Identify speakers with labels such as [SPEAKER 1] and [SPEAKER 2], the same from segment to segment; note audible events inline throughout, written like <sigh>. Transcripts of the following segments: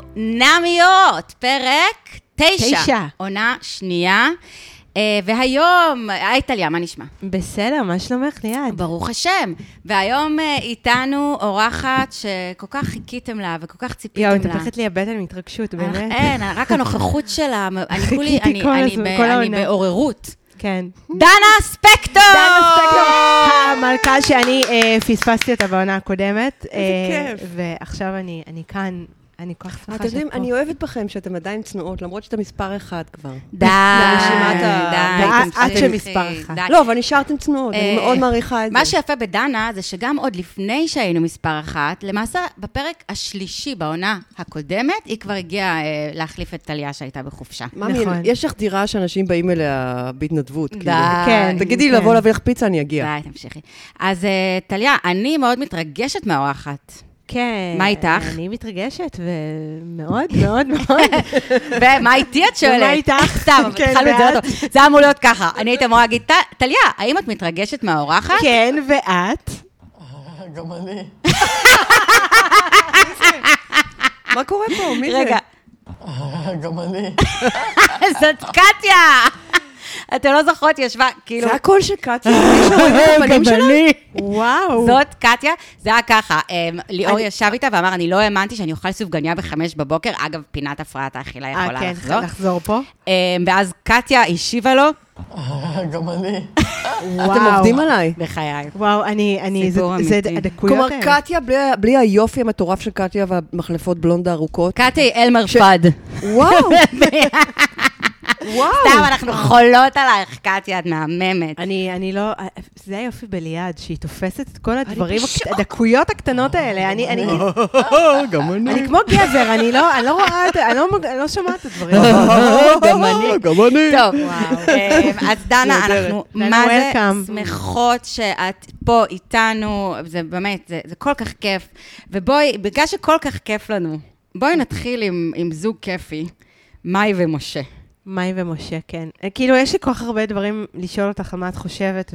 [SPEAKER 1] חתונמיות, פרק תשע,
[SPEAKER 2] תשע.
[SPEAKER 1] עונה שנייה. אה, והיום, היי טליה, מה נשמע?
[SPEAKER 2] בסדר, מה שלומך ליעד?
[SPEAKER 1] ברוך השם. והיום אה, איתנו אורחת שכל כך חיכיתם לה וכל כך ציפיתם לה.
[SPEAKER 2] יואו, מתהפכת לי הבטן
[SPEAKER 3] אה,
[SPEAKER 2] מהתרגשות, באמת.
[SPEAKER 1] אין, רק הנוכחות שלה, אני כולי,
[SPEAKER 2] חיכיתי
[SPEAKER 1] אני,
[SPEAKER 2] כל
[SPEAKER 1] אני,
[SPEAKER 2] הזמן,
[SPEAKER 1] ב-
[SPEAKER 2] כל
[SPEAKER 1] אני
[SPEAKER 2] העונה.
[SPEAKER 1] בעוררות.
[SPEAKER 2] כן.
[SPEAKER 1] דנה ספקטור!
[SPEAKER 3] אה,
[SPEAKER 2] דנה ספקטור, המלכה שאני אה, פספסתי אותה בעונה הקודמת. אה,
[SPEAKER 3] כיף.
[SPEAKER 2] ועכשיו אני אני כאן, אני כל כך שמחה
[SPEAKER 3] אתם
[SPEAKER 2] שאת
[SPEAKER 3] יודעים,
[SPEAKER 2] פה.
[SPEAKER 3] אני אוהבת בכם שאתם עדיין צנועות, למרות שאתם מספר אחד כבר.
[SPEAKER 1] די,
[SPEAKER 3] ברשימת ה-
[SPEAKER 1] די,
[SPEAKER 2] ואת-
[SPEAKER 1] תמשיכי,
[SPEAKER 2] את שמספר אחת.
[SPEAKER 1] די.
[SPEAKER 3] לא, אבל נשארתם צנועות, אני
[SPEAKER 1] אה,
[SPEAKER 3] מאוד מעריכה את זה.
[SPEAKER 1] מה שיפה בדנה זה שגם עוד לפני שהיינו מספר אחת, למעשה בפרק השלישי בעונה הקודמת, היא כבר הגיעה אה, להחליף את טליה שהייתה בחופשה.
[SPEAKER 3] ממי,
[SPEAKER 2] נכון.
[SPEAKER 3] יש לך דירה שאנשים באים אליה בהתנדבות, כאילו.
[SPEAKER 2] כן,
[SPEAKER 3] תגידי לי
[SPEAKER 2] כן.
[SPEAKER 3] לבוא להביא לך פיצה, אני אגיע.
[SPEAKER 1] די, תמשיכי. אז אה, טליה, אני מאוד מתרגשת מהאורחת. <laughs>
[SPEAKER 2] כן.
[SPEAKER 1] מה איתך?
[SPEAKER 2] אני מתרגשת, ומאוד מאוד
[SPEAKER 3] <laughs>
[SPEAKER 2] מאוד.
[SPEAKER 1] ומה איתי את שואלת?
[SPEAKER 2] ומה איתך?
[SPEAKER 1] <laughs> סתם, אבל
[SPEAKER 2] כן,
[SPEAKER 1] התחלנו את זה לא
[SPEAKER 2] ואת?
[SPEAKER 1] טוב. זה היה אמור להיות ככה. אני הייתי אמורה להגיד, "ט- טליה, האם את מתרגשת מהאורחת?
[SPEAKER 2] כן, ואת?
[SPEAKER 3] גם אני. מה קורה פה? מי זה?
[SPEAKER 1] רגע,
[SPEAKER 3] <laughs> גם אני.
[SPEAKER 1] <laughs> זאת קטיה! אתן לא זוכרות, היא ישבה, כאילו...
[SPEAKER 3] זה הקול של
[SPEAKER 1] <laughs>
[SPEAKER 3] קטיה, מי שרואים את הפנים שלה?
[SPEAKER 2] וואו.
[SPEAKER 1] זאת קטיה, זה היה ככה, אמ, ליאור ישב איתה ואמר, אני לא האמנתי שאני אוכל סופגניה בחמש בבוקר, אגב, פינת הפרעת האכילה
[SPEAKER 2] אה,
[SPEAKER 1] יכולה
[SPEAKER 2] כן,
[SPEAKER 1] לחזור.
[SPEAKER 2] לחזור פה.
[SPEAKER 1] אמ, ואז קטיה השיבה לו,
[SPEAKER 3] גם אני.
[SPEAKER 2] וואו.
[SPEAKER 3] אתם עובדים עליי.
[SPEAKER 1] בחיי.
[SPEAKER 2] וואו, אני, אני, זה-
[SPEAKER 1] סיפור
[SPEAKER 2] זה
[SPEAKER 1] אמיתי.
[SPEAKER 2] הדקויות
[SPEAKER 3] כלומר,
[SPEAKER 2] האלה.
[SPEAKER 3] קטיה, בלי- בלי היופי המטורף של קטיה והמחלפות בלונד <laughs> הארוכות.
[SPEAKER 1] קטיה היא אלמר פד.
[SPEAKER 3] וואו, וואו.
[SPEAKER 1] סתם, אנחנו חולות עלייך, קטיה, את מהממת.
[SPEAKER 2] אני, אני לא, זה היופי בליעד, שהיא תופסת את כל הדברים,
[SPEAKER 1] בשוק. אה.
[SPEAKER 2] הקט- הדקויות הקטנות האלה. אני, אני,
[SPEAKER 3] אה, גם
[SPEAKER 2] אני כמו גבר, אני לא, אני לא רואה את, אני לא, מג- אני לא שומעת את הדברים.
[SPEAKER 1] אה.
[SPEAKER 3] גם אני. אה, גם אני.
[SPEAKER 1] טוב, אמ, אז דנה,
[SPEAKER 3] נהדרת.
[SPEAKER 1] אנחנו
[SPEAKER 2] דנה,
[SPEAKER 1] מה זה
[SPEAKER 2] welcome.
[SPEAKER 1] שמחות שאת פה איתנו, זה באמת, זה- זה כל כך כיף. ובואי, בגלל שכל כך כיף לנו, בואי נתחיל עם עם זוג כיפי, מאי ומשה.
[SPEAKER 2] מאי ומשה, כן. כאילו, יש לי כל כך הרבה דברים לשאול אותך על מה את חושבת,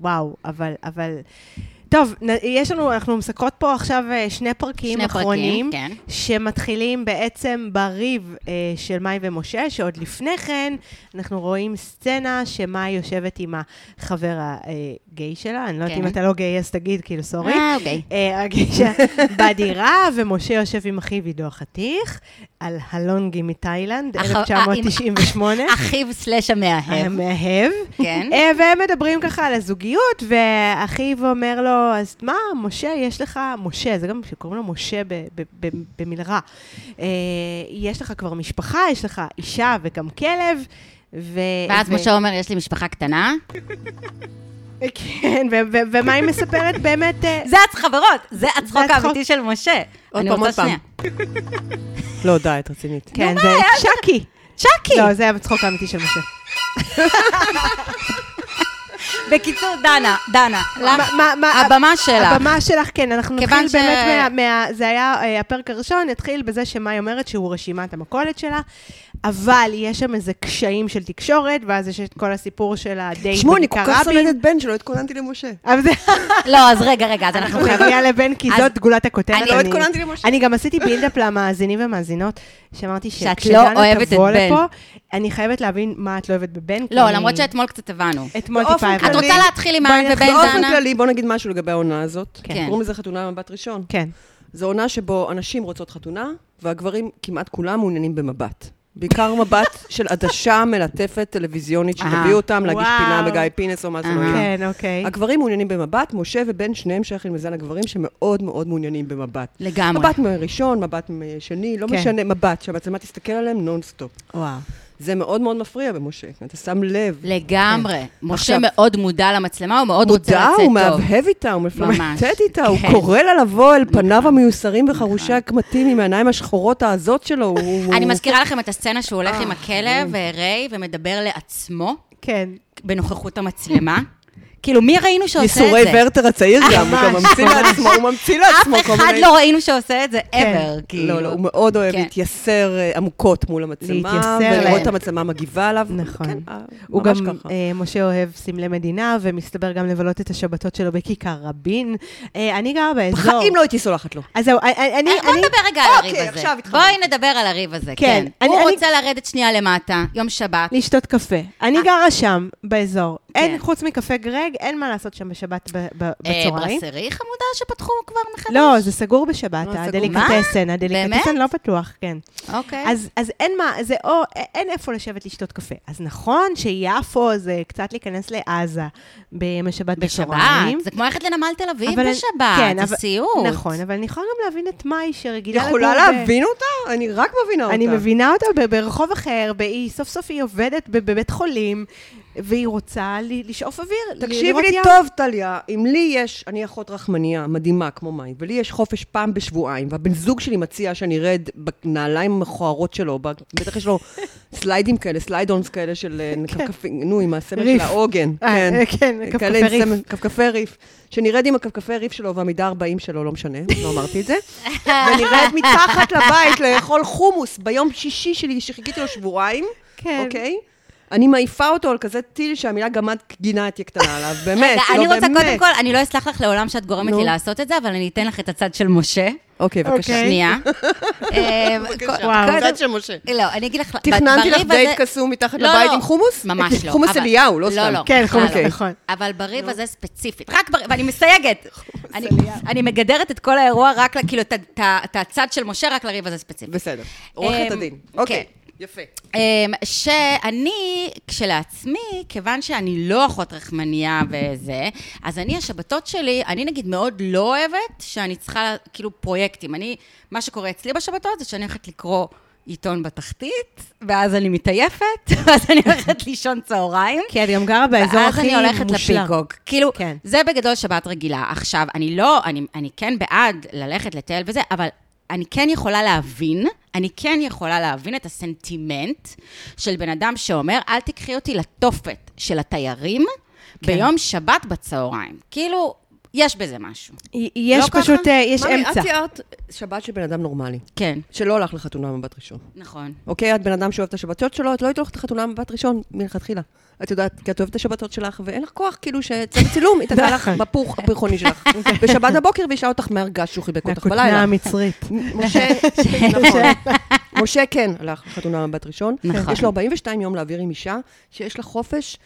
[SPEAKER 2] ווואו, אבל, אבל... טוב, נ- יש לנו, אנחנו מסקרות פה עכשיו אה, שני פרקים
[SPEAKER 1] שני פרקים,
[SPEAKER 2] אחרונים,
[SPEAKER 1] כן.
[SPEAKER 2] שמתחילים בעצם בריב אה, של מאי ומשה, שעוד לפני כן אנחנו רואים סצנה שמאי יושבת עם החבר הגיי שלה, אני לא יודעת
[SPEAKER 1] כן.
[SPEAKER 2] אם אתה לא גיי אז תגיד, כאילו, סורי.
[SPEAKER 1] אה, אוקיי.
[SPEAKER 2] אה, הגישה בדירה, ומשה יושב עם אחיו עידו החתיך, על הלונגי מתאילנד,
[SPEAKER 1] הח-
[SPEAKER 2] 1998.
[SPEAKER 1] אחיו סלאש המאהב.
[SPEAKER 2] המאהב.
[SPEAKER 1] כן.
[SPEAKER 2] אה, והם מדברים ככה על הזוגיות, ואחיו אומר לו, אז מה, משה, יש לך, משה, זה גם שקוראים לו משה ב- ב- ב- במיל רע. אה, יש לך כבר משפחה, יש לך אישה וגם כלב. ו...
[SPEAKER 1] ואז
[SPEAKER 2] ו-
[SPEAKER 1] משה אומר, יש לי משפחה קטנה.
[SPEAKER 2] כן, ו- ו- ומה היא מספרת באמת? אה,
[SPEAKER 1] זה הצ- חברות, זה הצחוק
[SPEAKER 2] הצחוק.
[SPEAKER 1] האמיתי של משה.
[SPEAKER 3] עוד
[SPEAKER 1] אני
[SPEAKER 3] פעם,
[SPEAKER 1] רוצה
[SPEAKER 3] עוד פעם.
[SPEAKER 1] שנייה.
[SPEAKER 3] לא, די, את רצינית.
[SPEAKER 2] כן, זה צ'אקי.
[SPEAKER 1] צ'אקי!
[SPEAKER 2] לא, זה הצחוק האמיתי של משה.
[SPEAKER 1] בקיצור, דנה, דנה, לך-
[SPEAKER 2] מה- מה- מה-
[SPEAKER 1] הבמה שלך.
[SPEAKER 2] הבמה שלך, כן, אנחנו
[SPEAKER 1] כיוון
[SPEAKER 2] נתחיל
[SPEAKER 1] ש-
[SPEAKER 2] באמת מה- מה... זה היה אה, הפרק הראשון, נתחיל בזה שמאי אומרת שהוא רשימת המכולת שלה, אבל יש שם איזה קשיים של תקשורת, ואז יש את כל הסיפור של הדייט
[SPEAKER 3] תשמעו, אני כל כך
[SPEAKER 2] בקרבין.
[SPEAKER 3] שונאת את בן שלא התכוננתי למשה.
[SPEAKER 2] אבל זה...
[SPEAKER 1] לא, אז רגע, רגע, אז אנחנו
[SPEAKER 2] אנחנו
[SPEAKER 1] חייבים...
[SPEAKER 2] נגיע לבן, כי
[SPEAKER 1] אז-
[SPEAKER 2] זאת גולת הכותרת.
[SPEAKER 1] אני לא
[SPEAKER 3] התכוננתי למשה.
[SPEAKER 2] אני גם עשיתי בילדאפ למאזינים ומאזינות, שאמרתי
[SPEAKER 1] שאת לא
[SPEAKER 2] שכשדנה
[SPEAKER 1] אוהבת את
[SPEAKER 2] תבוא
[SPEAKER 1] בן.
[SPEAKER 2] לפה, אני חייבת להבין מה את לא אוהבת בבן. כי
[SPEAKER 1] לא,
[SPEAKER 2] אני-
[SPEAKER 1] למרות שאתמול קצת הבנו.
[SPEAKER 2] אתמול
[SPEAKER 3] באופן
[SPEAKER 2] טיפה...
[SPEAKER 1] את
[SPEAKER 2] הבנתי.
[SPEAKER 1] רוצה להתחיל עם מאן ובן
[SPEAKER 3] באופן
[SPEAKER 1] דנה?
[SPEAKER 3] כללי, בוא נגיד משהו לגבי העונה הזאת.
[SPEAKER 1] כן.
[SPEAKER 3] קוראים לזה חתונה במבט ראשון.
[SPEAKER 2] כן.
[SPEAKER 3] זו עונה שבו הנשים רוצות חתונה, והגברים כמעט כולם מעוניינים במבט. בעיקר מבט
[SPEAKER 2] <laughs>
[SPEAKER 3] של עדשה מלטפת טלוויזיונית
[SPEAKER 1] אה.
[SPEAKER 3] שתביא אותם להגיש
[SPEAKER 2] וואו.
[SPEAKER 3] פינה בגיא פינס או מה זה לא
[SPEAKER 1] אה.
[SPEAKER 3] יהיה.
[SPEAKER 2] כן, אוקיי.
[SPEAKER 3] הגברים מעוניינים במבט, משה ובן שניהם שייכים למזן הגברים שמאוד מאוד מעוניינים במבט.
[SPEAKER 1] לגמרי.
[SPEAKER 3] מבט מראשון, מבט משני, לא
[SPEAKER 2] כן.
[SPEAKER 3] משנה, מבט, שהמצלמה תסתכל עליהם נונסטופ.
[SPEAKER 2] וואו.
[SPEAKER 3] זה מאוד מאוד מפריע במשה, אתה שם לב.
[SPEAKER 1] לגמרי. משה
[SPEAKER 3] כן. עכשיו-
[SPEAKER 1] מאוד מודע למצלמה, הוא מאוד רוצה
[SPEAKER 3] מודע,
[SPEAKER 1] לצאת טוב.
[SPEAKER 3] הוא מהבהב איתה, הוא מפלמטט איתה, הוא
[SPEAKER 1] כן. נכון.
[SPEAKER 3] קורא לה לבוא אל פניו המיוסרים וחרושי הקמטים עם העיניים השחורות העזות שלו. הוא- הוא-
[SPEAKER 1] אני
[SPEAKER 3] הוא-
[SPEAKER 1] מזכירה לכם את הסצנה שהוא הולך
[SPEAKER 3] אוקיי.
[SPEAKER 1] עם הכלב, אה, ריי, ומדבר לעצמו
[SPEAKER 2] כן.
[SPEAKER 1] בנוכחות המצלמה. כאילו, מי ראינו שעושה את זה? אה,
[SPEAKER 3] ייסורי ורטר הצעיר גם, הוא גם
[SPEAKER 2] ממש,
[SPEAKER 3] ממציא
[SPEAKER 2] ממש.
[SPEAKER 3] לעצמו, הוא ממציא לעצמו
[SPEAKER 1] אף
[SPEAKER 3] כל
[SPEAKER 1] אחד
[SPEAKER 3] מיני...
[SPEAKER 1] לא ראינו שעושה את זה
[SPEAKER 2] כן.
[SPEAKER 1] ever, כאילו.
[SPEAKER 3] לא, לא, הוא מאוד אוהב
[SPEAKER 1] כן.
[SPEAKER 3] להתייסר אה, עמוקות מול המצלמה,
[SPEAKER 2] להתייסר
[SPEAKER 3] ולראות
[SPEAKER 1] להם.
[SPEAKER 3] את המצלמה מגיבה עליו.
[SPEAKER 2] נכון.
[SPEAKER 3] כן, אה,
[SPEAKER 2] הוא
[SPEAKER 3] ממש
[SPEAKER 2] גם,
[SPEAKER 3] ככה.
[SPEAKER 2] אה, משה אוהב סמלי מדינה, ומסתבר גם לבלות את השבתות שלו בכיכר רבין. אה, אני גרה באזור.
[SPEAKER 3] בחיים לא הייתי סולחת לו.
[SPEAKER 2] אז זהו, אני... אני,
[SPEAKER 1] אה, בוא
[SPEAKER 2] אני
[SPEAKER 1] נדבר רגע על הריב
[SPEAKER 3] אוקיי,
[SPEAKER 1] הזה.
[SPEAKER 3] עכשיו התחברתי.
[SPEAKER 1] בואי נדבר על הריב הזה,
[SPEAKER 2] כן.
[SPEAKER 1] כן.
[SPEAKER 2] אני-
[SPEAKER 1] הוא
[SPEAKER 2] אני-
[SPEAKER 1] רוצה לרדת שנייה למטה, יום שבת.
[SPEAKER 2] לשתות קפה. אני גרה שם, באזור. אין,
[SPEAKER 1] אה. כן.
[SPEAKER 2] חוץ מקפה גרג, אין מה לעשות שם בשבת ב- ב-
[SPEAKER 1] אה,
[SPEAKER 2] בצהריים.
[SPEAKER 1] ברסרי חמודה שפתחו כבר מחדש?
[SPEAKER 2] לא, זה סגור בשבת,
[SPEAKER 3] לא, סגור.
[SPEAKER 2] הדליקטסן.
[SPEAKER 1] באמת?
[SPEAKER 2] הדליקטסן לא פתוח, כן.
[SPEAKER 1] אוקיי.
[SPEAKER 2] אז, אז אין מה, זה או, א- אין איפה לשבת לשתות קפה. אז נכון שיפו זה קצת להיכנס לעזה ביום השבת בצהריים.
[SPEAKER 1] בשבת. זה כמו ללכת לנמל תל אביב
[SPEAKER 2] אבל-
[SPEAKER 1] בשבת,
[SPEAKER 2] כן,
[SPEAKER 1] זה
[SPEAKER 2] אבל-
[SPEAKER 1] סיוט.
[SPEAKER 2] נכון, אבל אני יכולה גם להבין את מאי שרגילה לגור...
[SPEAKER 3] יכולה
[SPEAKER 2] ב-
[SPEAKER 3] להבין אותה? אני רק מבינה אותה.
[SPEAKER 2] אני מבינה אותה ב- ברחוב אחר, ב- היא סוף סוף היא עובדת ב- בבית חולים, והיא רוצה ל- לשאוף אוויר, ל-
[SPEAKER 3] תקשיבי
[SPEAKER 2] לראות
[SPEAKER 3] לי
[SPEAKER 2] ים.
[SPEAKER 3] טוב, טליה, אם לי יש, אני אחות רחמניה מדהימה כמו מאי, ולי יש חופש פעם בשבועיים, והבן זוג שלי מציע שאני ארד בנעליים המכוערות שלו, ב- בטח
[SPEAKER 2] <laughs>
[SPEAKER 3] יש לו סליידים כאלה, סליידונס כאלה של אה, כפכפים, נו, עם הסמל של
[SPEAKER 2] כן. ריף.
[SPEAKER 3] העוגן.
[SPEAKER 2] אה, אה, כן, כפכפי
[SPEAKER 3] כאלה עם
[SPEAKER 2] ריף.
[SPEAKER 3] סמל- כפכפי ריף. שנרד עם הכפכפי ריף שלו והמידה 40 שלו, לא משנה, לא אמרתי את
[SPEAKER 2] <laughs>
[SPEAKER 3] זה. ונרד מתחת לבית לאכול חומוס ביום שישי שלי, שחיכיתי לו שבועיים.
[SPEAKER 2] כן.
[SPEAKER 3] אוקיי? אני מעיפה אותו על כזה טיל שהמילה גמד גינה תהיה
[SPEAKER 1] <laughs>
[SPEAKER 3] קטנה עליו, באמת,
[SPEAKER 1] רגע,
[SPEAKER 3] לא
[SPEAKER 1] אני
[SPEAKER 3] באמת.
[SPEAKER 1] רוצה קודם כל, אני לא אסלח לך לעולם שאת גורמת
[SPEAKER 3] נו.
[SPEAKER 1] לי לעשות את זה, אבל אני אתן לך את הצד של משה.
[SPEAKER 3] אוקיי, בבקשה.
[SPEAKER 2] אוקיי.
[SPEAKER 3] <laughs>
[SPEAKER 1] שנייה. אה, קו-
[SPEAKER 2] וואו.
[SPEAKER 1] קודם-
[SPEAKER 3] של משה.
[SPEAKER 1] לא, אני אגיד לך,
[SPEAKER 3] תכננתי
[SPEAKER 1] בריב
[SPEAKER 3] לך דייט
[SPEAKER 1] הזה-
[SPEAKER 3] קסום מתחת
[SPEAKER 1] לא,
[SPEAKER 3] לבית
[SPEAKER 1] לא.
[SPEAKER 3] עם חומוס?
[SPEAKER 1] ממש לא.
[SPEAKER 3] <laughs> חומוס
[SPEAKER 1] אבל-
[SPEAKER 3] אליהו, לא
[SPEAKER 1] לא,
[SPEAKER 3] סתם.
[SPEAKER 1] לא.
[SPEAKER 2] כן,
[SPEAKER 1] בכלל
[SPEAKER 2] חומוס,
[SPEAKER 1] לא.
[SPEAKER 2] נכון.
[SPEAKER 1] אבל בריב הזה ספציפית, רק בריב, ואני מסייגת. אני- אני מגדרת את כל האירוע רק, ל- כאילו, את ה- את ה- את הצד של משה רק לריב הזה ספציפית. <laughs>
[SPEAKER 3] בסדר. עורכת
[SPEAKER 1] אמ,
[SPEAKER 3] הדין. אוקיי, יפה.
[SPEAKER 1] אמ, שאני, כשלעצמי, כיוון שאני לא אחות רחמנייה וזה, אז אני, השבתות שלי, אני נגיד מאוד לא אוהבת שאני צריכה, כאילו, פרויקטים. אני, מה שקורה אצלי בשבתות זה שאני הולכת לקרוא עיתון בתחתית, ואז אני מתעייפת, <laughs> ואז אני הולכת לישון צהריים.
[SPEAKER 2] כי את גם גרה באזור
[SPEAKER 1] ואז אני
[SPEAKER 2] הכי
[SPEAKER 1] הולכת
[SPEAKER 2] מושלם.
[SPEAKER 1] לפיקוק. כאילו,
[SPEAKER 2] כן.
[SPEAKER 1] זה בגדול שבת רגילה. עכשיו, אני לא, אני, אני כן בעד ללכת לטייל וזה, אבל אני כן יכולה להבין, אני כן יכולה להבין את הסנטימנט של בן אדם שאומר, אל תיקחי אותי לתופת של התיירים
[SPEAKER 3] כן.
[SPEAKER 1] ביום שבת בצהריים. כאילו, יש בזה משהו.
[SPEAKER 2] י- יש
[SPEAKER 1] לא
[SPEAKER 2] פשוט,
[SPEAKER 1] ככה?
[SPEAKER 2] אה, יש
[SPEAKER 3] ממי,
[SPEAKER 2] אמצע.
[SPEAKER 3] את תיארת שבת של בן אדם נורמלי,
[SPEAKER 1] כן,
[SPEAKER 3] שלא הלך לחתונה מבט ראשון.
[SPEAKER 1] נכון.
[SPEAKER 3] אוקיי, את בן אדם שאוהב את השבתות שלו, את לא היית הולכת לחתונה מבט ראשון מלכתחילה. את יודעת, כי את אוהבת את השבתות שלך, ואין לך כוח, כאילו, שצריך צילום, היא תקע לך
[SPEAKER 2] נכון.
[SPEAKER 3] בפוך
[SPEAKER 2] <laughs>
[SPEAKER 3] הפרחוני שלך. בשבת בבוקר, וישאל אותך מהרגש שהוא חיבק אותך
[SPEAKER 2] מהכותנה
[SPEAKER 3] בלילה.
[SPEAKER 1] <laughs>
[SPEAKER 2] המצרית.
[SPEAKER 3] משה, נכון. משה כן הלך לחתונה מבט ראשון.
[SPEAKER 1] נכון.
[SPEAKER 3] יש לו 42 יום להעביר עם אישה שיש לה חופש,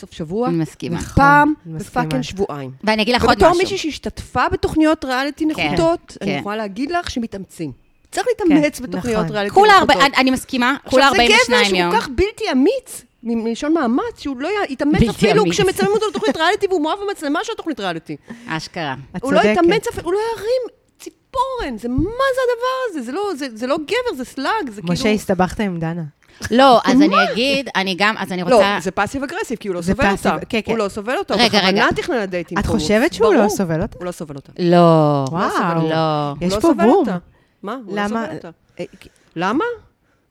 [SPEAKER 3] סוף שבוע,
[SPEAKER 1] אני מסכימה. נכון.
[SPEAKER 3] פעם
[SPEAKER 2] אני מסכימה.
[SPEAKER 3] בפאקינג שבועיים.
[SPEAKER 1] ואני אגיד לך עוד משהו.
[SPEAKER 3] ובתור מישהי שהשתתפה בתוכניות ריאליטי נחותות, אני
[SPEAKER 1] כן.
[SPEAKER 3] יכולה להגיד לך שמתאמצים. צריך להתאמץ
[SPEAKER 2] כן,
[SPEAKER 3] בתוכניות
[SPEAKER 2] נכון.
[SPEAKER 3] ריאליטי
[SPEAKER 1] כולה
[SPEAKER 3] נחותות.
[SPEAKER 1] ארבע, אני- אני מסכימה, כולה
[SPEAKER 3] עכשיו,
[SPEAKER 1] 42
[SPEAKER 3] זה גבר
[SPEAKER 1] יום.
[SPEAKER 3] שהוא כל כך בלתי אמיץ, מ- מלשון מאמץ, שהוא לא י- יתאמץ
[SPEAKER 1] בלתי
[SPEAKER 3] אפילו
[SPEAKER 1] אמיץ.
[SPEAKER 3] כשמצלמים אותו לתוכנית ריאליטי, והוא מאוהב במצלמה של התוכנית ריאליטי.
[SPEAKER 1] אשכרה.
[SPEAKER 2] את
[SPEAKER 3] הוא לא
[SPEAKER 2] צודקת.
[SPEAKER 3] יתאמץ אפילו, הוא לא ירים ציפורן, זה מה זה הדבר הזה? זה לא- זה- זה לא גבר, זה סלאג, זה
[SPEAKER 2] משה,
[SPEAKER 3] כאילו...
[SPEAKER 2] הסתבכת עם דנה.
[SPEAKER 1] לא, אז אני אגיד, אני גם, אז אני רוצה...
[SPEAKER 3] לא, זה פאסיב אגרסיב, כי הוא לא
[SPEAKER 2] זה
[SPEAKER 3] סובל
[SPEAKER 2] פאסיב,
[SPEAKER 3] אותה.
[SPEAKER 2] כן, כן.
[SPEAKER 3] הוא לא סובל אותה, הוא
[SPEAKER 1] רגע, רגע.
[SPEAKER 3] בכוונה תכנן הדייטים.
[SPEAKER 2] את חושבת שהוא לא סובל אותה?
[SPEAKER 3] הוא לא סובל אותה.
[SPEAKER 1] לא.
[SPEAKER 2] וואו.
[SPEAKER 1] לא.
[SPEAKER 2] יש
[SPEAKER 3] הוא לא
[SPEAKER 2] פה
[SPEAKER 3] סובל
[SPEAKER 2] בום.
[SPEAKER 3] אותה. מה? הוא לא
[SPEAKER 2] למה?
[SPEAKER 3] סובל אותה. למה?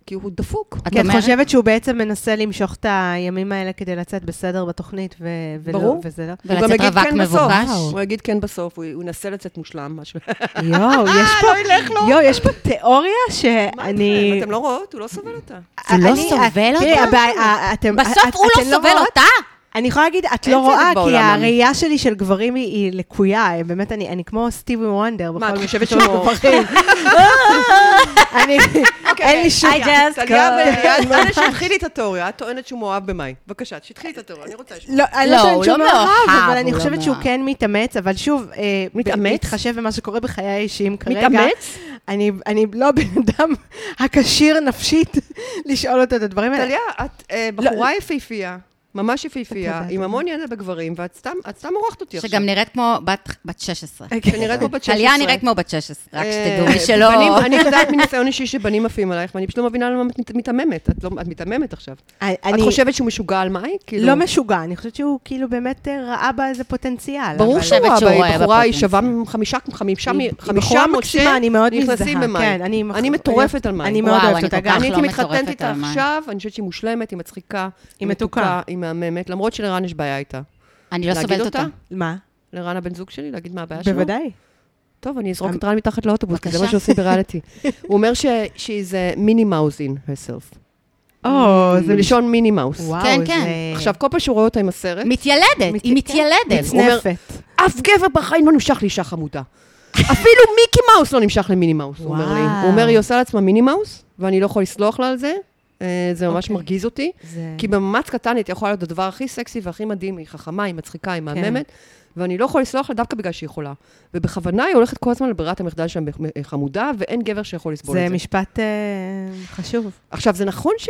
[SPEAKER 3] כי הוא דפוק.
[SPEAKER 1] את
[SPEAKER 2] כי את
[SPEAKER 1] אומרת?
[SPEAKER 2] חושבת שהוא בעצם מנסה למשוך את הימים האלה כדי לצאת בסדר בתוכנית, ו- ולא,
[SPEAKER 3] ברור.
[SPEAKER 2] וזה
[SPEAKER 3] <laughs>
[SPEAKER 2] לא...
[SPEAKER 3] הוא גם
[SPEAKER 1] ולצאת
[SPEAKER 3] יגיד
[SPEAKER 1] רווק
[SPEAKER 3] כן בסוף.
[SPEAKER 1] מבוקש?
[SPEAKER 3] הוא יגיד כן בסוף, הוא הוא ינסה לצאת מושלם, משהו.
[SPEAKER 2] אה, יואו, יש פה...
[SPEAKER 3] לא ילך לו.
[SPEAKER 2] יואו, יש פה תיאוריה
[SPEAKER 3] מה
[SPEAKER 2] שאני...
[SPEAKER 3] אתם? אתם לא רואות? הוא לא סובל אותה.
[SPEAKER 1] הוא לא
[SPEAKER 2] אני-
[SPEAKER 1] סובל
[SPEAKER 2] תראי,
[SPEAKER 1] אותה?
[SPEAKER 2] הבעיה- ה- אתם- את-
[SPEAKER 1] בסוף הוא לא
[SPEAKER 2] אתן
[SPEAKER 1] סובל
[SPEAKER 2] רואות?
[SPEAKER 1] אותה?
[SPEAKER 2] אני יכולה להגיד, את
[SPEAKER 3] אין
[SPEAKER 2] לא
[SPEAKER 3] צדק
[SPEAKER 2] רואה, כי
[SPEAKER 3] בעולם, אני-
[SPEAKER 2] הראייה שלי של גברים היא- היא לקויה, אה, באמת, אני אני כמו סטיבי וונדר
[SPEAKER 3] מה,
[SPEAKER 2] בכל
[SPEAKER 3] את
[SPEAKER 2] מיני
[SPEAKER 3] חושבת
[SPEAKER 2] <laughs>
[SPEAKER 3] שהוא...
[SPEAKER 2] אני... אין לי שום...
[SPEAKER 1] I just
[SPEAKER 3] טליה
[SPEAKER 1] go.
[SPEAKER 3] וליאת, אנא שתתחילי את התיאוריה, את טוענת שהוא מאוהב במאי. בבקשה, תתחילי את התיאוריה, אני רוצה לשמוע.
[SPEAKER 2] לא, אני לא
[SPEAKER 1] לא,
[SPEAKER 2] טוענת
[SPEAKER 1] הוא
[SPEAKER 2] שהוא
[SPEAKER 1] לא
[SPEAKER 2] מאוהב,
[SPEAKER 1] מאוהב,
[SPEAKER 2] אבל
[SPEAKER 1] הוא
[SPEAKER 2] אני
[SPEAKER 1] לא
[SPEAKER 2] חושבת שהוא
[SPEAKER 1] מאוהב.
[SPEAKER 2] כן מתאמץ, אבל שוב, אה, ב-
[SPEAKER 3] מתאמץ?
[SPEAKER 2] בהתחשב במה שקורה בחיי האישיים כרגע.
[SPEAKER 3] מתאמץ?
[SPEAKER 2] אני, אני לא בן אדם הכשיר נפשית לשאול אותו את הדברים האלה.
[SPEAKER 3] טליה, את אה, בחורה יפהפייה, ממש יפהפייה,
[SPEAKER 2] תודה,
[SPEAKER 3] עם
[SPEAKER 2] תודה.
[SPEAKER 3] המון ידע בגברים, ואת סתם את סתם אורחת אותי עכשיו.
[SPEAKER 1] שגם נראית כמו בת- בת 16.
[SPEAKER 2] אוקיי.
[SPEAKER 3] שנראית כמו בת 16.
[SPEAKER 1] טליה נראית כמו בת 16, רק
[SPEAKER 3] אה,
[SPEAKER 1] שתדעו, מי שלא...
[SPEAKER 3] בנים- אני יודעת מניסיון אישי שבנים עפים עלייך, ואני פשוט לא מבינה למה את מת- מתעממת. את לא- את מתעממת עכשיו.
[SPEAKER 2] אני,
[SPEAKER 3] את
[SPEAKER 2] אני
[SPEAKER 3] חושבת שהוא משוגע על מאי? כאילו-
[SPEAKER 2] לא משוגע, אני חושבת שהוא כאילו באמת אה, ראה בה איזה פוטנציאל.
[SPEAKER 3] ברור
[SPEAKER 2] אבל-
[SPEAKER 1] ש-
[SPEAKER 3] שהוא
[SPEAKER 1] חושבת שהוא
[SPEAKER 3] ראה,
[SPEAKER 1] רואה
[SPEAKER 3] היא בחורה, היא
[SPEAKER 1] בפוטנציאל.
[SPEAKER 3] שווה חמישה, חמישה,
[SPEAKER 2] היא-
[SPEAKER 3] מ-
[SPEAKER 2] היא
[SPEAKER 3] חמישה
[SPEAKER 2] בחורה
[SPEAKER 3] משה,
[SPEAKER 2] מקסימה, אני מאוד
[SPEAKER 3] נכנסים
[SPEAKER 2] מזדהה,
[SPEAKER 3] במאי.
[SPEAKER 2] כן, אני מח-
[SPEAKER 3] אני מטורפת על מאי.
[SPEAKER 2] אני מאוד
[SPEAKER 1] וואו,
[SPEAKER 2] אוהבת
[SPEAKER 1] אני
[SPEAKER 2] אותה
[SPEAKER 1] כל
[SPEAKER 2] גם.
[SPEAKER 1] כך
[SPEAKER 3] אני הייתי
[SPEAKER 1] לא
[SPEAKER 3] מתחתנת
[SPEAKER 1] מטורפת
[SPEAKER 3] איתה
[SPEAKER 1] על מאי.
[SPEAKER 3] עכשיו, אני חושבת שהיא מושלמת, היא מצחיקה.
[SPEAKER 2] מתוקה.
[SPEAKER 3] היא מהממת, למרות שלרן יש בעיה איתה.
[SPEAKER 1] אני לא
[SPEAKER 3] להגיד
[SPEAKER 1] סובלת
[SPEAKER 3] אותה?
[SPEAKER 1] אותה.
[SPEAKER 2] מה?
[SPEAKER 3] לרן הבן זוג שלי, להגיד מה הבעיה שלו?
[SPEAKER 2] בוודאי.
[SPEAKER 3] טוב, אני אזרוק
[SPEAKER 2] אמ-
[SPEAKER 3] את רן מתחת לאוטובוס, כי זה מה
[SPEAKER 1] בבקשה.
[SPEAKER 3] שעושים
[SPEAKER 2] <laughs>
[SPEAKER 3] בריאליטי. הוא אומר ש- she's a mini mouse in herself.
[SPEAKER 2] Mm. או,
[SPEAKER 3] זה לשון מיני מאוס.
[SPEAKER 2] Mm. וואו,
[SPEAKER 1] כן,
[SPEAKER 2] זה...
[SPEAKER 1] כן.
[SPEAKER 3] עכשיו, כל פעם שהוא רואה אותה עם הסרט,
[SPEAKER 1] מתיילדת, היא
[SPEAKER 2] מת-
[SPEAKER 1] מתיילדת.
[SPEAKER 3] הוא אומר-
[SPEAKER 2] נפת.
[SPEAKER 3] אף גבר בחיים לא נמשך לאישה חמודה. אפילו מיקי מאוס לא נמשך למיני מאוס, הוא אומר לי.
[SPEAKER 2] וואו.
[SPEAKER 3] הוא אומר, היא עושה לעצמה מיני מאוס, ואני לא יכול לסלוח לה על זה. אה, זה ממש
[SPEAKER 2] אוקיי.
[SPEAKER 3] מרגיז אותי.
[SPEAKER 2] זה...
[SPEAKER 3] כי במאמץ קטן היא יכולה להיות הדבר הכי סקסי והכי מדהים, היא חכמה, היא מצחיקה,
[SPEAKER 2] כן.
[SPEAKER 3] היא מהממת, ואני לא יכול לסלוח לה דווקא בגלל שהיא יכולה. ובכוונה היא הולכת כל הזמן לברירת המחדל שם אה, חמודה, ואין גבר שיכול לסבול
[SPEAKER 2] זה
[SPEAKER 3] את זה.
[SPEAKER 2] משפט אה, חשוב.
[SPEAKER 3] עכשיו, זה נכון ש...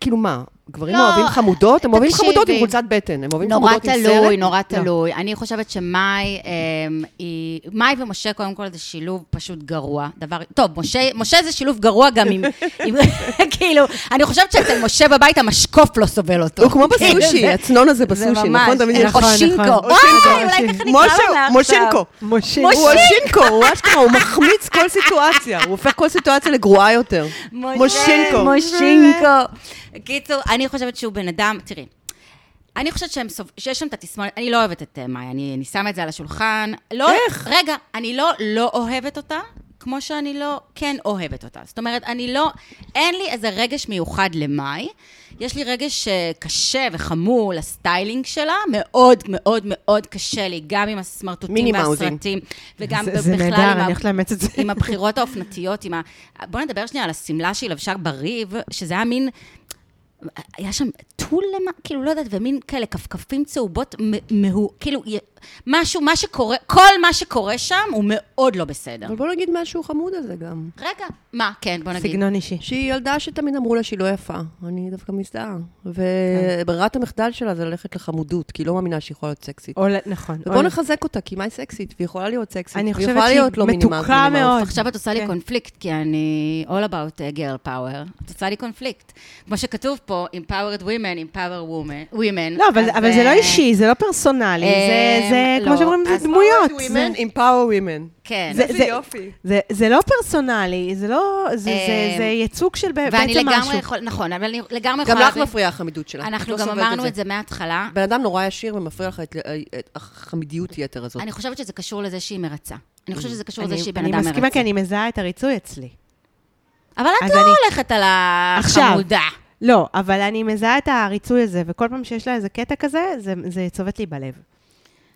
[SPEAKER 3] כאילו מה, גברים
[SPEAKER 1] לא,
[SPEAKER 3] אוהבים חמודות? הם אוהבים
[SPEAKER 1] תקשיבי.
[SPEAKER 3] חמודות עם חולצת בטן, הם אוהבים
[SPEAKER 1] נורא
[SPEAKER 3] חמודות עם סרט.
[SPEAKER 1] תלוי, נורא
[SPEAKER 3] לא.
[SPEAKER 1] תלוי. אני חושבת שמאי אמ, היא... מאי ומשה, קודם כל, זה שילוב פשוט גרוע. דבר... טוב, משה, משה זה שילוב גרוע גם עם... עם <laughs> כאילו, אני חושבת שאצל משה בבית המשקוף לא סובל אותו.
[SPEAKER 3] הוא כמו
[SPEAKER 1] כאילו,
[SPEAKER 3] בסושי,
[SPEAKER 1] זה-
[SPEAKER 3] הצנון הזה
[SPEAKER 1] זה
[SPEAKER 3] בסושי,
[SPEAKER 1] ממש,
[SPEAKER 3] נכון? תמיד יש
[SPEAKER 1] או שינקו.
[SPEAKER 2] נכון.
[SPEAKER 1] וואי, אולי
[SPEAKER 2] משה-
[SPEAKER 1] ככה נקרא לה עכשיו.
[SPEAKER 3] מושינקו.
[SPEAKER 2] משה.
[SPEAKER 3] הוא השינקו, הוא אשכרה, הוא מחמיץ כל סיטואציה, הוא הופך כל סיטואציה לגרועה יותר. מושינקו.
[SPEAKER 1] מושינקו. קיצור, אני חושבת שהוא בן אדם, תראי. אני חושבת שהם סוב... שיש שם את התסמונת, אני לא אוהבת את אה, מאי, אני, אני שמה את זה על השולחן. לא,
[SPEAKER 3] איך?
[SPEAKER 1] רגע, אני לא לא אוהבת אותה, כמו שאני לא כן אוהבת אותה. זאת אומרת, אני לא, אין לי איזה רגש מיוחד למאי. יש לי רגש אה, קשה וחמור לסטיילינג שלה, מאוד מאוד מאוד קשה לי, גם עם
[SPEAKER 3] מיני
[SPEAKER 1] הסמרטוטים
[SPEAKER 3] מאוזים.
[SPEAKER 1] והסרטים, וגם
[SPEAKER 2] זה-
[SPEAKER 1] בכלל
[SPEAKER 2] זה
[SPEAKER 1] עם
[SPEAKER 2] נהדר,
[SPEAKER 1] ה-
[SPEAKER 2] אני הולכת לאמץ את זה.
[SPEAKER 1] עם הבחירות האופנתיות, עם ה... בוא נדבר שנייה על השמלה שהיא לבשה בריב, שזה היה מין... היה שם טול למה, כאילו, לא יודעת, ומין כאלה כפכפים צהובות, מ- מהו, כאילו, י- משהו, מה שקורה, כל מה שקורה שם הוא מאוד לא בסדר.
[SPEAKER 3] אבל בוא נגיד משהו חמוד על זה גם.
[SPEAKER 1] רגע, מה, כן, בוא נגיד.
[SPEAKER 2] סגנון אישי.
[SPEAKER 3] שהיא ילדה שתמיד אמרו לה שהיא לא יפה, אני דווקא מזדהה. וברירת המחדל שלה זה ללכת לחמודות, כי היא לא מאמינה שהיא יכולה להיות סקסית.
[SPEAKER 2] או ל- נכון. או
[SPEAKER 3] ובוא
[SPEAKER 2] ל-
[SPEAKER 3] נחזק אותה, כי מה היא סקסית? והיא יכולה להיות סקסית.
[SPEAKER 2] אני
[SPEAKER 3] והיא
[SPEAKER 2] חושבת
[SPEAKER 3] יכולה
[SPEAKER 2] שהיא
[SPEAKER 3] להיות לא מינימל-
[SPEAKER 2] מתוקה
[SPEAKER 3] מינימל.
[SPEAKER 2] מאוד.
[SPEAKER 1] עכשיו את עושה לי
[SPEAKER 2] כן.
[SPEAKER 1] קונפליקט, כי אני all about uh, girl power. את עושה לי קונפליקט. כמו שכתוב פה, empowered women, empower woman- women.
[SPEAKER 2] לא, אבל
[SPEAKER 1] אז,
[SPEAKER 2] זה- אבל זה לא
[SPEAKER 1] אה,
[SPEAKER 2] אישי, זה לא פרסונלי, זה-
[SPEAKER 1] אה,
[SPEAKER 2] זה,
[SPEAKER 1] לא.
[SPEAKER 2] כמו שאומרים,
[SPEAKER 1] אז
[SPEAKER 2] זה דמויות. זה-
[SPEAKER 3] Women empower women.
[SPEAKER 1] כן.
[SPEAKER 2] זה-
[SPEAKER 3] איזה יופי.
[SPEAKER 2] זה- זה לא פרסונלי, זה לא, זה- זה
[SPEAKER 1] אה,
[SPEAKER 2] זה ייצוג של ב- בעצם משהו.
[SPEAKER 1] ואני לגמרי יכול, נכון, אבל אני לגמרי
[SPEAKER 3] גם
[SPEAKER 1] יכולה...
[SPEAKER 3] לך
[SPEAKER 1] להבין-
[SPEAKER 3] מפריעה החמידות
[SPEAKER 2] כאילו,
[SPEAKER 3] שלה. את
[SPEAKER 1] אנחנו
[SPEAKER 3] לא
[SPEAKER 1] גם
[SPEAKER 3] סובלת
[SPEAKER 1] אמרנו את זה מההתחלה.
[SPEAKER 3] בן אדם נורא ישיר ומפריע לך את- אה, את החמידיות יתר הזאת.
[SPEAKER 1] אני חושבת שזה קשור לזה שהיא מרצה. אני חושבת שזה קשור לזה
[SPEAKER 2] אני-
[SPEAKER 1] שהיא בן
[SPEAKER 2] אני
[SPEAKER 1] אדם מרצה.
[SPEAKER 2] מסכימה, כי אני מזהה את הריצוי אצלי.
[SPEAKER 1] אבל את
[SPEAKER 2] אז
[SPEAKER 1] לא
[SPEAKER 2] אני-
[SPEAKER 1] הולכת על
[SPEAKER 2] עכשיו.
[SPEAKER 1] החמודה.
[SPEAKER 2] לא, אבל אני מזהה את הריצוי הזה, וכל פעם שיש לה איזה קטע כזה, זה, זה צובט לי בלב.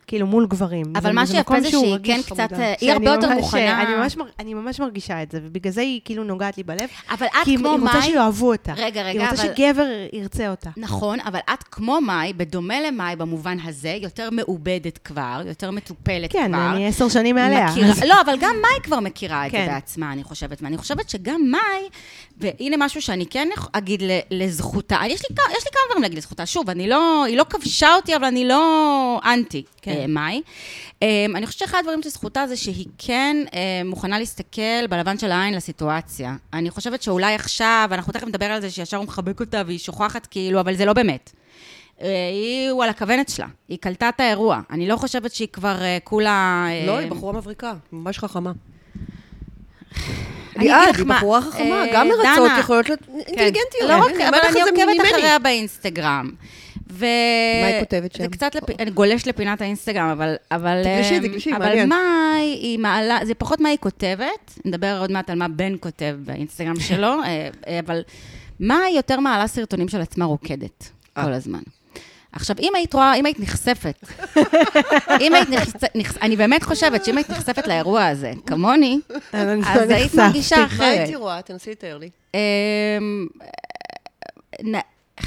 [SPEAKER 2] כאילו, מול גברים.
[SPEAKER 1] אבל
[SPEAKER 2] זה-
[SPEAKER 1] מה
[SPEAKER 2] זה
[SPEAKER 1] שיפה
[SPEAKER 2] מקום
[SPEAKER 1] זה
[SPEAKER 2] שהוא
[SPEAKER 1] שהיא
[SPEAKER 2] רגיש,
[SPEAKER 1] כן
[SPEAKER 2] חמודה.
[SPEAKER 1] קצת, אה, היא
[SPEAKER 2] שאני
[SPEAKER 1] הרבה יותר
[SPEAKER 2] ממש-
[SPEAKER 1] מוכנה.
[SPEAKER 2] אני ממש, מר- אני ממש מרגישה את זה, ובגלל זה היא כאילו נוגעת לי בלב.
[SPEAKER 1] אבל
[SPEAKER 2] כי
[SPEAKER 1] את
[SPEAKER 2] היא-
[SPEAKER 1] כמו
[SPEAKER 2] היא רוצה
[SPEAKER 1] מאי...
[SPEAKER 2] שיאהבו אותה.
[SPEAKER 1] רגע, רגע,
[SPEAKER 2] היא רוצה
[SPEAKER 1] אבל-
[SPEAKER 2] שגבר ירצה אותה.
[SPEAKER 1] נכון, אבל את כמו מאי, בדומה למאי במובן הזה, יותר מעובדת כבר, יותר מטופלת כבר.
[SPEAKER 2] כן, אני עשר שנים מעליה.
[SPEAKER 1] מכירה,
[SPEAKER 2] <laughs> אז-
[SPEAKER 1] לא, אבל גם מאי כבר מכירה את זה
[SPEAKER 2] כן.
[SPEAKER 1] בעצמה, אני חושבת. ואני חושבת שגם מאי, והנה משהו שאני כן יכ- אגיד ל- לזכותה, יש לי, כ- יש לי כמה דברים להגיד לזכותה. שוב, אני לא, היא לא כבשה אותי, אבל אני לא אנטי
[SPEAKER 2] כן.
[SPEAKER 1] אה, מאי. אה, אני חושבת שאחד הדברים שזכותה זה שהיא כן אה, מוכנה להסתכל בלבן של העין לסיטואציה. אני חושבת שאולי עכשיו, אנחנו תכף נדבר על זה שישר הוא מחבק אותה והיא שוכחת כאילו, אבל זה לא באמת. אה, היא, הוא על הכוונת שלה, היא קלטה את האירוע. אני לא חושבת שהיא כבר אה, כולה... אה,
[SPEAKER 3] לא, היא בחורה מבריקה, ממש חכמה.
[SPEAKER 1] אני אגיד
[SPEAKER 3] ליעד,
[SPEAKER 1] לך
[SPEAKER 3] היא
[SPEAKER 1] מה,
[SPEAKER 3] בחורה חכמה,
[SPEAKER 1] אה,
[SPEAKER 3] גם מרצות,
[SPEAKER 1] דנה.
[SPEAKER 3] יכולות להיות
[SPEAKER 1] כן.
[SPEAKER 3] אינטליגנטיות.
[SPEAKER 1] לא רק,
[SPEAKER 3] הנה,
[SPEAKER 1] אבל
[SPEAKER 3] אומרת לך,
[SPEAKER 1] אני
[SPEAKER 3] זה
[SPEAKER 1] עוקבת
[SPEAKER 3] ממני.
[SPEAKER 1] אחריה באינסטגרם. ו...
[SPEAKER 3] מה היא כותבת שם?
[SPEAKER 1] זה קצת לפ... אני גולש לפינת האינסטגרם, אבל... אבל
[SPEAKER 3] תגלשי,
[SPEAKER 1] אמ,
[SPEAKER 3] תגלשי,
[SPEAKER 1] אבל
[SPEAKER 3] מעניין.
[SPEAKER 1] מה היא- היא מעלה... זה פחות מה היא כותבת, נדבר עוד מעט על מה בן כותב
[SPEAKER 3] <laughs>
[SPEAKER 1] באינסטגרם שלו, אה, אה, אבל מה היא יותר מעלה סרטונים של עצמה רוקדת
[SPEAKER 3] אה.
[SPEAKER 1] כל הזמן. עכשיו, אם היית רואה, אם היית נחשפת,
[SPEAKER 3] <laughs>
[SPEAKER 1] אם היית נחשפת, אני באמת חושבת שאם היית נחשפת לאירוע הזה, כמוני,
[SPEAKER 2] אני לא
[SPEAKER 1] אז היית
[SPEAKER 2] נחשפתי.
[SPEAKER 1] מרגישה
[SPEAKER 3] מה
[SPEAKER 1] אחרת.
[SPEAKER 3] הייתי רואה? תנסי לתאר לי.
[SPEAKER 1] אמ, נ-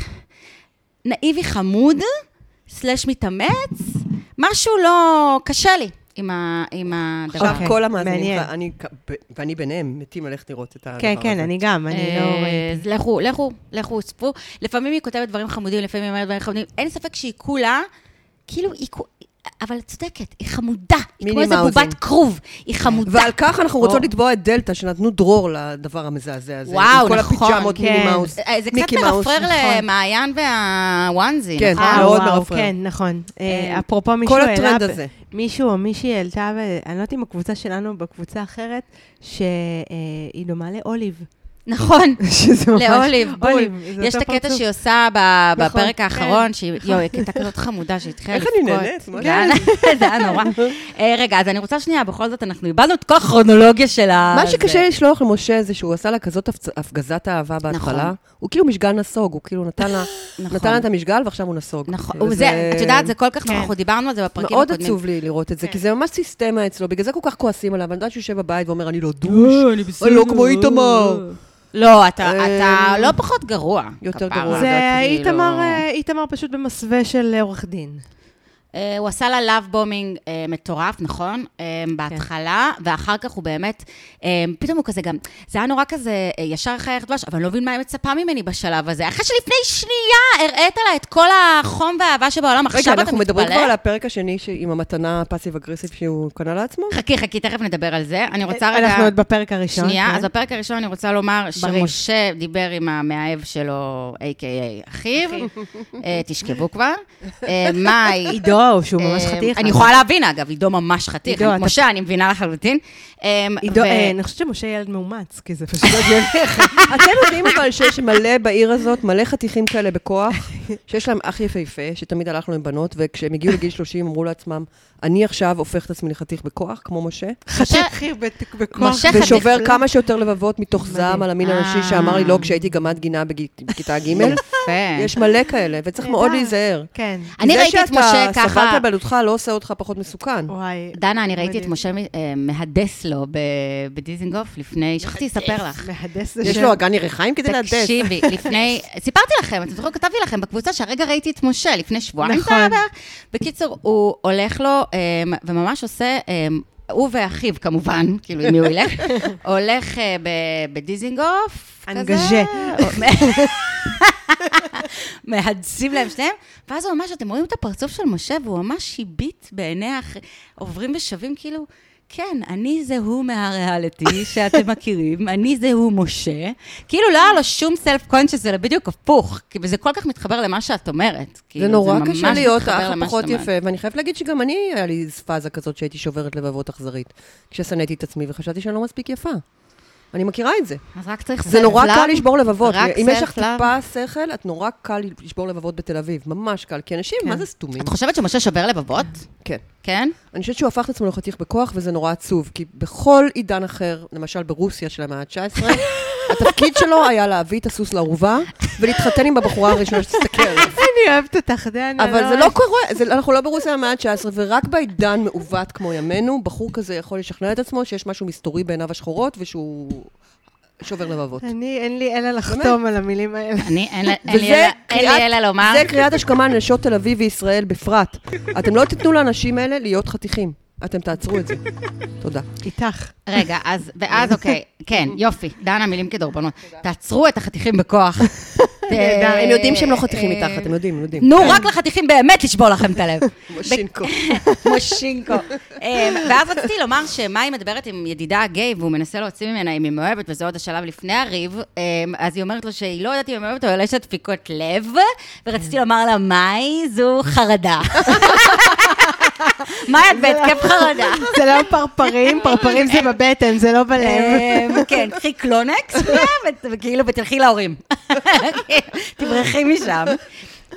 [SPEAKER 1] נאיבי חמוד, סלש מתאמץ, משהו לא... קשה לי עם, ה, עם הדבר.
[SPEAKER 3] עכשיו
[SPEAKER 2] אוקיי,
[SPEAKER 3] כל המאזינים,
[SPEAKER 2] מעניין.
[SPEAKER 3] ואני- ואני ביניהם, מתים ללכת לראות את הדבר
[SPEAKER 2] כן,
[SPEAKER 3] הזה.
[SPEAKER 2] כן, אני גם, אני לא...
[SPEAKER 1] אה,
[SPEAKER 2] ראיתי.
[SPEAKER 1] אז לכו, לכו, לכו, צפו. לפעמים היא כותבת דברים חמודים, לפעמים היא אומרת דברים חמודים. אין ספק שהיא כולה, כאילו, היא... כו- אבל את צודקת, היא חמודה. היא כמו
[SPEAKER 3] מיני
[SPEAKER 1] איזה
[SPEAKER 3] מאוזן.
[SPEAKER 1] בובת כרוב. היא חמודה.
[SPEAKER 3] ועל כך אנחנו רוצות
[SPEAKER 1] או.
[SPEAKER 3] לתבוע את דלתא, שנתנו דרור לדבר המזעזע הזה.
[SPEAKER 1] וואו,
[SPEAKER 3] עם
[SPEAKER 1] נכון,
[SPEAKER 3] כל הפיג'מות,
[SPEAKER 2] כן.
[SPEAKER 3] מיני מאוס,
[SPEAKER 1] אה, זה קצת
[SPEAKER 3] מיקי מאוס.
[SPEAKER 1] מרפרר
[SPEAKER 2] נכון.
[SPEAKER 1] למעיין והוואנזי,
[SPEAKER 3] כן.
[SPEAKER 1] נכון?
[SPEAKER 2] אה,
[SPEAKER 3] מאוד
[SPEAKER 2] וואו,
[SPEAKER 3] מרפרר.
[SPEAKER 2] כן, נכון. אה,
[SPEAKER 1] אה,
[SPEAKER 2] אפרופו מישהו
[SPEAKER 3] כל
[SPEAKER 2] העלה...
[SPEAKER 3] הטרנד
[SPEAKER 2] ב-
[SPEAKER 3] הזה.
[SPEAKER 2] מישהו או מישהי העלתה, ואני לא יודעת אם בקבוצה שלנו, בקבוצה אחרת, שהיא אה, דומה לאוליב.
[SPEAKER 1] נכון.
[SPEAKER 3] <laughs> שזה ממש...
[SPEAKER 1] לאוליב, בול.
[SPEAKER 2] אוליב, זה
[SPEAKER 1] יש את
[SPEAKER 2] אותו
[SPEAKER 1] הקטע
[SPEAKER 2] פרצוף.
[SPEAKER 1] שהיא עושה ב-
[SPEAKER 2] נכון,
[SPEAKER 1] בפרק
[SPEAKER 2] כן.
[SPEAKER 1] האחרון, שהיא, יואו, היא קטע כזאת חמודה שהיא התחילה
[SPEAKER 3] איך
[SPEAKER 1] לבכות.
[SPEAKER 3] אני נהנית, מה זה?
[SPEAKER 1] כן, <laughs> זה היה
[SPEAKER 3] <laughs>
[SPEAKER 1] נורא. אה, רגע, אז אני רוצה שנייה, בכל זאת, אנחנו איבדנו את כל הכרונולוגיה של ה...
[SPEAKER 3] מה
[SPEAKER 1] זה.
[SPEAKER 3] שקשה לשלוח למשה זה שהוא עשה לה כזאת הפצ- הפגזת אהבה בהתחלה.
[SPEAKER 1] אה, נכון.
[SPEAKER 3] הוא כאילו משגל נסוג, הוא כאילו נתן לה
[SPEAKER 1] נכון.
[SPEAKER 3] נתן לה את המשגל ועכשיו הוא נסוג.
[SPEAKER 1] נכון,
[SPEAKER 3] וזה-
[SPEAKER 1] וזה, את יודעת, זה כל כך,
[SPEAKER 2] כן.
[SPEAKER 1] אנחנו דיברנו על זה בפרקים
[SPEAKER 3] מאוד
[SPEAKER 1] הקודמים. כן.
[SPEAKER 3] עצוב לי לראות את זה, כי זה ממש סיסטמה אצלו, בגלל זה כל כך כועסים עליו, אני יודעת שהוא יושב בבית ואומר, אני לא דוש, אני לא כמו איתמר.
[SPEAKER 1] לא, אתה
[SPEAKER 3] אה,
[SPEAKER 1] אתה לא פחות גרוע.
[SPEAKER 3] יותר
[SPEAKER 1] כפרה,
[SPEAKER 3] גרוע.
[SPEAKER 2] זה
[SPEAKER 1] כאילו.
[SPEAKER 2] איתמר, אה, איתמר פשוט במסווה של אה, עורך דין.
[SPEAKER 1] אה, הוא עשה לה לאב בומינג אה, מטורף, נכון? אה, בהתחלה, ואחר כך הוא באמת, אה, פתאום הוא כזה גם, זה היה נורא כזה אה, ישר חייך דבש, אבל אני לא מבין מה היא מצפה ממני בשלב הזה. אחרי שלפני שנייה הראית לה את כל החום והאהבה שבעולם, עכשיו אתה
[SPEAKER 3] רגע,
[SPEAKER 1] מתפלא?
[SPEAKER 3] אנחנו מדברים כבר על הפרק השני ש- עם המתנה הפאסיב אגרסיב שהוא קנה לעצמו?
[SPEAKER 1] חכי, חכי, תכף נדבר על זה. אני רוצה רגע...
[SPEAKER 2] אה, אנחנו עוד בפרק הראשון.
[SPEAKER 1] שנייה,
[SPEAKER 2] כן.
[SPEAKER 1] אז בפרק הראשון אני רוצה לומר
[SPEAKER 2] בריא.
[SPEAKER 1] שמשה דיבר עם המאהב שלו, a.k.a. אחיו, אה, תשכבו כבר. אה, מאי,
[SPEAKER 2] עידו, שהוא ממש
[SPEAKER 1] אה,
[SPEAKER 2] חתיך. נכון.
[SPEAKER 1] אני יכולה להבין, אגב, עידו ממש חתיך.
[SPEAKER 2] עידו,
[SPEAKER 1] אני-
[SPEAKER 2] אתה-
[SPEAKER 1] משה, אני מבינה לחלוטין. אה,
[SPEAKER 2] עידו,
[SPEAKER 1] ו-
[SPEAKER 2] אה, אני חושבת שמשה ילד מאומץ, כי
[SPEAKER 1] <laughs>
[SPEAKER 2] זה פשוט...
[SPEAKER 3] אתם יודעים אבל שיש מלא בעיר הזאת, מלא חתיכים כאלה בכוח, שיש להם אח יפהפה, שתמיד הלך לו עם בנות, וכשהם הגיעו לגיל 30 אמרו לעצמם, אני עכשיו הופך את עצמי לחתיך בכוח, כמו משה,
[SPEAKER 2] חתיך בת- בכוח.
[SPEAKER 1] משה חתיך.
[SPEAKER 3] ושובר כמה שיותר לבבות מתוך זעם על המין
[SPEAKER 1] אה.
[SPEAKER 3] הנשי שאמר לי לא כשהייתי גמת גינה בגי- בכיתה ג',
[SPEAKER 1] יפה.
[SPEAKER 3] יש מלא כאלה, וצריך מאוד להיזהר.
[SPEAKER 2] כן.
[SPEAKER 1] אני ראיתי את משה
[SPEAKER 3] זה שאתה
[SPEAKER 1] ככה...
[SPEAKER 3] סבלת בעלותך לא עושה אותך פחות מסוכן.
[SPEAKER 2] וואי.
[SPEAKER 1] דנה, אני ראיתי את
[SPEAKER 2] מדהים.
[SPEAKER 1] משה אה, מהדס לו ב- בדיזינגוף לפני, שכחתי לספר לך.
[SPEAKER 2] מהדס זה
[SPEAKER 3] יש
[SPEAKER 2] שם.
[SPEAKER 3] לו אגן ירחיים כדי להדס.
[SPEAKER 1] תקשיבי,
[SPEAKER 2] <laughs>
[SPEAKER 1] לפני, סיפרתי לכם, אתם זוכרים, כתבתי לכם בקבוצה שהרגע ראיתי את משה, לפני שבועיים
[SPEAKER 2] נכון.
[SPEAKER 1] זה היה בערך. בקיצור, הוא הולך לו אמ, וממש עושה, אמ, הוא ואחיו כמובן, כאילו עם מי הוא
[SPEAKER 2] <laughs>
[SPEAKER 1] ילך, הולך אה, ב- בדיזינגוף, כזה. <laughs>
[SPEAKER 2] אנגז'ה.
[SPEAKER 1] מהדסים להם שניהם, ואז הוא ממש, אתם רואים את הפרצוף של משה, והוא ממש הביט בעיני האחרים, עוברים ושבים כאילו... כן, אני זה הוא מהריאליטי שאתם מכירים, אני זה הוא משה. כאילו לא היה לו שום סלף קונשס, זה בדיוק הפוך, כי זה כל כך מתחבר למה שאת אומרת. כאילו,
[SPEAKER 3] זה נורא
[SPEAKER 1] ממש
[SPEAKER 3] קשה להיות
[SPEAKER 1] מתחבר
[SPEAKER 3] האח
[SPEAKER 1] למה
[SPEAKER 3] הפחות
[SPEAKER 1] שאת אומרת.
[SPEAKER 3] יפה, ואני חייבת להגיד שגם אני, היה לי איזו פאזה כזאת שהייתי שוברת לבבות אכזרית, כששנאתי את עצמי וחשבתי שאני לא מספיק יפה. אני מכירה את זה.
[SPEAKER 1] אז רק צריך
[SPEAKER 3] זה נורא
[SPEAKER 1] self-love.
[SPEAKER 3] קל לשבור לבבות.
[SPEAKER 1] רק
[SPEAKER 3] אם יש לך
[SPEAKER 1] self-love.
[SPEAKER 3] טיפה שכל, את נורא קל לשבור לבבות בתל אביב. ממש קל, כי אנשים,
[SPEAKER 1] כן.
[SPEAKER 3] מה זה סתומים?
[SPEAKER 1] את חושבת שמשה שובר לבבות?
[SPEAKER 3] כן.
[SPEAKER 1] כן?
[SPEAKER 3] אני חושבת שהוא הפך את עצמו לחתיך בכוח, וזה נורא עצוב, כי בכל עידן אחר, למשל ברוסיה של
[SPEAKER 1] <laughs>
[SPEAKER 3] המאה ה-19, התפקיד שלו היה להביא את הסוס לאורווה ולהתחתן עם הבחורה הראשונה שתסתכל.
[SPEAKER 2] <laughs> אני אוהבת אותך, דנה. אה,
[SPEAKER 3] אבל זה לא קורה, זה- אנחנו לא ברוסיה במאה ה-19, ורק בעידן מעוות כמו ימינו, בחור כזה יכול לשכנע את עצמו שיש משהו מסתורי בעיניו השחורות, ושהוא שובר לבבות.
[SPEAKER 2] אני, אין לי אלא לחתום על המילים האלה.
[SPEAKER 1] אני, אין לי- אין לי
[SPEAKER 3] וזה
[SPEAKER 1] אלא- אין לי אלא לומר.
[SPEAKER 3] זה קריאת השכמה לנשות תל אביב וישראל בפרט. אתם לא תיתנו לאנשים האלה להיות חתיכים. אתם תעצרו את זה. תודה.
[SPEAKER 1] אה,
[SPEAKER 2] איתך.
[SPEAKER 1] רגע, אז, ואז אוקיי, כן, יופי, דנה, מילים כדורבנות. תעצרו את החתיכים בכוח.
[SPEAKER 3] <laughs>
[SPEAKER 2] נהדר,
[SPEAKER 1] אה,
[SPEAKER 3] הם יודעים שהם לא חתיכים
[SPEAKER 1] אה,
[SPEAKER 3] איתך, אתם יודעים, הם יודעים.
[SPEAKER 1] נו, רק לחתיכים באמת לשבור לכם את
[SPEAKER 3] <laughs>
[SPEAKER 1] הלב. <laughs>
[SPEAKER 3] כמו שינקו.
[SPEAKER 1] כמו שינקו. אה, ואז רציתי לומר שמאי מדברת עם ידידה גיי, והוא מנסה להוציא ממנה אם היא מאוהבת, וזה עוד השלב לפני הריב, אה, אז היא אומרת לו שהיא לא יודעת אם היא מאוהבת, אבל יש לה דפיקות לב, ורציתי לומר לה, מאי, זו חרדה. <laughs> מאי, את בהתקף חרדה.
[SPEAKER 2] זה לא פרפרים, פרפרים זה בבטן, זה לא בלב.
[SPEAKER 3] אה,
[SPEAKER 1] אמ, <laughs> כן, קחי קלונקס, ו- וכאילו, ותלכי להורים. <laughs> תברחי משם.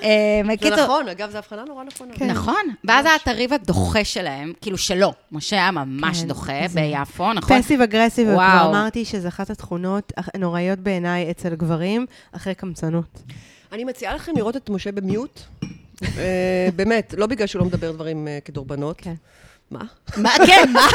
[SPEAKER 1] אמ,
[SPEAKER 3] זה
[SPEAKER 1] קיצור-
[SPEAKER 3] נכון, אגב, זו הבחנה נורא נכונה.
[SPEAKER 1] נכון, ואז היה את הריב הדוחה שלהם, כאילו שלו. משה היה ממש דוחה ביפו, נכון?
[SPEAKER 2] פסיב אגרסיב, וכבר
[SPEAKER 1] וואו.
[SPEAKER 2] אמרתי שזו אחת התכונות הנוראיות בעיניי אצל גברים, אחרי קמצנות.
[SPEAKER 3] אני מציעה לכם לראות את משה במיוט. אה, באמת, לא בגלל שהוא לא מדבר דברים אה, כדורבנות.
[SPEAKER 2] כן.
[SPEAKER 3] מה?
[SPEAKER 1] מה, כן, מה?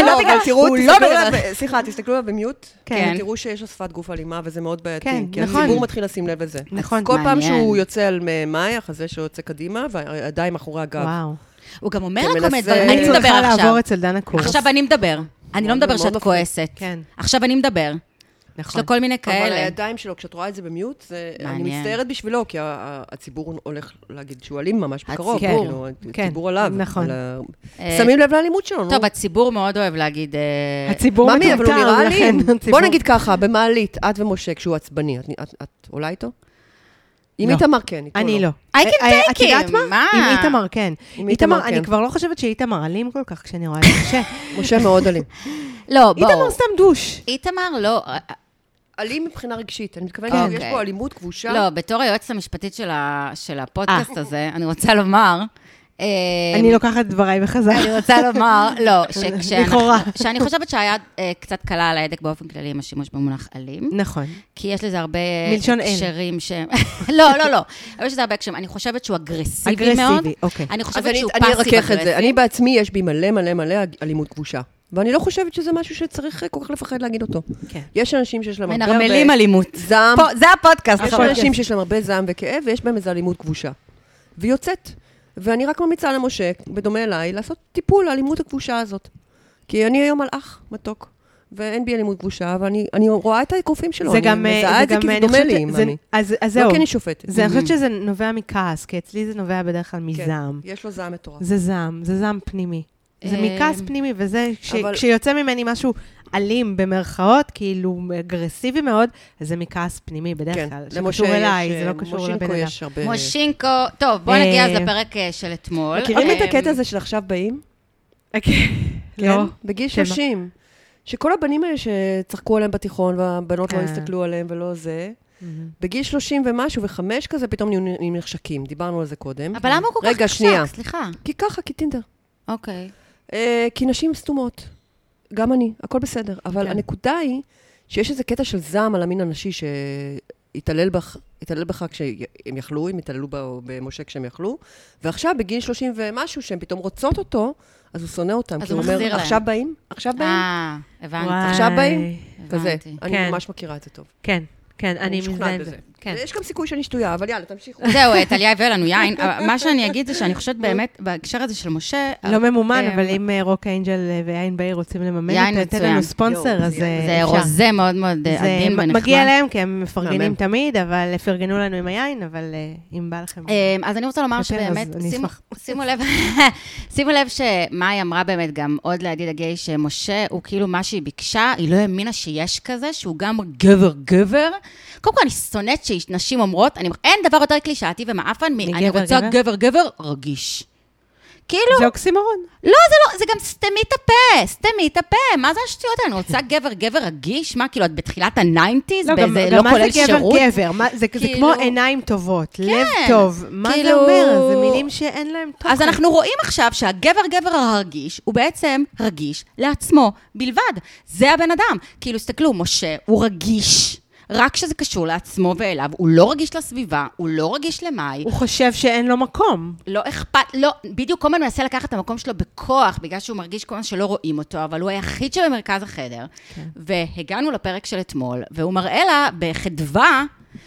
[SPEAKER 3] לא, אבל תראו,
[SPEAKER 1] הוא לא
[SPEAKER 3] תסתכלו
[SPEAKER 1] מדבר.
[SPEAKER 3] עליו ב- סליחה, תסתכלו עליו במיוט.
[SPEAKER 2] כן.
[SPEAKER 3] תראו שיש לו שפת גוף אלימה, וזה מאוד בעייתי.
[SPEAKER 2] כן,
[SPEAKER 3] כי
[SPEAKER 2] נכון.
[SPEAKER 3] הציבור מתחיל לשים לב לזה.
[SPEAKER 2] נכון.
[SPEAKER 3] כל פעם
[SPEAKER 1] מעניין.
[SPEAKER 3] שהוא יוצא על מ- מאי, החזה שיוצא קדימה, והידיים מאחורי הגב.
[SPEAKER 2] וואו.
[SPEAKER 1] הוא גם אומר
[SPEAKER 3] כן,
[SPEAKER 1] לה כל מיני
[SPEAKER 3] מנסה-
[SPEAKER 1] דברים, אני
[SPEAKER 3] אני
[SPEAKER 1] מדבר
[SPEAKER 2] צריכה
[SPEAKER 1] עכשיו.
[SPEAKER 2] לעבור אצל דנה קורס.
[SPEAKER 1] עכשיו אני מדבר. אני לא
[SPEAKER 3] מאוד
[SPEAKER 1] מדבר
[SPEAKER 3] מאוד
[SPEAKER 1] שאת
[SPEAKER 3] מפחיד.
[SPEAKER 1] כועסת.
[SPEAKER 2] כן.
[SPEAKER 1] עכשיו אני מדבר. יש
[SPEAKER 2] נכון.
[SPEAKER 1] לו כל מיני
[SPEAKER 3] אבל
[SPEAKER 1] כאלה.
[SPEAKER 3] הידיים שלו, כשאת רואה את זה במיוט, זה- אני
[SPEAKER 1] מעניין.
[SPEAKER 3] מצטערת בשבילו, כי ה- ה- הציבור הולך להגיד שהוא אלים ממש בקרוב.
[SPEAKER 1] הציבור.
[SPEAKER 3] כאילו,
[SPEAKER 2] כן,
[SPEAKER 3] הציבור עליו.
[SPEAKER 2] נכון.
[SPEAKER 3] על ה-
[SPEAKER 1] אה,
[SPEAKER 3] שמים לב לאלימות שלו, נו.
[SPEAKER 1] טוב, הציבור מאוד אוהב להגיד... אה,
[SPEAKER 2] הציבור
[SPEAKER 3] ממי, אבל הוא
[SPEAKER 2] מטומטם,
[SPEAKER 3] נראה לי...
[SPEAKER 2] ולכן הציבור-
[SPEAKER 3] בוא נגיד ככה, במעלית, את ומשה, כשהוא עצבני, את- את- את עולה איתו? עם
[SPEAKER 2] לא.
[SPEAKER 3] איתמר כן, איתו
[SPEAKER 2] אני לא.
[SPEAKER 1] I can
[SPEAKER 2] אה, אה, את
[SPEAKER 1] take
[SPEAKER 2] יודעת
[SPEAKER 1] him,
[SPEAKER 2] מה?
[SPEAKER 1] מה?
[SPEAKER 2] עם איתמר כן.
[SPEAKER 3] עם איתמר,
[SPEAKER 2] איתמר, אני
[SPEAKER 3] כן.
[SPEAKER 2] כבר לא חושבת שאיתמר אלים כל כך כשאני רואה את משה. <laughs>
[SPEAKER 3] משה מאוד אלים.
[SPEAKER 1] לא, בואו.
[SPEAKER 2] איתמר סתם דוש.
[SPEAKER 1] איתמר לא...
[SPEAKER 3] אלים מבחינה רגשית. אני מתכוונת
[SPEAKER 1] אוקיי.
[SPEAKER 3] שיש פה אלימות כבושה.
[SPEAKER 1] לא, בתור היועצת המשפטית של ה- של הפודקאסט הזה, אני רוצה לומר... אה,
[SPEAKER 2] אה. אני לוקחת את דבריי
[SPEAKER 1] אני
[SPEAKER 2] בחזרה.
[SPEAKER 1] רוצה לומר,
[SPEAKER 2] <laughs>
[SPEAKER 1] לא, שכשאנחנו-
[SPEAKER 2] לכאורה.
[SPEAKER 1] שאני חושבת שהיד אה, קצת קלה על ההדק באופן כללי עם השימוש במונח אלים.
[SPEAKER 2] נכון.
[SPEAKER 1] כי יש לזה הרבה
[SPEAKER 2] מלשון אל.
[SPEAKER 1] הקשרים שהם... <laughs> לא, לא, לא. אבל יש לזה הרבה הקשרים. אני חושבת שהוא אגרסיבי,
[SPEAKER 2] אגרסיבי,
[SPEAKER 1] מאוד.
[SPEAKER 2] אוקיי.
[SPEAKER 1] אני
[SPEAKER 3] אז
[SPEAKER 1] חושבת
[SPEAKER 3] אני,
[SPEAKER 1] שהוא
[SPEAKER 3] אני
[SPEAKER 1] פאסיב
[SPEAKER 3] ארכך את
[SPEAKER 1] אגרסיבי.
[SPEAKER 3] זה. אני בעצמי, יש בי מלא מלא מלא אלימות כבושה. ואני לא חושבת שזה משהו שצריך אה, כל כך לפחד להגיד אותו.
[SPEAKER 2] כן.
[SPEAKER 3] יש אנשים שיש להם הרבה...
[SPEAKER 1] מנרמלים
[SPEAKER 3] הרבה
[SPEAKER 1] אלימות.
[SPEAKER 3] זעם.
[SPEAKER 1] פה, זה הפודקאסט.
[SPEAKER 3] יש
[SPEAKER 1] חבל.
[SPEAKER 3] אנשים שיש להם הרבה זעם וכאב, ויש בהם איזו אלימות כבושה. והיא יוצאת. ואני רק ממליצה למשה, בדומה אליי, לעשות טיפול לאלימות הכבושה הזאת. כי אני היום מלאך מתוק, ואין בי אלימות כבושה, ואני אני רואה את האגרופים שלו.
[SPEAKER 2] זה
[SPEAKER 3] אני
[SPEAKER 2] גם... אה,
[SPEAKER 3] מזהה את זה
[SPEAKER 2] גם,
[SPEAKER 3] כי
[SPEAKER 2] אה,
[SPEAKER 3] זה
[SPEAKER 2] אני
[SPEAKER 3] דומה
[SPEAKER 2] חושבת
[SPEAKER 3] לי,
[SPEAKER 2] ש-
[SPEAKER 3] אם
[SPEAKER 2] זה-
[SPEAKER 3] אני.
[SPEAKER 2] אז אז
[SPEAKER 3] לא
[SPEAKER 2] זהו.
[SPEAKER 3] כי אני שופטת.
[SPEAKER 2] זה- אני חושבת שזה נובע מכעס, כי אצלי זה נובע בדרך כלל
[SPEAKER 3] כן, נכון.
[SPEAKER 2] מזעם.
[SPEAKER 3] יש לו זעם מטורף.
[SPEAKER 2] זה זעם, זה זעם פנימי. זה
[SPEAKER 1] אה,
[SPEAKER 2] מכעס פנימי, וזה, כש-
[SPEAKER 3] אבל-
[SPEAKER 2] כשיוצא ממני משהו אלים במרכאות, כאילו אגרסיבי מאוד, אז זה מכעס פנימי בדרך
[SPEAKER 3] כן,
[SPEAKER 2] כלל.
[SPEAKER 3] למשה
[SPEAKER 2] שקשור אליי,
[SPEAKER 3] יש,
[SPEAKER 2] זה
[SPEAKER 3] אה,
[SPEAKER 2] לא קשור
[SPEAKER 3] מושינקו
[SPEAKER 2] לבן אדם.
[SPEAKER 3] יש הרבה...
[SPEAKER 1] מושינקו, טוב, בואו נגיע אז
[SPEAKER 2] אה,
[SPEAKER 1] לפרק אה, של אתמול.
[SPEAKER 3] מכירים את
[SPEAKER 1] אה,
[SPEAKER 3] הקטע הזה של עכשיו באים? כן?
[SPEAKER 2] לא.
[SPEAKER 3] בגיל
[SPEAKER 2] שמה?
[SPEAKER 3] 30. שכל הבנים האלה שצחקו עליהם בתיכון, והבנות לא
[SPEAKER 2] אה.
[SPEAKER 3] הסתכלו עליהם ולא זה,
[SPEAKER 2] מהמם.
[SPEAKER 3] בגיל 30 ומשהו וחמש כזה, פתאום נהיו נהיים נחשקים. דיברנו על זה קודם.
[SPEAKER 1] אוקיי, אבל למה הוא כל כך
[SPEAKER 3] רגע, שנייה.
[SPEAKER 1] חשק? סליחה.
[SPEAKER 3] כי ככה, כי טינדר.
[SPEAKER 1] אוקיי.
[SPEAKER 3] אה, כי נשים סתומות. גם אני, הכל בסדר. אבל
[SPEAKER 2] כן.
[SPEAKER 3] הנקודה היא שיש איזה קטע של זעם על המין הנשי שהתעלל בך, התעלל בך כשהם יכלו, הם התעללו ב- במשה כשהם יכלו, ועכשיו בגיל 30 ומשהו, שהן פתאום רוצות אותו, אז הוא שונא אותם.
[SPEAKER 1] אז
[SPEAKER 3] כי
[SPEAKER 1] הוא
[SPEAKER 3] אומר,
[SPEAKER 1] מחזיר להם.
[SPEAKER 3] עכשיו באים? עכשיו באים?
[SPEAKER 1] אה,
[SPEAKER 2] וואי.
[SPEAKER 1] הבנתי.
[SPEAKER 3] עכשיו באים? כזה.
[SPEAKER 1] הבנתי.
[SPEAKER 3] אני
[SPEAKER 2] כן.
[SPEAKER 3] ממש מכירה את זה טוב.
[SPEAKER 2] כן, כן, אני
[SPEAKER 3] משוכנעת
[SPEAKER 2] מזדהה עם
[SPEAKER 3] בזה.
[SPEAKER 2] זה. כן.
[SPEAKER 3] יש גם סיכוי שאני שטויה, אבל יאללה, תמשיכו.
[SPEAKER 1] זהו, אה, טליה הביאה לנו יין. אבל מה שאני אגיד זה שאני חושבת באמת, בהקשר הזה של משה...
[SPEAKER 2] לא ממומן,
[SPEAKER 1] אה,
[SPEAKER 2] אבל אם אה, רוק אנג'ל אה, ויין בעיר רוצים לממן,
[SPEAKER 1] יין
[SPEAKER 2] את- תן
[SPEAKER 1] מצוין.
[SPEAKER 2] לנו ספונסר,
[SPEAKER 3] יואו,
[SPEAKER 2] אז
[SPEAKER 3] זה
[SPEAKER 2] אה,
[SPEAKER 1] זה
[SPEAKER 2] אפשר.
[SPEAKER 1] רוזה מאוד מאוד אה,
[SPEAKER 2] זה
[SPEAKER 1] עדין
[SPEAKER 2] מ-
[SPEAKER 1] ונחמד.
[SPEAKER 2] מגיע להם, כי הם מפרגנים
[SPEAKER 3] מהמם.
[SPEAKER 2] תמיד, אבל פרגנו לנו עם היין, אבל אה, אם בא לכם.
[SPEAKER 1] אמ, אז אני רוצה לומר
[SPEAKER 2] יותר, אוקיי, אז
[SPEAKER 1] שבאמת,
[SPEAKER 2] אני
[SPEAKER 1] שימו-
[SPEAKER 2] אשמח.
[SPEAKER 1] שימו לב, <laughs> שימו לב שמאי אמרה באמת גם עוד לידיד הגיי, שמשה הוא כאילו מה שהיא ביקשה, היא לא האמינה שיש כזה, שהוא גם גבר גבר. קודם כל, אני שונאת שנשים אומרות, אני- אין דבר יותר קלישאתי ומעפן מ- אני
[SPEAKER 2] מגבר,
[SPEAKER 1] רוצה
[SPEAKER 2] גבר?"
[SPEAKER 1] גבר גבר רגיש. כאילו,
[SPEAKER 2] זה אוקסימורון.
[SPEAKER 1] לא, זה לא, זה גם סתמי את הפה, סתמי את הפה. מה זה השטויות האלה? אני רוצה גבר גבר רגיש? מה, כאילו, את בתחילת הניינטיז?
[SPEAKER 2] לא, גם
[SPEAKER 1] באיזה
[SPEAKER 2] גם
[SPEAKER 1] לא
[SPEAKER 2] מה
[SPEAKER 1] כולל
[SPEAKER 2] זה גבר
[SPEAKER 1] שירות?
[SPEAKER 2] גבר? מה- זה זה
[SPEAKER 1] כאילו-
[SPEAKER 2] כמו עיניים טובות, לב
[SPEAKER 1] כן,
[SPEAKER 2] טוב. מה זה
[SPEAKER 1] כאילו-
[SPEAKER 2] אומר? זה מילים שאין להם תוכן.
[SPEAKER 1] אז אנחנו רואים עכשיו שהגבר גבר הרגיש, הוא בעצם רגיש לעצמו בלבד. זה הבן אדם. כאילו, תסתכלו, משה הוא רגיש. רק כשזה קשור לעצמו ואליו, הוא לא רגיש לסביבה, הוא לא רגיש למאי,
[SPEAKER 2] הוא חושב שאין לו מקום.
[SPEAKER 1] לא אכפת, לא, בדיוק כל הזמן מנסה לקחת את המקום שלו בכוח, בגלל שהוא מרגיש כל הזמן שלא רואים אותו, אבל הוא היחיד שבמרכז החדר. כן. והגענו לפרק של אתמול, והוא מראה לה בחדווה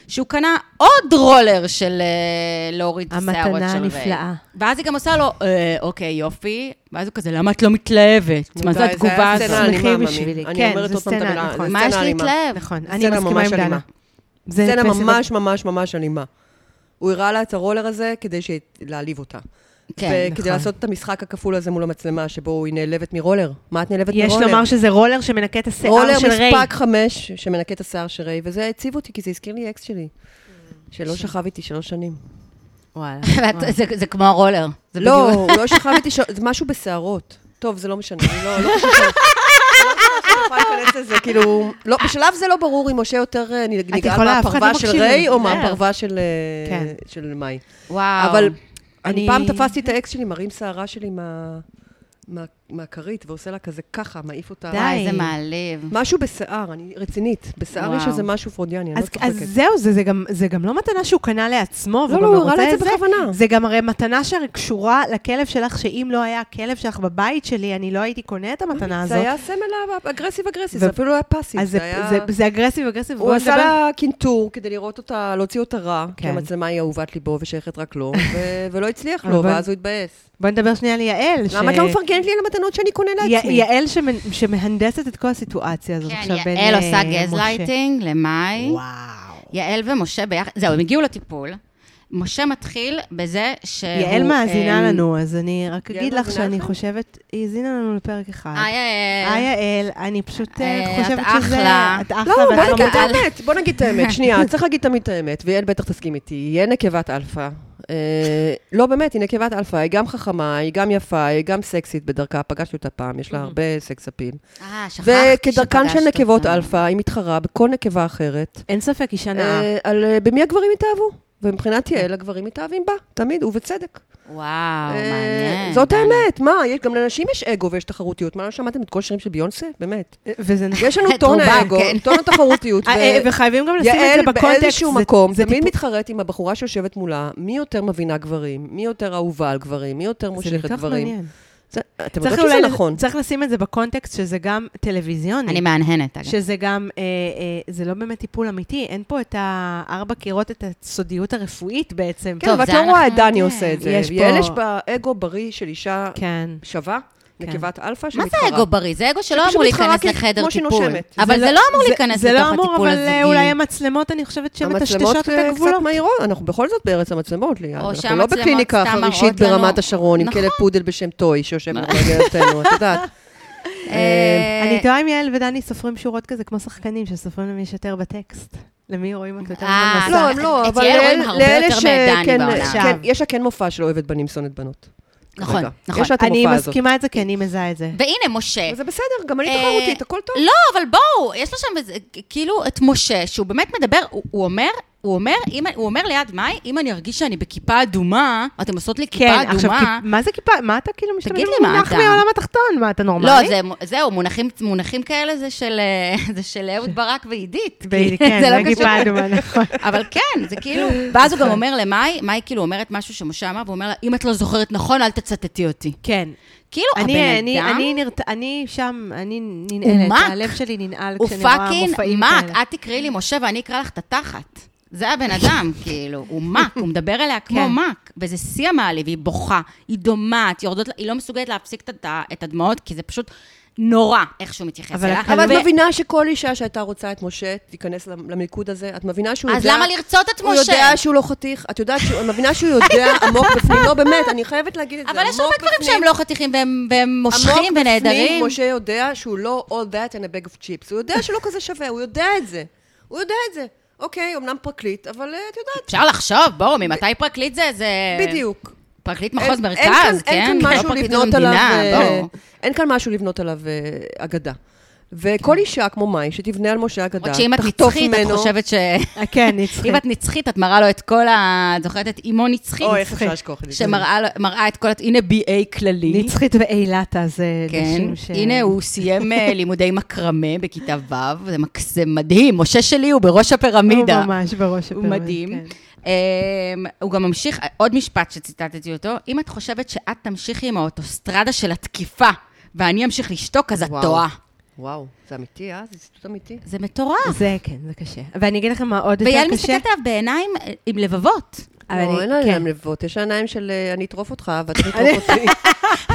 [SPEAKER 1] שהוא קנה עוד רולר של אה, להוריד את
[SPEAKER 2] המתנה
[SPEAKER 1] השערות של
[SPEAKER 2] הנפלאה.
[SPEAKER 1] ואז היא גם עושה לו, אה, אוקיי, יופי, ואז הוא כזה, למה את לא מתלהבת? מה זה התגובה
[SPEAKER 2] הסצנה
[SPEAKER 1] הזאת?
[SPEAKER 2] שמחים בשבילי.
[SPEAKER 3] אני
[SPEAKER 2] כן,
[SPEAKER 3] אומרת
[SPEAKER 2] זו
[SPEAKER 3] עוד פעם את
[SPEAKER 2] סצנה,
[SPEAKER 3] המילה,
[SPEAKER 2] נכון.
[SPEAKER 3] זו
[SPEAKER 1] מה יש
[SPEAKER 3] סצנה אלימה.
[SPEAKER 1] להתלהב?
[SPEAKER 2] נכון, אני
[SPEAKER 3] סצנה
[SPEAKER 2] מסכימה
[SPEAKER 3] ממש
[SPEAKER 2] עם דנה.
[SPEAKER 3] אלימה.
[SPEAKER 2] זה
[SPEAKER 3] סצנה
[SPEAKER 2] פסטיבל-
[SPEAKER 3] ממש ממש ממש אלימה. הוא הראה לה את הרולר הזה כדי ש- להעליב אותה.
[SPEAKER 1] כן,
[SPEAKER 3] וכדי
[SPEAKER 2] נכון.
[SPEAKER 3] לעשות את המשחק הכפול הזה מול המצלמה, שבו היא נעלבת מרולר. מה את נעלבת מרולר?
[SPEAKER 2] יש לומר שזה רולר שמנקה את השיער
[SPEAKER 3] רולר
[SPEAKER 2] של ריי.
[SPEAKER 3] מספק חמש, שמנקה את השיער של ריי, וזה הציב אותי, כי זה הזכיר לי אקס שלי, שלא שכב איתי שלוש שנים.
[SPEAKER 2] <laughs> וואלה.
[SPEAKER 1] ואת- <laughs> זה- זה כמו הרולר. זה
[SPEAKER 3] לא,
[SPEAKER 1] בדיוק-
[SPEAKER 3] הוא לא שכב איתי, ש- זה משהו בשערות. טוב, זה לא משנה, אני לא לא חושבת אני לא חושבת שאני יכולה להיכנס לזה, כאילו, לא, בשלב זה לא ברור אם משה יותר אה, נג- נגעל
[SPEAKER 2] יכולה, אף אחד לא
[SPEAKER 3] מהפרווה של
[SPEAKER 2] מקשיב
[SPEAKER 3] ריי
[SPEAKER 2] לנו.
[SPEAKER 3] או
[SPEAKER 2] זהו.
[SPEAKER 3] מהפרווה של אה,
[SPEAKER 2] כן.
[SPEAKER 3] של מאי.
[SPEAKER 1] וואו.
[SPEAKER 3] אבל
[SPEAKER 2] אני-
[SPEAKER 3] אני פעם תפסתי את האקס שלי מרים שערה שלי מה- מה- מהכרית, ועושה לה כזה ככה, מעיף אותה.
[SPEAKER 2] די.
[SPEAKER 1] וואי, זה מעליב.
[SPEAKER 3] משהו בשיער, אני רצינית. בשיער יש
[SPEAKER 1] וואו.
[SPEAKER 3] איזה משהו פרודיאני, אני לא
[SPEAKER 2] אז,
[SPEAKER 3] צוחקת.
[SPEAKER 2] אז זהו, זה, זה, גם, זה גם לא מתנה שהוא קנה לעצמו,
[SPEAKER 3] לא,
[SPEAKER 2] והוא
[SPEAKER 3] לא,
[SPEAKER 2] גם
[SPEAKER 3] הוא הראה
[SPEAKER 2] רוצה
[SPEAKER 3] לה את
[SPEAKER 2] את
[SPEAKER 3] זה בכוונה.
[SPEAKER 2] זה גם הרי מתנה שקשורה לכלב שלך, שאם לא היה הכלב שלך בבית שלי, אני לא הייתי קונה את המתנה
[SPEAKER 3] זה
[SPEAKER 2] הזאת.
[SPEAKER 3] היה סמל אגרסיב אגרסיב,
[SPEAKER 2] ו-
[SPEAKER 3] זה אפילו לא היה פאסיב,
[SPEAKER 2] אז
[SPEAKER 3] זה
[SPEAKER 2] זה,
[SPEAKER 3] היה...
[SPEAKER 2] זה, זה אגרסיב אגרסיב.
[SPEAKER 3] הוא
[SPEAKER 2] בואו
[SPEAKER 3] עשה
[SPEAKER 2] נדבר.
[SPEAKER 3] לה קינטור כדי לראות אותה, להוציא אותה רע, כי
[SPEAKER 2] כן.
[SPEAKER 3] המצלמה היא אהובת ליבו ושייכת רק לו, ו- ולא הצליח לו,
[SPEAKER 2] אבל-
[SPEAKER 3] ואז הוא התבאס.
[SPEAKER 2] בוא נדבר שנייה על יעל.
[SPEAKER 3] למה את לא מפרגנת לי על המתנות שאני קונה
[SPEAKER 2] י-
[SPEAKER 3] לעצמי?
[SPEAKER 2] יעל שמנ... שמהנדסת את כל הסיטואציה הזאת
[SPEAKER 1] כן,
[SPEAKER 2] עכשיו בין
[SPEAKER 1] יעל
[SPEAKER 2] אה,
[SPEAKER 1] עושה
[SPEAKER 2] משה.
[SPEAKER 1] גזלייטינג למאי.
[SPEAKER 2] וואו.
[SPEAKER 1] יעל ומשה ביחד, זהו, הם הגיעו לטיפול. משה מתחיל בזה שהוא...
[SPEAKER 2] יעל מאזינה
[SPEAKER 1] אמ,
[SPEAKER 2] לנו, אז אני רק
[SPEAKER 3] אה, יעל
[SPEAKER 2] אגיד לך
[SPEAKER 3] מאזינה
[SPEAKER 2] שאני
[SPEAKER 3] לכם?
[SPEAKER 2] חושבת, היא האזינה לנו לפרק אחד.
[SPEAKER 1] היי,
[SPEAKER 2] היי
[SPEAKER 1] אה, יעל.
[SPEAKER 2] אה, יעל, אני פשוט אה,
[SPEAKER 1] אה, את
[SPEAKER 2] חושבת שזה...
[SPEAKER 1] אחלה.
[SPEAKER 2] את אחלה.
[SPEAKER 3] לא,
[SPEAKER 2] ואת
[SPEAKER 3] בוא נגיד את
[SPEAKER 1] חמודה. <laughs>
[SPEAKER 3] האמת, בוא נגיד את האמת. שנייה, צריך להגיד תמיד את האמת, ויעל בטח תסכים איתי. יהיה נקבת אלפא, אה, לא, באמת, היא נקבת אלפא, היא גם חכמה, היא גם יפה, היא גם סקסית בדרכה, פגשתי אותה פעם, יש לה הרבה סקס אפיל.
[SPEAKER 1] אה, שכחת
[SPEAKER 3] וכדרכן של
[SPEAKER 1] Mm. שפגשת
[SPEAKER 3] נקבות
[SPEAKER 1] אותה.
[SPEAKER 3] אלפא, היא מתחרה בכל נקבה אחרת,
[SPEAKER 2] אין ספק, אישה נאה.
[SPEAKER 3] אה, על אה, במי הגברים התאהבו. ומבחינת יעל, הגברים מתאהבים בה, תמיד, ובצדק.
[SPEAKER 1] וואו,
[SPEAKER 3] אה,
[SPEAKER 1] מעניין.
[SPEAKER 3] זאת
[SPEAKER 1] מעניין.
[SPEAKER 3] האמת, מה, יש גם לנשים יש אגו ויש תחרותיות. מה, לא שמעתם את כל השירים של ביונסה? באמת.
[SPEAKER 2] וזה נכון.
[SPEAKER 3] יש
[SPEAKER 1] <laughs>
[SPEAKER 3] לנו
[SPEAKER 1] את
[SPEAKER 3] טון
[SPEAKER 1] רובם,
[SPEAKER 3] האגו,
[SPEAKER 1] כן.
[SPEAKER 3] טון
[SPEAKER 1] <laughs>
[SPEAKER 3] התחרותיות.
[SPEAKER 2] <laughs>
[SPEAKER 3] ו-
[SPEAKER 2] אה, אה, וחייבים גם לשים את זה בקונטקסט.
[SPEAKER 3] יעל באיזשהו
[SPEAKER 2] זה-
[SPEAKER 3] מקום,
[SPEAKER 2] זה
[SPEAKER 3] תמיד
[SPEAKER 2] טיפ-
[SPEAKER 3] מתחרט עם הבחורה שיושבת מולה, מי יותר מבינה גברים, מי יותר אהובה על גברים, מי יותר מושכת
[SPEAKER 2] כל כך
[SPEAKER 3] גברים.
[SPEAKER 2] מעניין.
[SPEAKER 3] זה- אתם
[SPEAKER 2] צריך
[SPEAKER 3] יודעות שזה
[SPEAKER 2] אולי-
[SPEAKER 3] נכון.
[SPEAKER 2] צריך לשים את זה בקונטקסט שזה גם טלוויזיוני.
[SPEAKER 1] אני מהנהנת, אגב.
[SPEAKER 2] שזה גם, אה, אה, זה לא באמת טיפול אמיתי, אין פה את הארבע קירות, את הסודיות הרפואית בעצם.
[SPEAKER 3] כן,
[SPEAKER 1] טוב,
[SPEAKER 3] אבל את
[SPEAKER 1] זה
[SPEAKER 3] לא רואה את
[SPEAKER 1] אנחנו-
[SPEAKER 3] דני
[SPEAKER 1] כן.
[SPEAKER 3] עושה את זה.
[SPEAKER 2] יש
[SPEAKER 3] יעל
[SPEAKER 2] פה-
[SPEAKER 3] יש בה אגו בריא של אישה
[SPEAKER 2] כן.
[SPEAKER 3] שווה, נקבת אלפא,
[SPEAKER 1] מה
[SPEAKER 3] שמתחרה.
[SPEAKER 1] זה אגו בריא? זה אגו שלא
[SPEAKER 3] שפשוט
[SPEAKER 1] אמור להיכנס
[SPEAKER 3] מתחרה
[SPEAKER 1] לחדר
[SPEAKER 3] כמו שהיא
[SPEAKER 1] טיפול.
[SPEAKER 3] נושמת.
[SPEAKER 1] אבל זה לא אמור
[SPEAKER 2] זה-
[SPEAKER 1] להיכנס
[SPEAKER 2] זה
[SPEAKER 1] לתוך
[SPEAKER 2] לא אמור,
[SPEAKER 1] הטיפול
[SPEAKER 2] אבל אה, אולי
[SPEAKER 1] הזוגי.
[SPEAKER 2] המצלמות, אני חושבת שהן
[SPEAKER 3] המצלמות
[SPEAKER 2] מטשטשות את
[SPEAKER 3] אה,
[SPEAKER 2] הגבולות.
[SPEAKER 3] קצת מהירות, אנחנו בכל זאת בארץ המצלמות, ליאל.
[SPEAKER 1] או
[SPEAKER 3] אנחנו לא
[SPEAKER 1] שהמצלמות
[SPEAKER 3] בקליניקה
[SPEAKER 1] סתם
[SPEAKER 3] חרישית
[SPEAKER 1] מראות לנו-
[SPEAKER 3] ברמת השרון עם
[SPEAKER 1] נכון.
[SPEAKER 3] כלב פודל בשם טוי שיושב
[SPEAKER 2] נכון.
[SPEAKER 3] בגלתנו, את יודעת.
[SPEAKER 1] אה,
[SPEAKER 2] אני תוהה אם יעל ודני סופרים שורות כזה, כמו שחקנים שסופרים למי יש יותר בטקסט. למי רואים את יותר
[SPEAKER 1] אה,
[SPEAKER 2] במסך.
[SPEAKER 3] לא,
[SPEAKER 1] אז
[SPEAKER 3] הם לא,
[SPEAKER 1] את
[SPEAKER 3] אבל
[SPEAKER 1] יעל רואים
[SPEAKER 3] לאל-
[SPEAKER 1] הרבה
[SPEAKER 3] לאלה
[SPEAKER 1] יותר
[SPEAKER 3] ש-
[SPEAKER 1] מדני
[SPEAKER 3] כן,
[SPEAKER 1] בעולם.
[SPEAKER 3] כן, יש לה כן מופע שלא אוהבת בנים שונאת בנות.
[SPEAKER 1] נכון,
[SPEAKER 3] כרגע.
[SPEAKER 1] נכון.
[SPEAKER 3] יש לה את
[SPEAKER 2] אני
[SPEAKER 3] המופע הזאת.
[SPEAKER 2] מסכימה את זה כי אני מזהה את זה.
[SPEAKER 1] והנה, משה.
[SPEAKER 3] וזה בסדר, גם אני
[SPEAKER 1] אה,
[SPEAKER 3] תחרותית, הכל טוב.
[SPEAKER 1] לא, אבל בואו, יש לו שם איזה, כאילו את משה, שהוא באמת מדבר, הוא, הוא אומר... הוא אומר, אם, הוא אומר ליד מאי, אם אני ארגיש שאני בכיפה אדומה, אתם עושות לי כיפה
[SPEAKER 2] כן,
[SPEAKER 1] אדומה.
[SPEAKER 2] עכשיו, כיפ- מה זה כיפה? מה אתה כאילו משתמש
[SPEAKER 1] תגיד לי מה
[SPEAKER 2] במונח
[SPEAKER 1] אתה.
[SPEAKER 2] מהעולם התחתון? מה, אתה נורמלי?
[SPEAKER 1] לא, זה, זהו, מונחים, מונחים כאלה זה של, אה, <laughs> זה של אהוד ברק ועידית.
[SPEAKER 2] ב-
[SPEAKER 1] כי
[SPEAKER 2] כן,
[SPEAKER 1] <laughs> זה לא
[SPEAKER 2] זה
[SPEAKER 1] קשור.
[SPEAKER 2] כיפה אדומה,
[SPEAKER 1] <laughs>
[SPEAKER 2] נכון.
[SPEAKER 1] אבל כן, זה כאילו... ואז הוא גם אומר למאי, מאי כאילו אומרת משהו שמשה אמר, והוא אומר לה, אם את לא זוכרת נכון, אל תצטטי אותי.
[SPEAKER 2] כן.
[SPEAKER 1] כאילו,
[SPEAKER 2] אני,
[SPEAKER 1] הבן
[SPEAKER 2] אני,
[SPEAKER 1] אדם
[SPEAKER 2] אני, נרת... אני שם, אני
[SPEAKER 1] הוא
[SPEAKER 2] ננעלת,
[SPEAKER 1] מק.
[SPEAKER 2] הלב שלי ננעל
[SPEAKER 1] הוא
[SPEAKER 2] כשאני רואה
[SPEAKER 1] פאקינג
[SPEAKER 2] מופעים
[SPEAKER 1] מק,
[SPEAKER 2] כאלה.
[SPEAKER 1] את תקראי לי משה ואני אקרא לך את התחת. זה הבן אדם, <laughs> כאילו, הוא מק, הוא מדבר אליה כמו
[SPEAKER 2] כן.
[SPEAKER 1] מק, וזה שיא המעליב, היא בוכה, היא דומעת, יורדות, לה- היא לא מסוגלת להפסיק את הד- את הדמעות, כי זה פשוט נורא איך שהוא מתייחס
[SPEAKER 2] אבל
[SPEAKER 1] אליה.
[SPEAKER 2] הכלב-
[SPEAKER 3] אבל את
[SPEAKER 1] ו-
[SPEAKER 3] מבינה שכל אישה שהייתה רוצה את משה, תיכנס למ- למלכוד הזה, את מבינה שהוא
[SPEAKER 1] אז
[SPEAKER 3] יודע...
[SPEAKER 1] למה לרצות את
[SPEAKER 3] הוא
[SPEAKER 1] משה?
[SPEAKER 3] יודע שהוא לא חתיך, את יודעת, שהוא- את מבינה שהוא
[SPEAKER 1] <laughs>
[SPEAKER 3] יודע עמוק בפנים, לא באמת, אני חייבת להגיד את זה,
[SPEAKER 1] אבל יש
[SPEAKER 3] עמוק
[SPEAKER 1] הרבה דברים
[SPEAKER 3] בפנים-
[SPEAKER 1] שהם לא חתיכים והם והם
[SPEAKER 3] עמוק
[SPEAKER 1] מושכים
[SPEAKER 3] בפנים,
[SPEAKER 1] ונהדרים.
[SPEAKER 3] משה יודע שהוא לא all that and a bag of chips, הוא יודע שלא כזה שווה, הוא יודע את זה, הוא יודע את זה. אוקיי, אמנם פרקליט, אבל אה, את יודעת,
[SPEAKER 1] אפשר לחשוב, בואו, ממתי פרקליט זה? זה...
[SPEAKER 3] בדיוק.
[SPEAKER 1] פרקליט
[SPEAKER 3] אין-
[SPEAKER 1] מחוז
[SPEAKER 3] אין כאן-
[SPEAKER 1] מרכז, כן?
[SPEAKER 3] אין
[SPEAKER 1] לא
[SPEAKER 3] כאן משהו
[SPEAKER 1] פרקליטות
[SPEAKER 3] לבנות עליו,
[SPEAKER 1] המדינה,
[SPEAKER 3] אה,
[SPEAKER 1] בואו.
[SPEAKER 3] אין כאן משהו לבנות עליו אה, אגדה.
[SPEAKER 1] כן.
[SPEAKER 3] וכל אישה כמו מאי, שתבנה על משה אגדה,
[SPEAKER 1] למרות שאם את
[SPEAKER 3] תחטוף
[SPEAKER 1] נצחית, את
[SPEAKER 3] ממנו-
[SPEAKER 1] חושבת ש...
[SPEAKER 2] אה, <laughs> כן, נצחי.
[SPEAKER 1] אם את נצחית, את מראה לו את כל ה... את זוכרת את אימו נצחית? כן.
[SPEAKER 3] אוי, איך אפשר לשכוח את זה?
[SPEAKER 1] שמראה לו- מראה את כל... הת- הנה BA כללי.
[SPEAKER 2] נצחית ואילת, אז אה,
[SPEAKER 1] כן,
[SPEAKER 2] נשים ש...
[SPEAKER 1] הנה הוא סיים אה, לימודי מקרמה בכיתה ו', זה מק- זה מדהים, משה שלי הוא בראש הפירמידה.
[SPEAKER 2] הוא ממש בראש
[SPEAKER 1] הוא
[SPEAKER 2] הפרק,
[SPEAKER 1] מדהים.
[SPEAKER 2] כן.
[SPEAKER 1] אמ, הוא גם ממשיך, עוד משפט שציטטתי אותו, אם את חושבת שאת תמשיכי עם האוטוסטרדה של התקיפה, ואני אמשיך לשתוק, אז את
[SPEAKER 3] וואו.
[SPEAKER 1] טועה.
[SPEAKER 3] וואו, זה אמיתי, אה? זה ציטוט אמיתי.
[SPEAKER 1] זה מטורף.
[SPEAKER 2] זה כן, זה קשה. ואני אגיד לכם מה עוד יותר
[SPEAKER 1] ויעל
[SPEAKER 2] קשה.
[SPEAKER 1] מסתכלת עליו בעיניים אה, עם לבבות.
[SPEAKER 2] אבל
[SPEAKER 3] לא,
[SPEAKER 2] אני-
[SPEAKER 3] אין לה
[SPEAKER 2] כן.
[SPEAKER 3] עיניים לבבות, יש לה עיניים של אה, אני אטרוף אותך, ואתה תטרוף אותי.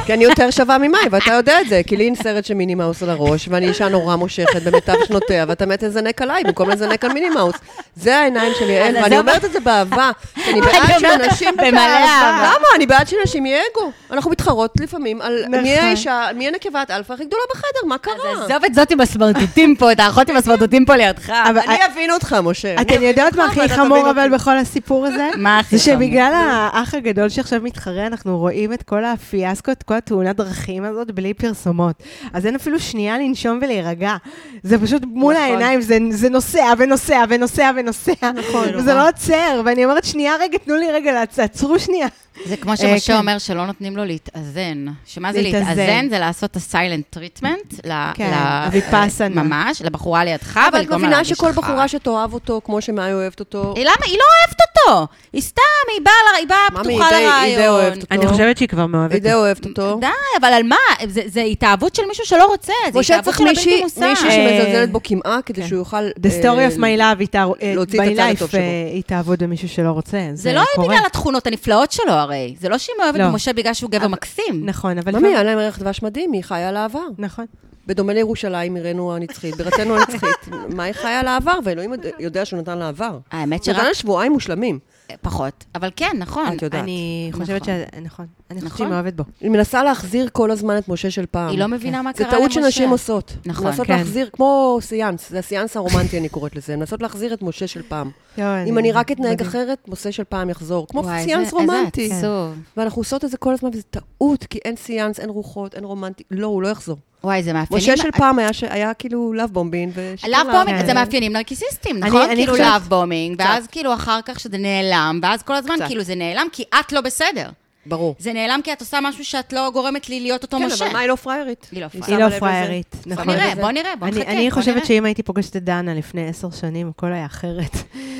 [SPEAKER 3] כי אני יותר שווה ממאי, ואתה יודע את זה, כי לי אין סרט של מיני מאוס על הראש, ואני אישה נורא מושכת במיטב שנותיה, ואתה מת לזנק עליי במקום לזנק על מיני מאוס. זה העיניים של יעל, ואני אומרת את זה באהבה, כי אני
[SPEAKER 1] אני
[SPEAKER 3] בעד
[SPEAKER 1] אומרת,
[SPEAKER 3] שאנשים...
[SPEAKER 1] במלא אהבה.
[SPEAKER 3] למה? אני בעד שלנשים יהיה אגו. אנחנו מתחרות לפעמים על מי
[SPEAKER 2] נכון.
[SPEAKER 3] האישה, מי הנקבת אלפא הכי גדולה בחדר, מה קרה?
[SPEAKER 1] עזוב את זאת עם הסמרטוטים פה, את האחות עם הסמרטוטים פה לידך.
[SPEAKER 2] אבל-
[SPEAKER 3] אני אבין אותך, משה. אני
[SPEAKER 2] אתן יודעות מה
[SPEAKER 3] ואתה
[SPEAKER 2] הכי
[SPEAKER 3] תבין
[SPEAKER 2] חמור
[SPEAKER 3] אותי.
[SPEAKER 2] אבל בכל הסיפור הזה?
[SPEAKER 1] <laughs> מה הכי
[SPEAKER 2] זה
[SPEAKER 1] חמור?
[SPEAKER 2] שבגלל האח הגדול שעכשיו מתחרה, אנחנו רואים את כל הפיאסקות, כל התאונת דרכים הזאת בלי פרסומות. אז אין אפילו שנייה לנשום ולהירגע. זה פשוט מול
[SPEAKER 3] נכון.
[SPEAKER 2] העיניים, זה- זה נוסע ונוסע ונוסע ונוסע. נכון. <laughs> וזה לא עוצר, ואני אומרת, שנייה רגע, תנו לי רגע, לעצ- תעצרו שנייה.
[SPEAKER 1] זה כמו
[SPEAKER 2] אה,
[SPEAKER 1] שמשה
[SPEAKER 2] כן.
[SPEAKER 1] אומר שלא נותנים לו להתאזן. שמה זה
[SPEAKER 2] להתאזן.
[SPEAKER 1] להתאזן? זה לעשות את הסיילנט טריטמנט.
[SPEAKER 2] כן, הוויפאסנה.
[SPEAKER 1] ממש, לבחורה לידך,
[SPEAKER 3] אבל את
[SPEAKER 1] ולגרום לה
[SPEAKER 3] מבינה
[SPEAKER 1] להרגיש
[SPEAKER 3] שכל
[SPEAKER 1] לא לך.
[SPEAKER 3] בחורה שתאהב אותו, כמו שמאי אוהבת אותו,
[SPEAKER 1] היא למה? היא לא אוהבת אותו. היא סתם, היא באה ל- היא באה
[SPEAKER 3] מאמי,
[SPEAKER 1] פתוחה
[SPEAKER 3] היא די-
[SPEAKER 1] לרעיון.
[SPEAKER 3] היא די אוהבת אותו. אני חושבת
[SPEAKER 2] שהיא כבר מאוהבת.
[SPEAKER 3] אידה אוהבת אותו.
[SPEAKER 1] די, אבל על מה? זה- זה התאהבות של מישהו שלא רוצה, זה
[SPEAKER 3] משה
[SPEAKER 1] התאהבות
[SPEAKER 3] צריך
[SPEAKER 1] של הבלתי
[SPEAKER 3] מישהי
[SPEAKER 1] מושג.
[SPEAKER 3] מישהי
[SPEAKER 2] אה,
[SPEAKER 3] שמזלזלת בו קמעה, כדי
[SPEAKER 2] כן.
[SPEAKER 3] שהוא יוכל...
[SPEAKER 2] The story
[SPEAKER 3] אה,
[SPEAKER 2] of my love, התאר- אה,
[SPEAKER 3] להוציא את
[SPEAKER 2] by
[SPEAKER 3] הצד הטוב
[SPEAKER 2] life,
[SPEAKER 3] שבו.
[SPEAKER 2] אה, היא תעבוד במישהו שלא רוצה.
[SPEAKER 1] זה לא
[SPEAKER 2] קורה.
[SPEAKER 1] בגלל התכונות הנפלאות שלו הרי. זה לא שהיא מאוהבת
[SPEAKER 2] לא.
[SPEAKER 1] במשה בגלל שהוא גבר מקסים.
[SPEAKER 2] נכון, אבל...
[SPEAKER 3] ממי, היה להם ערך דבש מדהים, היא חיה על העבר.
[SPEAKER 2] נכון.
[SPEAKER 3] בדומה לירושלים, עירנו הנצחית, בירתנו
[SPEAKER 1] <laughs>
[SPEAKER 3] הנצחית. מה היא חיה על העבר? ואלוהים יודע שהוא נתן לה עבר.
[SPEAKER 1] האמת
[SPEAKER 3] הוא נתן
[SPEAKER 1] שרק
[SPEAKER 3] לה שבועיים מושלמים.
[SPEAKER 1] פחות, אבל כן, נכון.
[SPEAKER 3] את יודעת.
[SPEAKER 2] אני
[SPEAKER 1] נכון.
[SPEAKER 2] חושבת ש... נכון. אני חושבת
[SPEAKER 1] נכון.
[SPEAKER 2] שהיא מאוהבת בו.
[SPEAKER 3] היא מנסה להחזיר כל הזמן את משה של פעם.
[SPEAKER 1] היא לא מבינה מה
[SPEAKER 3] זה
[SPEAKER 1] קרה למשה.
[SPEAKER 3] טעות שנשים עושות.
[SPEAKER 1] נכון,
[SPEAKER 3] מנסות
[SPEAKER 2] כן.
[SPEAKER 3] להחזיר, כמו סיאנס, זה הסיאנס הרומנטי, אני קוראת לזה. מנסות להחזיר את משה של
[SPEAKER 2] <laughs>
[SPEAKER 3] פעם. אם אני רק אתנהג אחרת, משה של פעם יחזור. כמו
[SPEAKER 1] וואי,
[SPEAKER 3] סיאנס
[SPEAKER 1] איזה-
[SPEAKER 3] רומנטי.
[SPEAKER 1] איזה עצוב.
[SPEAKER 3] ואנחנו עושות את זה כל הזמן, וזה טעות, כי אין סיאנס, אין רוחות, אין רומנטי. לא, הוא לא יחזור.
[SPEAKER 1] וואי, זה מאפיינים...
[SPEAKER 3] משה של לא- פעם היה ש- היה כאילו לאב בומבין, ושקר
[SPEAKER 1] לאב בומינג
[SPEAKER 2] כן.
[SPEAKER 1] זה מאפיינים נרקיסיסטים,
[SPEAKER 2] אני-
[SPEAKER 1] נכון?
[SPEAKER 2] אני
[SPEAKER 1] כאילו
[SPEAKER 2] חושבת-
[SPEAKER 1] לאב בומינג, ואז כאילו אחר כך שזה נעלם, ואז כל הזמן
[SPEAKER 3] קצת.
[SPEAKER 1] כאילו זה נעלם כי את לא בסדר.
[SPEAKER 3] ברור.
[SPEAKER 1] זה נעלם כי את עושה משהו שאת לא גורמת לי להיות אותו
[SPEAKER 3] כן,
[SPEAKER 1] משה.
[SPEAKER 3] אבל מה, היא לא פריירית?
[SPEAKER 1] היא לא
[SPEAKER 3] שמה
[SPEAKER 1] פריירית.
[SPEAKER 2] היא לא
[SPEAKER 3] לב לזה?
[SPEAKER 2] פריירית,
[SPEAKER 3] שמה
[SPEAKER 2] נכון.
[SPEAKER 1] בוא
[SPEAKER 3] לב
[SPEAKER 1] נראה,
[SPEAKER 3] לזה?
[SPEAKER 1] בוא נראה, בוא
[SPEAKER 2] אני,
[SPEAKER 1] נחכה.
[SPEAKER 2] אני
[SPEAKER 1] בוא
[SPEAKER 2] חושבת
[SPEAKER 1] נראה.
[SPEAKER 2] שאם הייתי פוגשת את דנה לפני עשר שנים, הכל היה אחרת.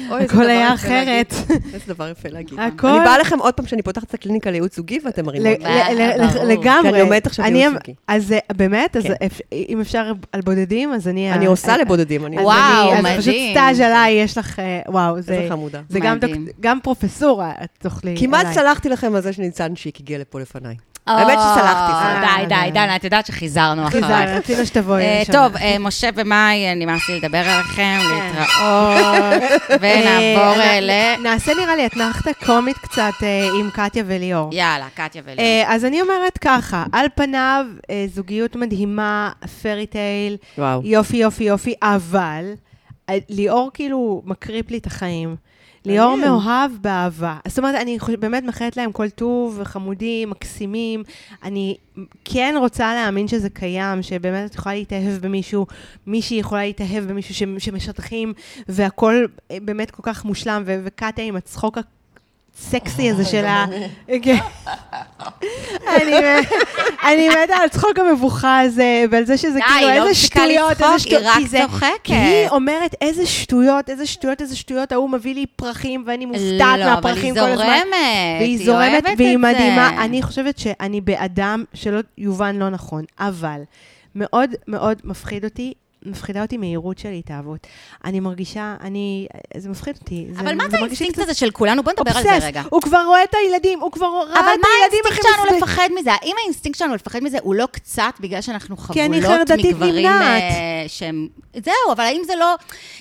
[SPEAKER 3] אוי, איזה
[SPEAKER 2] הכל
[SPEAKER 3] דבר
[SPEAKER 2] היה
[SPEAKER 3] יפה להגיד.
[SPEAKER 2] אחרת.
[SPEAKER 3] <laughs> איזה דבר יפה להגיד.
[SPEAKER 2] הכל...
[SPEAKER 3] <laughs> אני באה לכם עוד פעם שאני פותחת את הקליניקה לייעוץ זוגי ואתם מרימים
[SPEAKER 2] ל-
[SPEAKER 3] אותי.
[SPEAKER 1] אה,
[SPEAKER 2] ל- ל-
[SPEAKER 1] ברור.
[SPEAKER 2] לגמרי.
[SPEAKER 3] כי אני לומדת עכשיו
[SPEAKER 2] אני
[SPEAKER 3] ייעוץ
[SPEAKER 2] אמ-
[SPEAKER 3] זוגי.
[SPEAKER 2] אז אה, באמת, אז
[SPEAKER 3] כן.
[SPEAKER 2] אפ- אה, אם אפשר על בודדים, אז אני...
[SPEAKER 3] אני
[SPEAKER 2] ה-
[SPEAKER 3] עושה
[SPEAKER 2] אה,
[SPEAKER 3] לבודדים, אני
[SPEAKER 2] אז
[SPEAKER 1] וואו,
[SPEAKER 2] אני- אז פשוט
[SPEAKER 1] מדהים.
[SPEAKER 2] סטאז' עליי, יש לך... אה, וואו, זה...
[SPEAKER 3] איזה חמודה.
[SPEAKER 2] זה גם,
[SPEAKER 1] מדהים.
[SPEAKER 2] דוק- גם פרופסורה, את תוכלי
[SPEAKER 3] כמעט
[SPEAKER 2] עליי.
[SPEAKER 3] סלחתי לכם על זה שניצן שיק הגיע לפה לפניי.
[SPEAKER 1] או,
[SPEAKER 3] האמת שסלחתי,
[SPEAKER 2] סלחתי.
[SPEAKER 1] אה, די, די, דנה, את יודעת שחיזרנו
[SPEAKER 2] זה,
[SPEAKER 1] אחרייך.
[SPEAKER 2] רצינו שתבואי
[SPEAKER 1] אה,
[SPEAKER 2] לשם.
[SPEAKER 1] טוב, אה, משה ומאי, נמאס לי לדבר עליכם,
[SPEAKER 3] אה.
[SPEAKER 1] להתראות,
[SPEAKER 3] <laughs>
[SPEAKER 1] ונעבור
[SPEAKER 2] אה,
[SPEAKER 1] אה, ל...
[SPEAKER 2] נעשה נראה לי אתנחתה קומית קצת אה, עם קטיה וליאור.
[SPEAKER 1] יאללה, קטיה וליאור.
[SPEAKER 2] אה, אז אני אומרת ככה, על פניו, אה, זוגיות מדהימה, פרי טייל,
[SPEAKER 3] וואו.
[SPEAKER 2] יופי, יופי, יופי, אבל אה, ליאור כאילו מקריפ לי את החיים. ליאור
[SPEAKER 3] מעניין.
[SPEAKER 2] מאוהב באהבה. זאת אומרת, אני חוש... באמת מאחלת להם כל טוב, חמודים, מקסימים. אני כן רוצה להאמין שזה קיים, שבאמת את יכולה להתאהב במישהו, מישהי יכולה להתאהב במישהו ש... שמשטחים, והכול אה, באמת כל כך מושלם, ו- וקטיה עם הצחוק הסקסי
[SPEAKER 1] אה,
[SPEAKER 2] הזה שלה. <laughs> כן. אני אני מתה על הצחוק המבוכה הזה, ועל זה שזה
[SPEAKER 1] די,
[SPEAKER 2] כאילו
[SPEAKER 1] היא לא
[SPEAKER 2] איזה
[SPEAKER 1] מפסיקה
[SPEAKER 2] שטויות,
[SPEAKER 1] לצחוק,
[SPEAKER 2] איזה
[SPEAKER 1] היא
[SPEAKER 2] שטויות,
[SPEAKER 1] רק
[SPEAKER 2] כי זה-
[SPEAKER 1] צוחקת.
[SPEAKER 2] כי היא אומרת איזה שטויות, איזה שטויות, איזה שטויות, ההוא מביא לי פרחים ואני מופתעת מהפרחים כל
[SPEAKER 1] לא, אבל
[SPEAKER 2] הזמן.
[SPEAKER 1] היא זורמת,
[SPEAKER 2] והיא
[SPEAKER 1] היא
[SPEAKER 2] זורמת
[SPEAKER 1] אוהבת את
[SPEAKER 2] והיא
[SPEAKER 1] זה.
[SPEAKER 2] מדהימה. אני חושבת שאני באדם שלא יובן לא נכון, אבל מאוד מאוד מפחיד אותי. מפחידה אותי מהירות של התאהבות. אני מרגישה, אני... זה מפחיד אותי.
[SPEAKER 1] אבל מה זה
[SPEAKER 2] מרגיש לי
[SPEAKER 1] האינסטינקט
[SPEAKER 2] קצת
[SPEAKER 1] הזה של כולנו? בוא נדבר על זה
[SPEAKER 2] אובסס.
[SPEAKER 1] רגע.
[SPEAKER 2] הוא כבר רואה את הילדים, הוא כבר ראה את
[SPEAKER 1] אבל מה
[SPEAKER 2] הילדים
[SPEAKER 1] האינסטינקט
[SPEAKER 2] הכי
[SPEAKER 1] שלנו
[SPEAKER 2] מספיק.
[SPEAKER 1] לפחד מזה? האם האינסטינקט שלנו לפחד מזה הוא לא קצת בגלל שאנחנו
[SPEAKER 2] כי אני
[SPEAKER 1] חבולות
[SPEAKER 2] חרדתית
[SPEAKER 1] מגברים
[SPEAKER 2] נמנעת.
[SPEAKER 1] אה, שהם... זהו, אבל האם זה לא...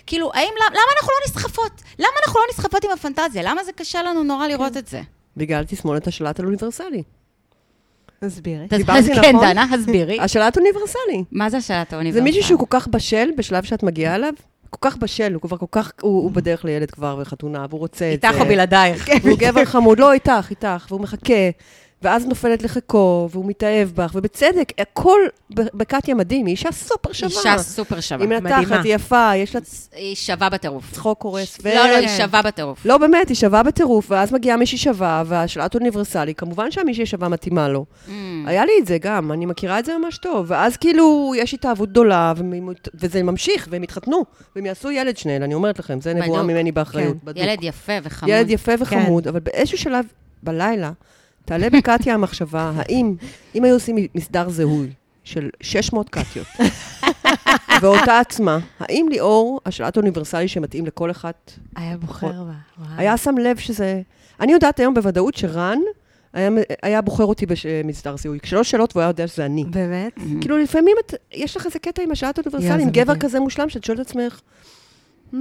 [SPEAKER 1] כאילו, האם... למה אנחנו לא נסחפות? למה אנחנו לא נסחפות עם הפנטזיה? למה זה קשה לנו נורא
[SPEAKER 2] כן.
[SPEAKER 1] לראות את זה?
[SPEAKER 3] בגלל תסמונת השלט על אוניברסלי.
[SPEAKER 2] תסבירי.
[SPEAKER 3] דיברתי
[SPEAKER 1] אז כן,
[SPEAKER 3] נכון?
[SPEAKER 1] דנה,
[SPEAKER 2] <laughs>
[SPEAKER 1] הסבירי.
[SPEAKER 3] השלט אוניברסלי.
[SPEAKER 1] מה זה השאלת
[SPEAKER 3] זה
[SPEAKER 1] האוניברסיטה?
[SPEAKER 3] מישהו שהוא כל כך בשל בשלב שאת מגיעה אליו, כל כך בשל, הוא כבר כל כך, הוא הוא בדרך לילד כבר וחתונה, והוא רוצה את זה.
[SPEAKER 2] אה,
[SPEAKER 1] איתך או בלעדייך.
[SPEAKER 2] כן,
[SPEAKER 3] והוא גבר חמוד, לא, איתך, איתך, והוא מחכה, ואז נופלת לחיקו, והוא מתאהב בך, ובצדק, הכל ב- בקטיה מדהים, היא אישה סופר שווה.
[SPEAKER 1] אישה סופר שווה.
[SPEAKER 3] היא מנתחת,
[SPEAKER 2] מדהימה.
[SPEAKER 3] היא יפה, יש לה
[SPEAKER 1] היא שווה בטירוף.
[SPEAKER 3] צחוק קורס. ו-
[SPEAKER 1] לא, לא, היא שווה בטירוף.
[SPEAKER 3] לא, באמת, היא שווה בטירוף, ואז מגיעה מישהי שווה, והשאלת אוניברסלי, כמובן שהמישהי שווה מתאימה לו.
[SPEAKER 1] Mm.
[SPEAKER 3] היה לי את זה גם, אני מכירה את זה ממש טוב. ואז כאילו, יש התאהבות גדולה, והם- וזה ממשיך, והם התחתנו, והם יעשו ילד שניהם, אני אומרת לכם, זה נבואה
[SPEAKER 1] בדוק.
[SPEAKER 3] ממני באחריות.
[SPEAKER 2] כן.
[SPEAKER 3] בדוק.
[SPEAKER 1] ילד כן. יפה וחמוד.
[SPEAKER 3] ילד יפה וחמוד, אבל באיזשהו שלב, בלילה, תעלה
[SPEAKER 1] <laughs>
[SPEAKER 3] בקטיה המחשבה, האם, אם היו עושים מסדר זיהוי של 600 קטיות, <laughs> ואותה עצמה, האם ליאור, השאלת אוניברסלי שמתאים לכל אחת,
[SPEAKER 2] היה בוחר בה.
[SPEAKER 1] אה.
[SPEAKER 3] היה שם לב שזה... אני יודעת היום בוודאות שרן היה, היה בוחר אותי במסדר זיהוי. שלוש שאלות והוא היה יודע שזה אני.
[SPEAKER 2] באמת?
[SPEAKER 3] כאילו, לפעמים את, יש לך איזה קטע עם השאלת
[SPEAKER 2] יא,
[SPEAKER 3] אוניברסלי,
[SPEAKER 2] זה
[SPEAKER 3] עם גבר
[SPEAKER 2] מדהים.
[SPEAKER 3] כזה מושלם, שאת שואלת את עצמך, "Hmm,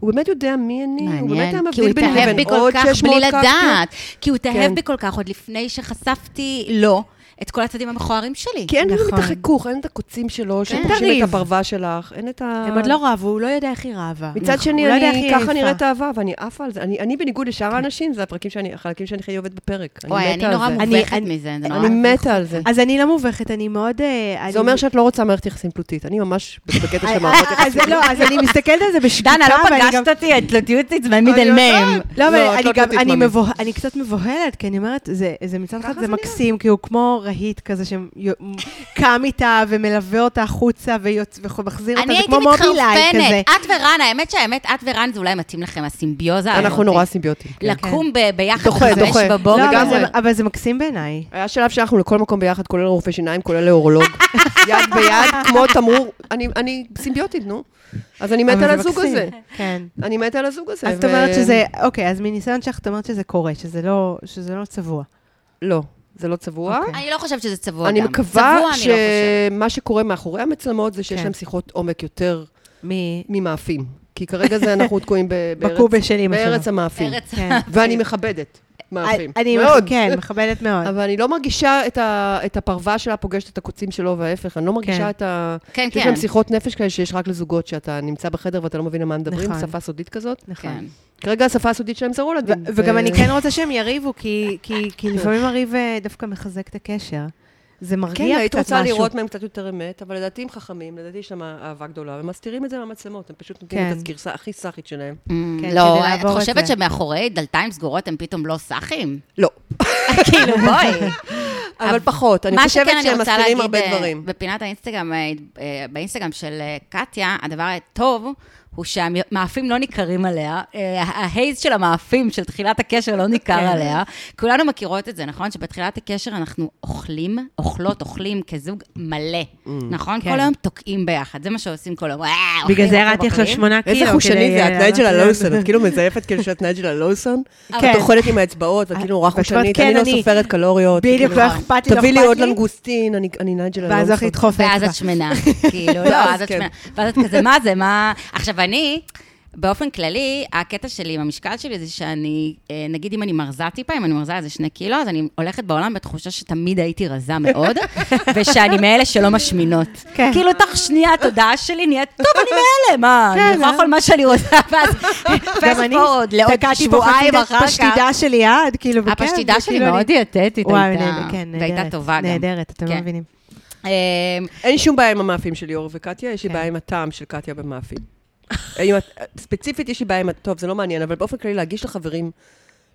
[SPEAKER 3] הוא באמת יודע מי אני, הוא באמת היה
[SPEAKER 1] מעניין, כי הוא
[SPEAKER 3] מבדיל ביני
[SPEAKER 1] התאהב בי
[SPEAKER 3] לבין
[SPEAKER 1] כל
[SPEAKER 3] עוד
[SPEAKER 1] כך
[SPEAKER 3] 600
[SPEAKER 1] בלי
[SPEAKER 3] קקטוס."
[SPEAKER 1] לדעת. כי הוא התאהב
[SPEAKER 3] כן.
[SPEAKER 1] בי כל כך עוד לפני שחשפתי לו את כל הצדדים המכוערים שלי.
[SPEAKER 3] כי אין לנו כן, את
[SPEAKER 2] נכון.
[SPEAKER 3] החיכוך, אין את הקוצים שלו,
[SPEAKER 1] כן.
[SPEAKER 3] שפוגשים
[SPEAKER 2] תריב.
[SPEAKER 3] את הפרווה שלך, אין את ה...
[SPEAKER 2] הם עוד לא רבו, הוא לא יודע איך היא רבה.
[SPEAKER 3] מצד
[SPEAKER 2] הוא
[SPEAKER 3] שני,
[SPEAKER 2] לא יודע איך
[SPEAKER 3] אני,
[SPEAKER 2] היא
[SPEAKER 3] ככה
[SPEAKER 2] עייפה. כן.
[SPEAKER 3] נראית אהבה, ואני עפה על זה. אני, אני בניגוד לשאר האנשים, זה הפרקים שאני, החלקים שאני הכי אוהבת בפרק. אני
[SPEAKER 1] וואי, אני
[SPEAKER 3] מתה על
[SPEAKER 1] נורא
[SPEAKER 3] זה.
[SPEAKER 2] אני-
[SPEAKER 1] מובכת
[SPEAKER 2] אני-
[SPEAKER 1] מזה, זה נורא
[SPEAKER 3] אני
[SPEAKER 1] מביך.
[SPEAKER 3] מתה על זה.
[SPEAKER 2] אז אני לא מובכת, אני מאוד... אה, אני-
[SPEAKER 3] זה אומר שאת לא רוצה מערכת יחסים תלותית. אני ממש בקטע של
[SPEAKER 2] אה,
[SPEAKER 3] מערכות
[SPEAKER 2] אה, <laughs> אז לא, אז אני מסתכלת על זה בשקיקה,
[SPEAKER 1] דנה, לא
[SPEAKER 2] ואני גם-
[SPEAKER 1] פגשת אותי, את תלותיות עצמנית
[SPEAKER 3] אני
[SPEAKER 1] אל מהם.
[SPEAKER 3] יודעת.
[SPEAKER 2] לא, אבל
[SPEAKER 3] לא, את
[SPEAKER 2] אני
[SPEAKER 3] לא
[SPEAKER 2] גם,
[SPEAKER 3] תלותית,
[SPEAKER 2] אני
[SPEAKER 3] מאמי.
[SPEAKER 2] מבוה- אני קצת מבוהלת, כי אני אומרת, זה זה מצד אחד
[SPEAKER 3] ככה
[SPEAKER 2] זה
[SPEAKER 3] זה נראה.
[SPEAKER 2] מקסים, כי הוא כמו רהיט כזה <laughs> שקם איתה ומלווה אותה החוצה ויוצ- ומחזיר
[SPEAKER 1] אני
[SPEAKER 2] אותה, זה
[SPEAKER 1] הייתי
[SPEAKER 2] כמו מובילאיי כזה.
[SPEAKER 1] מתחרפנת. את ורן, האמת שהאמת, את ורן זה אולי מתאים לכם, הסימביוזה.
[SPEAKER 3] אנחנו
[SPEAKER 2] אה,
[SPEAKER 1] האלמותית.
[SPEAKER 2] אוקיי.
[SPEAKER 3] נורא סימביוטים. כן.
[SPEAKER 1] לקום ב- ביחד
[SPEAKER 3] דוחה,
[SPEAKER 1] בחמש
[SPEAKER 3] דוחה.
[SPEAKER 2] לא,
[SPEAKER 1] בבוקר.
[SPEAKER 2] אבל
[SPEAKER 3] לגמרי.
[SPEAKER 2] זה- אבל זה מקסים בעיניי.
[SPEAKER 3] היה שלב שאנחנו לכל מקום ביחד, כולל לרופא שיניים, כולל לאורולוג. <laughs> יד ביד, כמו תמרור. אני- אני סימביוטית, נו. אז אני
[SPEAKER 2] אבל
[SPEAKER 3] מתה
[SPEAKER 2] זה
[SPEAKER 3] על הזוג
[SPEAKER 2] מקסים.
[SPEAKER 3] הזה.
[SPEAKER 2] כן.
[SPEAKER 3] אני מתה על הזוג הזה.
[SPEAKER 2] אז את
[SPEAKER 3] ו-
[SPEAKER 2] אומרת שזה, אוקיי, אז מניסיון שלך את אומרת שזה קורה, שזה לא, שזה לא צבוע.
[SPEAKER 3] לא, זה לא צבוע.
[SPEAKER 2] אוקיי.
[SPEAKER 1] אני לא חושבת שזה צבוע גם.
[SPEAKER 3] אני מקווה
[SPEAKER 1] צבוע אני לא חושבת.
[SPEAKER 3] שמה שקורה מאחורי המצלמות זה שיש
[SPEAKER 2] כן.
[SPEAKER 3] להם שיחות עומק יותר
[SPEAKER 2] מ... <laughs>
[SPEAKER 3] ממאפים. כי כרגע זה אנחנו תקועים ב- בארץ-
[SPEAKER 2] בקובה שלי, מה
[SPEAKER 3] בארץ
[SPEAKER 2] שלא.
[SPEAKER 3] המאפים.
[SPEAKER 1] ארץ-
[SPEAKER 2] כן.
[SPEAKER 3] ואני מכבדת. מאפים.
[SPEAKER 2] אני,
[SPEAKER 3] מאוד.
[SPEAKER 2] כן, מכבדת מאוד.
[SPEAKER 3] אבל אני לא מרגישה את, ה, את הפרווה שלה פוגשת את הקוצים שלו וההפך, אני לא מרגישה
[SPEAKER 2] כן.
[SPEAKER 3] את ה...
[SPEAKER 1] כן,
[SPEAKER 3] יש
[SPEAKER 1] כן.
[SPEAKER 3] גם שיחות נפש כאלה שיש רק לזוגות, שאתה נמצא בחדר ואתה לא מבין על מה מדברים,
[SPEAKER 2] נכון.
[SPEAKER 3] שפה סודית כזאת.
[SPEAKER 1] כן.
[SPEAKER 3] כרגע השפה הסודית שלהם זה רולדים.
[SPEAKER 2] ו- וגם אני כן רוצה שהם יריבו, כי- כי כי לפעמים הריב אה, דווקא מחזק את הקשר. זה מרגיע קצת
[SPEAKER 3] כן,
[SPEAKER 2] משהו.
[SPEAKER 3] היית רוצה לראות מהם קצת יותר אמת, אבל לדעתי הם חכמים, לדעתי יש להם אהבה גדולה, הם מסתירים את זה מהמצלמות, הם פשוט נותנים
[SPEAKER 2] כן.
[SPEAKER 3] את הגרסה הכי סאחית שלהם.
[SPEAKER 1] אמ,
[SPEAKER 2] כדי
[SPEAKER 1] לא, את
[SPEAKER 2] לעבור את
[SPEAKER 1] חושבת
[SPEAKER 2] זה.
[SPEAKER 1] שמאחורי דלתיים סגורות הם פתאום לא סאחים?
[SPEAKER 3] <laughs> לא.
[SPEAKER 1] כאילו, בואי.
[SPEAKER 3] אבל פחות, אני
[SPEAKER 1] מה
[SPEAKER 3] חושבת
[SPEAKER 1] שכן, אני
[SPEAKER 3] שהם
[SPEAKER 1] רוצה
[SPEAKER 3] מסתירים
[SPEAKER 1] להגיד,
[SPEAKER 3] הרבה
[SPEAKER 1] אה,
[SPEAKER 3] דברים.
[SPEAKER 1] בפינת האינסטגרם, אה, אה, באינסטגרם של אה, קטיה, הדבר הטוב הוא שהמאפים לא ניכרים עליה, אה, ההייז של המאפים של תחילת הקשר לא ניכר
[SPEAKER 2] כן.
[SPEAKER 1] עליה. כולנו מכירות את זה, נכון? שבתחילת הקשר אנחנו אוכלים, אוכלות, אוכלים כזוג מלא, נכון?
[SPEAKER 2] כן.
[SPEAKER 1] כל היום תוקעים ביחד, זה מה שעושים כל היום. "אה,
[SPEAKER 2] בגלל
[SPEAKER 1] אוכלים,
[SPEAKER 2] זה
[SPEAKER 1] אוכלים,
[SPEAKER 2] ירדתי עכשיו
[SPEAKER 1] אוכלים."
[SPEAKER 2] שמונה קילו.
[SPEAKER 3] איזה חושני
[SPEAKER 2] כדי,
[SPEAKER 3] זה,
[SPEAKER 2] אה,
[SPEAKER 3] את נייג'לה
[SPEAKER 2] לעלות
[SPEAKER 3] לוסון, את כאילו מזייפת כאילו שאת נייג'לה לוסון,
[SPEAKER 2] <laughs> כן.
[SPEAKER 3] את אוכלת עם האצבעות, ואת כאילו נורא
[SPEAKER 2] ואת אומרת,
[SPEAKER 3] חושנית,
[SPEAKER 2] כן,
[SPEAKER 3] אני לא
[SPEAKER 2] אני-
[SPEAKER 3] סופרת קלוריות.
[SPEAKER 2] בדיוק,
[SPEAKER 3] כאילו,
[SPEAKER 2] לא אכפת לי, לא
[SPEAKER 3] תביא לי
[SPEAKER 2] אכפת
[SPEAKER 3] עוד
[SPEAKER 2] לי.
[SPEAKER 3] לנגוסטין, אני- אני נייג'לה לוסון.
[SPEAKER 2] ואז הולכת לדחוף
[SPEAKER 1] ואז
[SPEAKER 2] אצבע.
[SPEAKER 1] את
[SPEAKER 2] <laughs>
[SPEAKER 1] שמנה, כאילו, לא,
[SPEAKER 3] ואז
[SPEAKER 1] אז את
[SPEAKER 3] כן.
[SPEAKER 1] שמנה. ואז את כזה, מה זה, מה... עכשיו, אני, באופן כללי, הקטע שלי עם המשקל שלי זה שאני, אה, נגיד אם אני מרזה טיפה, אם אני מרזה איזה שני קילו, אז אני הולכת בעולם בתחושה שתמיד הייתי רזה
[SPEAKER 2] <laughs>
[SPEAKER 1] מאוד, ושאני מאלה שלא משמינות.
[SPEAKER 2] כן.
[SPEAKER 1] כאילו, תוך שנייה התודעה שלי נהיית, טוב, אני מאלה, מה,
[SPEAKER 2] כן,
[SPEAKER 1] אני יכולה
[SPEAKER 2] אה?
[SPEAKER 1] לאכול מה שאני רוצה, <laughs> ואז פסט <laughs> פורוד לעוד
[SPEAKER 2] תקעתי פה חצי
[SPEAKER 1] שבועיים
[SPEAKER 2] את
[SPEAKER 1] אחר כך.
[SPEAKER 2] הפשטידה שלי עד, כאילו, וכן.
[SPEAKER 1] הפשטידה שלי
[SPEAKER 2] וכאילו אני-
[SPEAKER 1] מאוד דיאטטית
[SPEAKER 2] וואי,
[SPEAKER 1] הייתה,
[SPEAKER 2] נהדר, כן,
[SPEAKER 1] והייתה
[SPEAKER 2] נהדרת,
[SPEAKER 1] טובה גם.
[SPEAKER 2] נהדרת, אתם לא
[SPEAKER 1] כן.
[SPEAKER 2] מבינים.
[SPEAKER 1] אה,
[SPEAKER 3] אין שום בעיה עם המאפים של ליאור וקטיה, יש לי
[SPEAKER 2] כן.
[SPEAKER 3] בעיה עם הטעם של קטיה במאפים. <laughs> עם הת- ספציפית, יש לי בעיה עם... ה- טוב, זה לא מעניין, אבל באופן כללי, להגיש לחברים,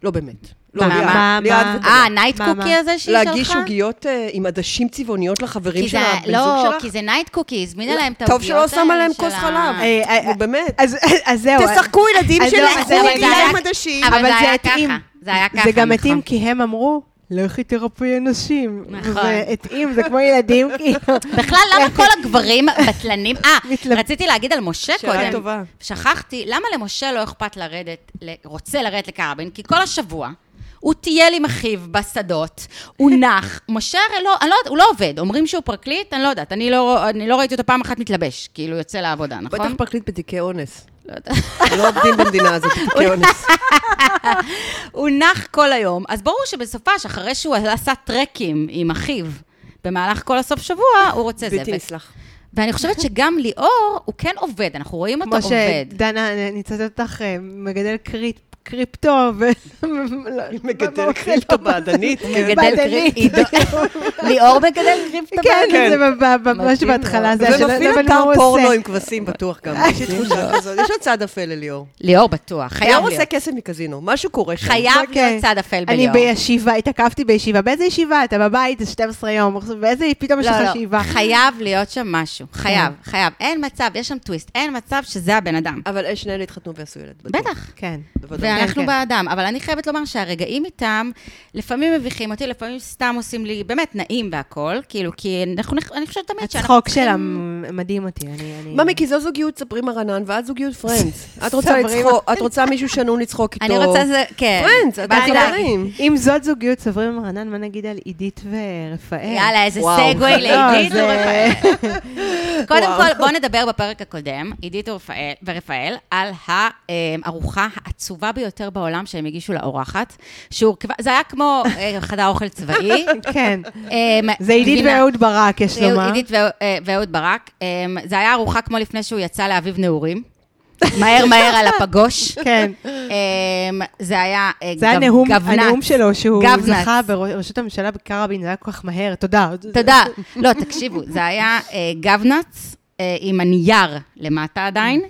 [SPEAKER 3] לא באמת. לא,
[SPEAKER 1] מה,
[SPEAKER 3] ליעד,
[SPEAKER 2] מה,
[SPEAKER 3] ליעד
[SPEAKER 2] מה?
[SPEAKER 3] וקטיה.
[SPEAKER 1] אה, נייט
[SPEAKER 2] מה,
[SPEAKER 1] קוקי
[SPEAKER 2] מה?
[SPEAKER 1] הזה שהיא שלחה?
[SPEAKER 3] להגיש עוגיות אה, עם עדשים צבעוניות לחברים
[SPEAKER 1] כי
[SPEAKER 3] של
[SPEAKER 1] זה,
[SPEAKER 3] הבן זוג
[SPEAKER 1] לא,
[SPEAKER 3] שלך?
[SPEAKER 1] כי זה נייט קוקי, הזמינה להם את העוגיות
[SPEAKER 3] טוב שלא שמה
[SPEAKER 1] האלה
[SPEAKER 3] להם
[SPEAKER 1] של
[SPEAKER 3] כוס
[SPEAKER 1] ה-
[SPEAKER 3] חלב.
[SPEAKER 2] אה, אה,
[SPEAKER 3] נו, באמת.
[SPEAKER 2] אז- אז זהו.
[SPEAKER 3] תשחקו, ילדים
[SPEAKER 2] אז
[SPEAKER 3] שלי,
[SPEAKER 2] לא, אז
[SPEAKER 3] קחו
[SPEAKER 2] זה
[SPEAKER 1] אבל
[SPEAKER 2] לי
[SPEAKER 1] זה היה-
[SPEAKER 3] גיליהם עדשים.
[SPEAKER 1] אבל זה היה
[SPEAKER 2] התאים.
[SPEAKER 1] ככה, זה היה ככה,
[SPEAKER 2] זה גם
[SPEAKER 1] נכון.
[SPEAKER 2] התאים, כי הם אמרו, לכי תרפאי נשים.
[SPEAKER 1] נכון.
[SPEAKER 2] זה התאים, זה כמו
[SPEAKER 1] <laughs>
[SPEAKER 2] ילדים, כאילו.
[SPEAKER 1] בכלל,
[SPEAKER 3] <laughs>
[SPEAKER 1] למה כל הגברים בטלנים... אה,
[SPEAKER 2] מתלב-
[SPEAKER 1] רציתי להגיד על משה
[SPEAKER 3] שאלה
[SPEAKER 1] קודם.
[SPEAKER 3] טובה.
[SPEAKER 1] שכחתי, למה למשה לא אכפת לרדת, ל- רוצה לרדת לקרבין? כי כל השבוע... הוא טייל עם אחיו בשדות,
[SPEAKER 3] <laughs>
[SPEAKER 1] הוא נח. משה הרי לא, אני לא יודעת, הוא לא עובד. אומרים שהוא פרקליט, אני לא יודעת. אני לא, אני לא ראיתי אותו פעם אחת מתלבש, כאילו, יוצא לעבודה, נכון?
[SPEAKER 3] בטח פרקליט בתיקי אונס.
[SPEAKER 1] לא יודעת.
[SPEAKER 3] לא עובדים במדינה
[SPEAKER 1] <laughs>
[SPEAKER 3] הזאת בתיקי אונס.
[SPEAKER 1] הוא נח כל היום, אז ברור שבסופש, אחרי שהוא עשה טרקים עם אחיו, במהלך כל הסוף שבוע, הוא רוצה זה.
[SPEAKER 3] בלתי
[SPEAKER 1] ו-
[SPEAKER 3] נסלח.
[SPEAKER 1] ואני חושבת שגם ליאור, הוא כן עובד, אנחנו רואים אותו
[SPEAKER 2] כמו <laughs>
[SPEAKER 1] עובד.
[SPEAKER 2] שדנה, אני אצטט אותך, אה, מגדל קריפ- קריפטו, ו... <laughs>
[SPEAKER 3] מגדל קריפטו בעדנית. כן.
[SPEAKER 1] מגדל
[SPEAKER 2] בעדנית.
[SPEAKER 1] קריפטו. ליאור מגדל קריפטו.
[SPEAKER 2] כן,
[SPEAKER 1] בעד.
[SPEAKER 2] כן,
[SPEAKER 3] כן.
[SPEAKER 2] זה ב- ב- ממש
[SPEAKER 1] מדהים
[SPEAKER 2] בהתחלה,
[SPEAKER 1] מאוד.
[SPEAKER 2] זה היה
[SPEAKER 3] זה לא,
[SPEAKER 2] שלא
[SPEAKER 3] מפעיל
[SPEAKER 2] ידענו מה
[SPEAKER 3] אתר
[SPEAKER 2] הוא
[SPEAKER 3] פורנו
[SPEAKER 2] עושה.
[SPEAKER 3] <laughs> עם כבשים בטוח גם. כן. יש לי
[SPEAKER 1] <laughs>
[SPEAKER 3] תחושה כזאת. יש עוד צד אפל לליאור.
[SPEAKER 1] ליאור בטוח, חייב
[SPEAKER 3] ליאור עושה
[SPEAKER 1] להיות.
[SPEAKER 3] כסף מקזינו, משהו קורה שם.
[SPEAKER 1] חייב
[SPEAKER 2] אוקיי.
[SPEAKER 1] להיות צד אפל
[SPEAKER 2] אני
[SPEAKER 1] בליאור.
[SPEAKER 2] בישיבה, התעכבתי בישיבה. באיזה ישיבה? אתה בבית, זה 12 יום. באיזה, פתאום יש
[SPEAKER 1] לא,
[SPEAKER 2] לך
[SPEAKER 1] לא,
[SPEAKER 2] שאיבה.
[SPEAKER 1] חייב להיות שם משהו, חייב, חייב. אין מצב, יש שם טוויסט, אין מצב שזה הבן אדם.
[SPEAKER 3] אבל אה, שניהם התחתנו ועשו ילד. בטוח.
[SPEAKER 1] בטח.
[SPEAKER 2] כן.
[SPEAKER 3] בוודאי.
[SPEAKER 1] ואנחנו
[SPEAKER 2] כן.
[SPEAKER 1] בעדם. אבל אני חייבת לומר שהרגעים איתם, לפעמים מביכים אותי, לפעמים סתם עושים לי באמת נעים והכול, כאילו, כי אנחנו, אני חושבת תמיד שאנחנו...
[SPEAKER 2] הצחוק
[SPEAKER 1] צריכים-
[SPEAKER 2] שלה מ- מדהים אותי. אני... אני-
[SPEAKER 3] ממי, כי זו זוגיות ספרי מרנן, ואת זוגיות פרנדס.
[SPEAKER 1] <laughs>
[SPEAKER 3] את רוצה
[SPEAKER 2] ספרי
[SPEAKER 3] לצחוק, את רוצה מישהו שנון לצחוק איתו.
[SPEAKER 1] אני רוצה זה, כן.
[SPEAKER 3] פרנדס, את
[SPEAKER 1] באתי להגיד.
[SPEAKER 3] חברים.
[SPEAKER 2] אם זאת זוגיות סברי ומרנן, מה נגיד על עידית ורפאל?
[SPEAKER 1] יאללה, איזה
[SPEAKER 3] וואו.
[SPEAKER 1] סגווי
[SPEAKER 2] לא,
[SPEAKER 1] לעידית
[SPEAKER 2] אה, זה-
[SPEAKER 1] ורפאל. קודם
[SPEAKER 3] וואו.
[SPEAKER 1] כל, בואו נדבר בפרק הקודם, עידית ורפאל- ורפאל, על הארוחה העצובה ביותר בעולם שהם הגישו לאורחת, שהורכבה, זה היה כמו אה, חדר אוכל
[SPEAKER 2] <laughs>
[SPEAKER 1] צבאי.
[SPEAKER 2] כן.
[SPEAKER 1] אמ,
[SPEAKER 2] זה עידית
[SPEAKER 1] גבינה.
[SPEAKER 2] ואהוד ברק, יש
[SPEAKER 1] זהו,
[SPEAKER 2] לומר.
[SPEAKER 1] עידית ואהוד- אה, ואהוד ברק. אמ, זה היה ארוחה כמו לפני שהוא יצא לאביב נעורים. <laughs> מהר מהר על הפגוש.
[SPEAKER 2] כן.
[SPEAKER 1] אמ, זה היה אה,
[SPEAKER 2] זה היה
[SPEAKER 1] גב-
[SPEAKER 2] נאום,
[SPEAKER 1] גבנ"ץ.
[SPEAKER 2] הנאום שלו, שהוא
[SPEAKER 1] גבנ"ץ.
[SPEAKER 2] זכה בראשות הממשלה בקרבין, זה היה כל כך מהר, תודה.
[SPEAKER 1] תודה. לא, תקשיבו, זה היה אה, גבנץ אה, עם הנייר למטה עדיין,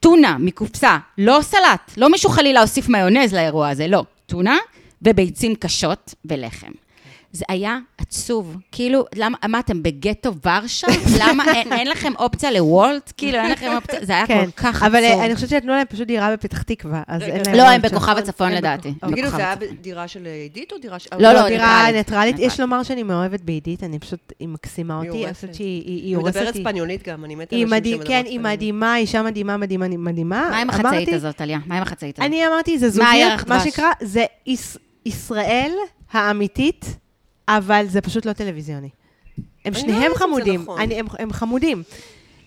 [SPEAKER 1] טונה מקופסה, לא סלט, לא מישהו חלילה הוסיף מיונז לאירוע הזה, לא. טונה וביצים קשות ולחם. זה היה עצוב, כאילו, למה, מה אתם בגטו
[SPEAKER 2] <laughs>
[SPEAKER 1] ורשה? למה אין, אין לכם אופציה לוולט? כאילו, אין לכם אופציה, זה היה
[SPEAKER 2] כן.
[SPEAKER 1] כל כך
[SPEAKER 2] אבל
[SPEAKER 1] עצוב.
[SPEAKER 2] אה, אני חושבת שנתנו להם פשוט דירה בפתח תקווה, אז אין להם...
[SPEAKER 1] לא, הם
[SPEAKER 2] אופציה.
[SPEAKER 1] בכוכב הצפון
[SPEAKER 2] הם כאילו
[SPEAKER 1] לדעתי. הם
[SPEAKER 2] בכוכב
[SPEAKER 3] תגידו, זה היה
[SPEAKER 1] הצפון.
[SPEAKER 3] דירה של עידית או דירה של...
[SPEAKER 1] לא, לא,
[SPEAKER 2] דירה
[SPEAKER 1] ניטרלית.
[SPEAKER 2] ניטרלית. יש
[SPEAKER 1] ניטרלית.
[SPEAKER 2] לומר שאני מאוהבת בעידית, אני פשוט, היא מקסימה
[SPEAKER 3] היא
[SPEAKER 2] אותי, אני
[SPEAKER 3] הורסת.
[SPEAKER 2] חושבת שהיא היא- היא
[SPEAKER 3] היא
[SPEAKER 2] הורסת.
[SPEAKER 3] מדברת
[SPEAKER 2] היא-
[SPEAKER 3] ספניונית גם, אני מתה
[SPEAKER 2] היא
[SPEAKER 3] אנשים
[SPEAKER 2] מדהים,
[SPEAKER 3] שמדברות
[SPEAKER 2] כן, היא מדהימה, אישה מדהימה, מדהימה, מדהימה.
[SPEAKER 1] מה עם החצאית
[SPEAKER 2] אמרתי-
[SPEAKER 1] הזאת, טליה? מה עם החצאית הזאת?
[SPEAKER 2] אני אמרתי, זה
[SPEAKER 1] מה היה
[SPEAKER 2] זוגיות,
[SPEAKER 1] לך
[SPEAKER 2] מה
[SPEAKER 1] דבש?
[SPEAKER 2] שנקרא, זה יש- ישראל האמיתית, אבל זה פשוט לא טלוויזיוני. הם
[SPEAKER 3] לא
[SPEAKER 2] שניהם
[SPEAKER 3] יודעת אם זה
[SPEAKER 2] חמודים,
[SPEAKER 3] נכון.
[SPEAKER 2] אני- הם- הם חמודים.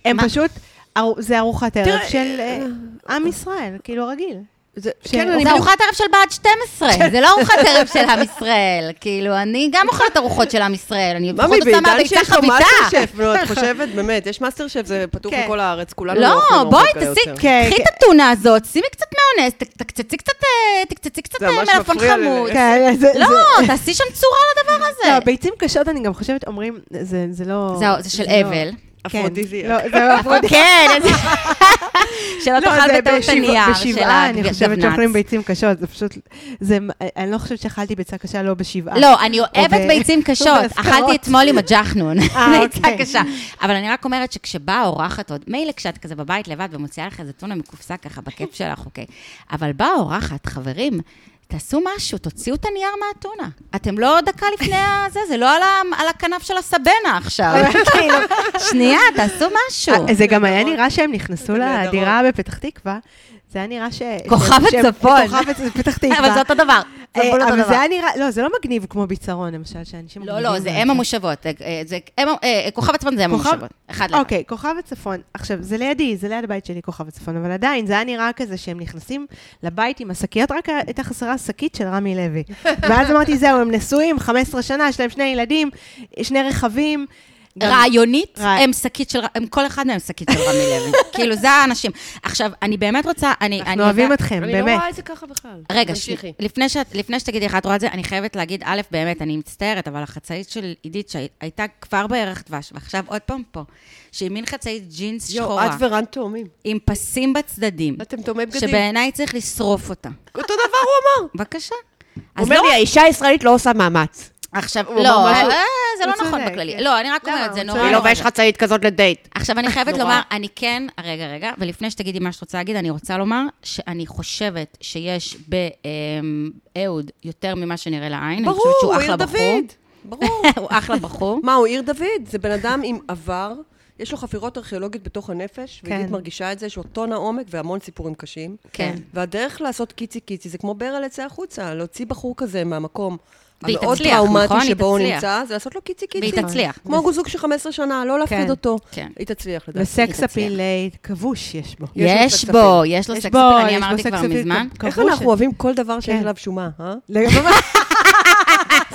[SPEAKER 2] הם
[SPEAKER 1] מה?
[SPEAKER 2] פשוט, ארו- זה ארוחת ערב
[SPEAKER 3] תראה,
[SPEAKER 2] של אה, עם ישראל, כאילו רגיל.
[SPEAKER 3] זה,
[SPEAKER 2] ש-
[SPEAKER 3] כן, אני
[SPEAKER 1] זה
[SPEAKER 3] בדיוק...
[SPEAKER 1] ארוחת ערב של בעד 12, זה לא ארוחת ערב של עם ישראל. <laughs> כאילו, אני גם אוכלת ארוחot של עם ישראל, אני
[SPEAKER 3] ממי,
[SPEAKER 1] בכל זאת שמה
[SPEAKER 3] בעידן
[SPEAKER 1] ביצה
[SPEAKER 3] שיש לו מאסטר
[SPEAKER 1] חביתה. <laughs>
[SPEAKER 3] שף, נו, את חושבת, באמת, יש מאסטר שף, זה פתוח
[SPEAKER 2] כן.
[SPEAKER 3] בכל הארץ, כולנו
[SPEAKER 1] לא,
[SPEAKER 3] אוכלים
[SPEAKER 1] בואי,
[SPEAKER 3] ארוחת כאלה
[SPEAKER 1] תעשי,
[SPEAKER 3] יותר.
[SPEAKER 2] כן,
[SPEAKER 1] קחי
[SPEAKER 2] כן.
[SPEAKER 1] את הטונה הזאת, שימי קצת מאונס, ת- תקצצי קצת אה, תקצצי קצת
[SPEAKER 3] זה ממש
[SPEAKER 1] מלפפון
[SPEAKER 3] מפריע לי.
[SPEAKER 1] חמוץ.
[SPEAKER 2] כן, זה...
[SPEAKER 1] לא,
[SPEAKER 2] זה-
[SPEAKER 1] תעשי שם צורה לדבר
[SPEAKER 2] לא,
[SPEAKER 1] הזה.
[SPEAKER 2] ביצים קשות, אני גם חושבת, אומרים, זה זה לא...
[SPEAKER 1] זהו, זה של
[SPEAKER 2] לא-
[SPEAKER 1] אבל.
[SPEAKER 2] כן.
[SPEAKER 3] אפרודיזיאק.
[SPEAKER 2] לא, זה לא אפרודיזיאק.
[SPEAKER 1] <laughs> כן, אז- שלא
[SPEAKER 2] לא,
[SPEAKER 1] תאכל
[SPEAKER 2] זה
[SPEAKER 1] בטעות את
[SPEAKER 2] בשבעה-
[SPEAKER 1] הנייר של
[SPEAKER 2] בשבעה, אני חושבת
[SPEAKER 1] הגבנץ.
[SPEAKER 2] שאוכלים ביצים קשות, זה פשוט... זה... אני לא חושבת שאכלתי ביצה קשה לא בשבעה. <laughs>
[SPEAKER 1] לא, אני אוהבת
[SPEAKER 2] ב- <laughs>
[SPEAKER 1] ביצים קשות.
[SPEAKER 2] בהסתרות.
[SPEAKER 1] אכלתי אתמול עם הג'חנון,
[SPEAKER 2] אוקיי. אה,
[SPEAKER 1] <laughs> ביצה
[SPEAKER 2] אוקיי.
[SPEAKER 1] קשה. אבל אני רק אומרת שכשבאה אורחת עוד, מילא כשאת כזה בבית לבד ומוציאה לך איזה טונה מקופסה ככה בכיף שלך, אוקיי. אבל באה אורחת, חברים, תעשו משהו, תוציאו את הנייר מהטונה. אתם לא דקה
[SPEAKER 2] <laughs>
[SPEAKER 1] לפני הזה, זה לא על ה- על הכנף של הסבנה עכשיו. כאילו, שנייה, תעשו משהו.
[SPEAKER 2] אה, <laughs> זה גם היה נראה שהם נכנסו
[SPEAKER 3] נהדרות.
[SPEAKER 2] לדירה בפתח תקווה, זה היה נראה ש...
[SPEAKER 1] כוכב
[SPEAKER 2] שהם- שהם-
[SPEAKER 1] הצפון.
[SPEAKER 2] כוכב הצפון,
[SPEAKER 1] <laughs>
[SPEAKER 2] פתח תקווה.
[SPEAKER 1] אבל זה אותו דבר. זה
[SPEAKER 2] אה,
[SPEAKER 1] בול אותו
[SPEAKER 2] אבל
[SPEAKER 1] דבר.
[SPEAKER 2] זה היה נראה, לא, זה לא מגניב כמו ביצרון, למשל, שאנשים...
[SPEAKER 1] לא,
[SPEAKER 2] מגניבים
[SPEAKER 1] לא, זה
[SPEAKER 2] להם.
[SPEAKER 1] אם המושבות. אה, אה, זה- אם ה- אה, כוכב עצמן זה אם
[SPEAKER 2] כוכב-
[SPEAKER 1] המושבות. אחד לאחד.
[SPEAKER 2] אוקיי, כוכב הצפון. עכשיו, זה לידי, זה ליד הבית שלי, כוכב הצפון, אבל עדיין, זה היה נראה כזה שהם נכנסים לבית עם השקיות, רק הייתה חסרה שקית של רמי <laughs> לוי. ואז אמרתי, זהו, הם נשואים, 15 שנה, יש להם שני ילדים, שני רכבים. גם-
[SPEAKER 1] רעיונית,
[SPEAKER 2] רע-
[SPEAKER 1] הם שקית של, הם כל אחד מהם שקית של רמי לוי.
[SPEAKER 2] <laughs>
[SPEAKER 1] כאילו, זה האנשים. עכשיו, אני באמת רוצה, אני... אני
[SPEAKER 2] אנחנו אוהבים
[SPEAKER 1] רוצה-
[SPEAKER 2] אתכם,
[SPEAKER 3] אני לא
[SPEAKER 2] באמת.
[SPEAKER 3] רואה את זה ככה בכלל.
[SPEAKER 1] רגע, שני-
[SPEAKER 3] תמשיכי.
[SPEAKER 1] לפני, שאת, לפני שתגידי איך את רואה את זה, אני חייבת להגיד, א', באמת, אני מצטערת, אבל החצאית של עידית, שהייתה כבר בערך דבש, ועכשיו עוד פעם פה, שהיא מין חצאית ג'ינס
[SPEAKER 3] יואו,
[SPEAKER 1] שחורה,
[SPEAKER 3] את ורן תאומים.
[SPEAKER 1] עם פסים בצדדים,
[SPEAKER 3] אתם תאומי בגדים.
[SPEAKER 1] שבעיניי צריך לשרוף אותה.
[SPEAKER 3] אותו דבר הוא אמר.
[SPEAKER 1] בבקשה.
[SPEAKER 3] הוא
[SPEAKER 1] אז
[SPEAKER 3] אומר
[SPEAKER 1] לא
[SPEAKER 3] לי, האישה הישראלית לא עושה מאמץ.
[SPEAKER 1] עכשיו,
[SPEAKER 3] הוא
[SPEAKER 1] לא,
[SPEAKER 3] אמר
[SPEAKER 1] אה,
[SPEAKER 3] משהו-
[SPEAKER 1] זה לא
[SPEAKER 2] הוא
[SPEAKER 1] נכון
[SPEAKER 2] צודק,
[SPEAKER 1] בכללי.
[SPEAKER 2] כן.
[SPEAKER 1] לא, אני רק
[SPEAKER 2] למה?
[SPEAKER 1] אומרת, זה
[SPEAKER 2] הוא
[SPEAKER 1] נורא...
[SPEAKER 2] צודק.
[SPEAKER 1] נורא.
[SPEAKER 2] לא,
[SPEAKER 3] ויש חצאית כזאת לדייט.
[SPEAKER 1] עכשיו,
[SPEAKER 3] <laughs>
[SPEAKER 1] אני חייבת
[SPEAKER 3] נורא.
[SPEAKER 1] לומר, אני כן, רגע, רגע, ולפני שתגידי מה שאת רוצה להגיד, אני רוצה לומר שאני חושבת שיש באהוד יותר ממה שנראה לעין. אני חושבת שהוא אחלה
[SPEAKER 3] ברור, הוא עיר
[SPEAKER 1] בחור.
[SPEAKER 3] דוד. ברור.
[SPEAKER 1] <laughs> הוא אחלה בחור.
[SPEAKER 3] מה, הוא עיר דוד? זה בן אדם עם עבר, יש לו חפירות ארכיאולוגיות בתוך הנפש,
[SPEAKER 2] כן.
[SPEAKER 3] ועידית מרגישה את זה, יש לו טון העומק והמון סיפורים קשים.
[SPEAKER 1] כן.
[SPEAKER 3] והדרך לעשות קיצי קיצי זה כמו ברל יצא החוצה, להוציא בחור כזה מהמקום.
[SPEAKER 1] והיא
[SPEAKER 3] המאוד
[SPEAKER 1] תצליח,
[SPEAKER 3] טראומטי
[SPEAKER 1] נכון? היא
[SPEAKER 3] שבו הוא
[SPEAKER 1] תצליח.
[SPEAKER 3] נמצא, זה לעשות לו קיצי קיצי.
[SPEAKER 1] והיא תצליח.
[SPEAKER 3] כמו זוג של 15 שנה, לא להפחיד
[SPEAKER 2] כן.
[SPEAKER 3] אותו.
[SPEAKER 1] כן.
[SPEAKER 3] היא תצליח לדעתי.
[SPEAKER 2] וסקס
[SPEAKER 1] היא תצליח.
[SPEAKER 2] אפיל אה, כבוש יש בו.
[SPEAKER 3] <laughs> יש לו
[SPEAKER 1] יש
[SPEAKER 3] סקס
[SPEAKER 1] בו, יש לו
[SPEAKER 2] יש
[SPEAKER 1] סקס
[SPEAKER 2] בו,
[SPEAKER 1] אפיל, אני
[SPEAKER 2] יש לו
[SPEAKER 1] אמרתי
[SPEAKER 2] סקס
[SPEAKER 1] כבר
[SPEAKER 2] אפיל
[SPEAKER 1] מזמן.
[SPEAKER 2] כ-
[SPEAKER 3] איך
[SPEAKER 2] כבוש.
[SPEAKER 3] אנחנו אוהבים כל דבר שיש
[SPEAKER 2] כן.
[SPEAKER 3] עליו שומה, אה?
[SPEAKER 2] <laughs> לגמרי.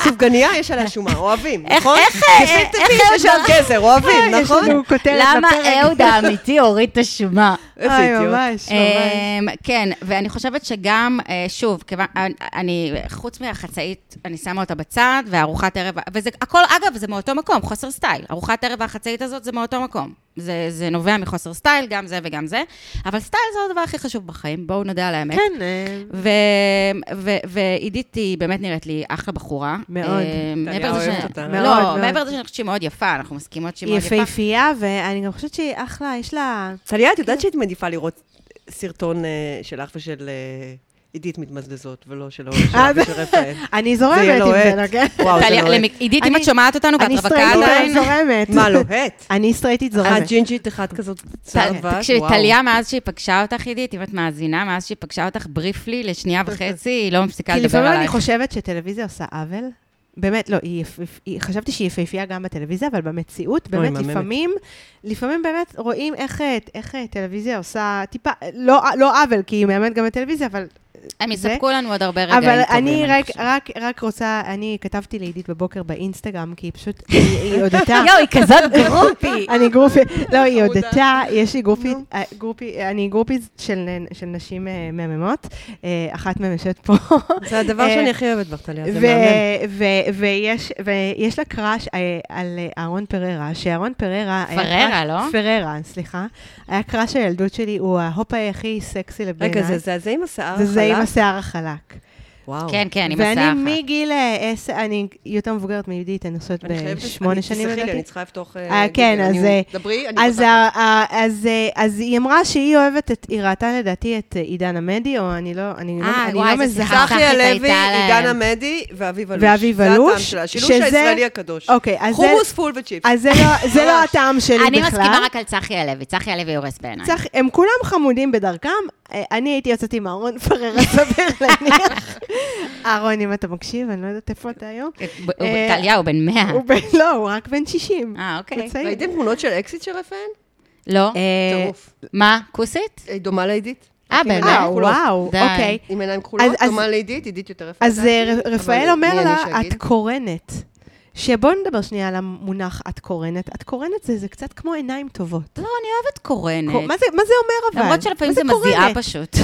[SPEAKER 3] סופגניה יש עליה שומה, אוהבים,
[SPEAKER 1] איך-
[SPEAKER 3] נכון?
[SPEAKER 1] איך, אה,
[SPEAKER 3] כפית
[SPEAKER 1] איך
[SPEAKER 3] טפית
[SPEAKER 1] אהוד
[SPEAKER 3] יש על גזר, אוהבים,
[SPEAKER 2] יש
[SPEAKER 3] נכון?
[SPEAKER 2] לנו כותרת
[SPEAKER 1] למה
[SPEAKER 2] לפרק.
[SPEAKER 1] אהוד האמיתי הוריד את השומה?
[SPEAKER 3] איזה
[SPEAKER 2] אוי,
[SPEAKER 3] אידיוט.
[SPEAKER 2] אה, ממש, ממש.
[SPEAKER 1] אמ, כן, ואני חושבת שגם, אה, שוב, כיוון- אני- אני, חוץ מהחצאית, אני שמה אותה בצד, וארוחת ערב, וזה הכל, אגב, זה מאותו מקום, חוסר סטייל. ארוחת ערב והחצאית הזאת זה מאותו מקום. זה, זה נובע מחוסר סטייל, גם זה וגם זה, אבל סטייל זה הדבר הכי חשוב בחיים, בואו נודה על האמת.
[SPEAKER 2] כן, אה,
[SPEAKER 1] ו- ו- ועידית היא באמת נראית לי אחלה בחורה.
[SPEAKER 2] מאוד.
[SPEAKER 1] אה, מעבר
[SPEAKER 3] טליה
[SPEAKER 1] לזה ש-
[SPEAKER 3] אוהבת אותה.
[SPEAKER 2] מאוד,
[SPEAKER 1] לא,
[SPEAKER 2] מאוד.
[SPEAKER 1] מעבר לזה שאני חושבת שהיא מאוד יפה, אנחנו מסכימות שהיא
[SPEAKER 2] היא
[SPEAKER 1] מאוד יפה.
[SPEAKER 2] יפהפייה, ואני גם חושבת שהיא אחלה, יש לה...
[SPEAKER 3] טליה, את
[SPEAKER 2] כן.
[SPEAKER 3] יודעת שהיית מעדיפה לראות סרטון אה, שלך ושל אה, עידית מתמזמזות, ולא של אורן
[SPEAKER 2] אה,
[SPEAKER 3] שלך ושל רפאל.
[SPEAKER 2] אני
[SPEAKER 3] זה
[SPEAKER 2] זורמת
[SPEAKER 3] יהיה
[SPEAKER 2] עם זה,
[SPEAKER 3] לוהט.
[SPEAKER 2] נכון?
[SPEAKER 3] וואו, זה לא
[SPEAKER 1] טליה,
[SPEAKER 3] לוהט.
[SPEAKER 1] למק- עידית, אם
[SPEAKER 2] אני-
[SPEAKER 1] את שומעת אותנו ואת
[SPEAKER 2] אני
[SPEAKER 1] רווקה
[SPEAKER 2] סטרייטית,
[SPEAKER 1] עדיין...
[SPEAKER 2] אבל זורמת.
[SPEAKER 3] מה, לא? לוהט?
[SPEAKER 2] אני סטרייטית
[SPEAKER 3] אה,
[SPEAKER 2] זורמת.
[SPEAKER 3] ג'ינג'ית אחת כזאת צהבת, וואו.
[SPEAKER 1] תקשיבי, טליה, מאז שהיא פגשה אותך, עידית, אם את מאזינה, מאז שהיא פגשה אותך בריפלי לשנייה וחצי, היא לא מפסיקה
[SPEAKER 2] כי
[SPEAKER 1] לדבר
[SPEAKER 2] כאילו, לפעמים אני
[SPEAKER 1] עלייך.
[SPEAKER 2] חושבת שטלוויזיה עושה עוול. באמת, לא, היא יפ- היא- חשבתי שהיא יפהפייה גם בטלוויזיה, אבל במציאות,
[SPEAKER 3] אוי,
[SPEAKER 2] באמת,
[SPEAKER 3] מהממת.
[SPEAKER 2] לפעמים, לפעמים באמת רואים איך, אה, איך אה, טלוויזיה עושה טיפה, לא לא עוול, כי היא מאמנת גם בטלוויזיה, אבל
[SPEAKER 1] הם
[SPEAKER 2] זה-
[SPEAKER 1] יספקו לנו עוד הרבה רגעים
[SPEAKER 2] אבל
[SPEAKER 1] טובים.
[SPEAKER 2] אני רק,
[SPEAKER 1] חושבת.
[SPEAKER 2] רק, רק רוצה, אני כתבתי לעידית בבוקר באינסטגרם, כי היא פשוט, היא- אה, היא הודתה.
[SPEAKER 1] <laughs> יואו, היא כזאת גרופי.
[SPEAKER 2] <laughs> אני גרופית, לא, היא הודתה, יש לי גרופית, אה, גרופי, אני גרופית של של נשים אה, מהממות, אה, אחת מהן יושבת פה.
[SPEAKER 3] זה הדבר
[SPEAKER 2] אה,
[SPEAKER 3] שאני הכי אוהבת בך, טליה, זה
[SPEAKER 2] ו-
[SPEAKER 3] מהמם.
[SPEAKER 2] ו- ויש- ויש לה קראש אה, על אה, אהרון פררה, שאהרון פררה... היה
[SPEAKER 1] פררה,
[SPEAKER 2] קראש-
[SPEAKER 1] לא?
[SPEAKER 2] פררה, סליחה. היה קראש הילדות שלי, הוא ההופאי הכי סקסי לבעיניי.
[SPEAKER 3] רגע, זה- זה זה עם השיער
[SPEAKER 2] זה זה עם
[SPEAKER 3] החלק?
[SPEAKER 2] השיער החלק.
[SPEAKER 3] וואו.
[SPEAKER 1] כן, כן, אני מסעה
[SPEAKER 2] ואני
[SPEAKER 1] אחת.
[SPEAKER 2] מגיל אה, עשר, אני יותר מבוגרת מיהודית, אני חושבת
[SPEAKER 3] אני חייבת-
[SPEAKER 2] בשמונה
[SPEAKER 3] אני-
[SPEAKER 2] שנים
[SPEAKER 3] תסלחי לי,
[SPEAKER 2] לדעתי.
[SPEAKER 3] אני צריכה לפתוח...
[SPEAKER 2] אה, כן,
[SPEAKER 3] גוגל,
[SPEAKER 2] אז,
[SPEAKER 3] אני-
[SPEAKER 2] אה,
[SPEAKER 3] דברי, אני
[SPEAKER 2] אז,
[SPEAKER 3] פותחת.
[SPEAKER 2] ה- ה- אז, אה, אז היא אמרה שהיא אוהבת את, היא ראתה לדעתי את אה, עידן עמדי, או אני לא, אני
[SPEAKER 1] אה,
[SPEAKER 2] לא, אני
[SPEAKER 1] וואי,
[SPEAKER 2] לא
[SPEAKER 1] זה
[SPEAKER 2] מזהה.
[SPEAKER 1] שיחה.
[SPEAKER 3] צחי
[SPEAKER 1] הייתה
[SPEAKER 3] הלוי,
[SPEAKER 1] להם.
[SPEAKER 3] עידן עמדי ואביב אלוש.
[SPEAKER 2] ואביב
[SPEAKER 3] זה הטעם
[SPEAKER 2] אלוש,
[SPEAKER 3] שלה, השילוש
[SPEAKER 2] שזה-
[SPEAKER 3] הישראלי הקדוש.
[SPEAKER 2] אוקיי, אז זה,
[SPEAKER 3] חומוס פול וצ'יפס.
[SPEAKER 2] אז זה, לא, זה לא הטעם שלי
[SPEAKER 1] <laughs> אני
[SPEAKER 2] בכלל.
[SPEAKER 1] מסכימה רק על צחי הלוי, צחי הלוי הורס בעיניי.
[SPEAKER 2] צריך, הם כולם חמודים בדרכם, אה, אני הייתי יוצאת עם אהרון פרר, סביר
[SPEAKER 1] <laughs>
[SPEAKER 2] להניח. אהרון, אם אתה מקשיב, אני לא יודעת איפה אתה היום.
[SPEAKER 1] הוא- הוא- טליה, הוא בן 100.
[SPEAKER 2] אה, הוא בן, לא, הוא רק בן 60.
[SPEAKER 1] אה,
[SPEAKER 2] הוא
[SPEAKER 1] אוקיי.
[SPEAKER 2] צעיר.
[SPEAKER 3] ראיתם תמונות של אקסיט של רפאל?
[SPEAKER 1] לא?
[SPEAKER 2] אה,
[SPEAKER 3] טירוף.
[SPEAKER 1] מה, כוסית?
[SPEAKER 3] היא דומה לעידית?
[SPEAKER 1] אה, באמת?
[SPEAKER 3] אה,
[SPEAKER 2] אה, וואו,
[SPEAKER 1] די.
[SPEAKER 2] אוקיי.
[SPEAKER 3] עם עיניים כחולות,
[SPEAKER 2] אז-
[SPEAKER 3] דומה לעידית, עידית יותר יפה.
[SPEAKER 2] אז אה,
[SPEAKER 3] לדעתי,
[SPEAKER 2] רפאל
[SPEAKER 3] אבל
[SPEAKER 2] אומר
[SPEAKER 3] מי אני
[SPEAKER 2] לה,
[SPEAKER 3] שאגיד?"
[SPEAKER 2] את קורנת. שבואו נדבר שנייה על המונח את קורנת. את קורנת זה, זה קצת כמו עיניים טובות.
[SPEAKER 1] לא, אני אוהבת
[SPEAKER 2] קו-
[SPEAKER 1] קורנת.
[SPEAKER 2] מה זה, מה זה אומר אבל?
[SPEAKER 1] למרות שלפעמים
[SPEAKER 2] מה
[SPEAKER 1] זה מזיעה
[SPEAKER 2] קורנת? <laughs> כן.
[SPEAKER 1] פשוט.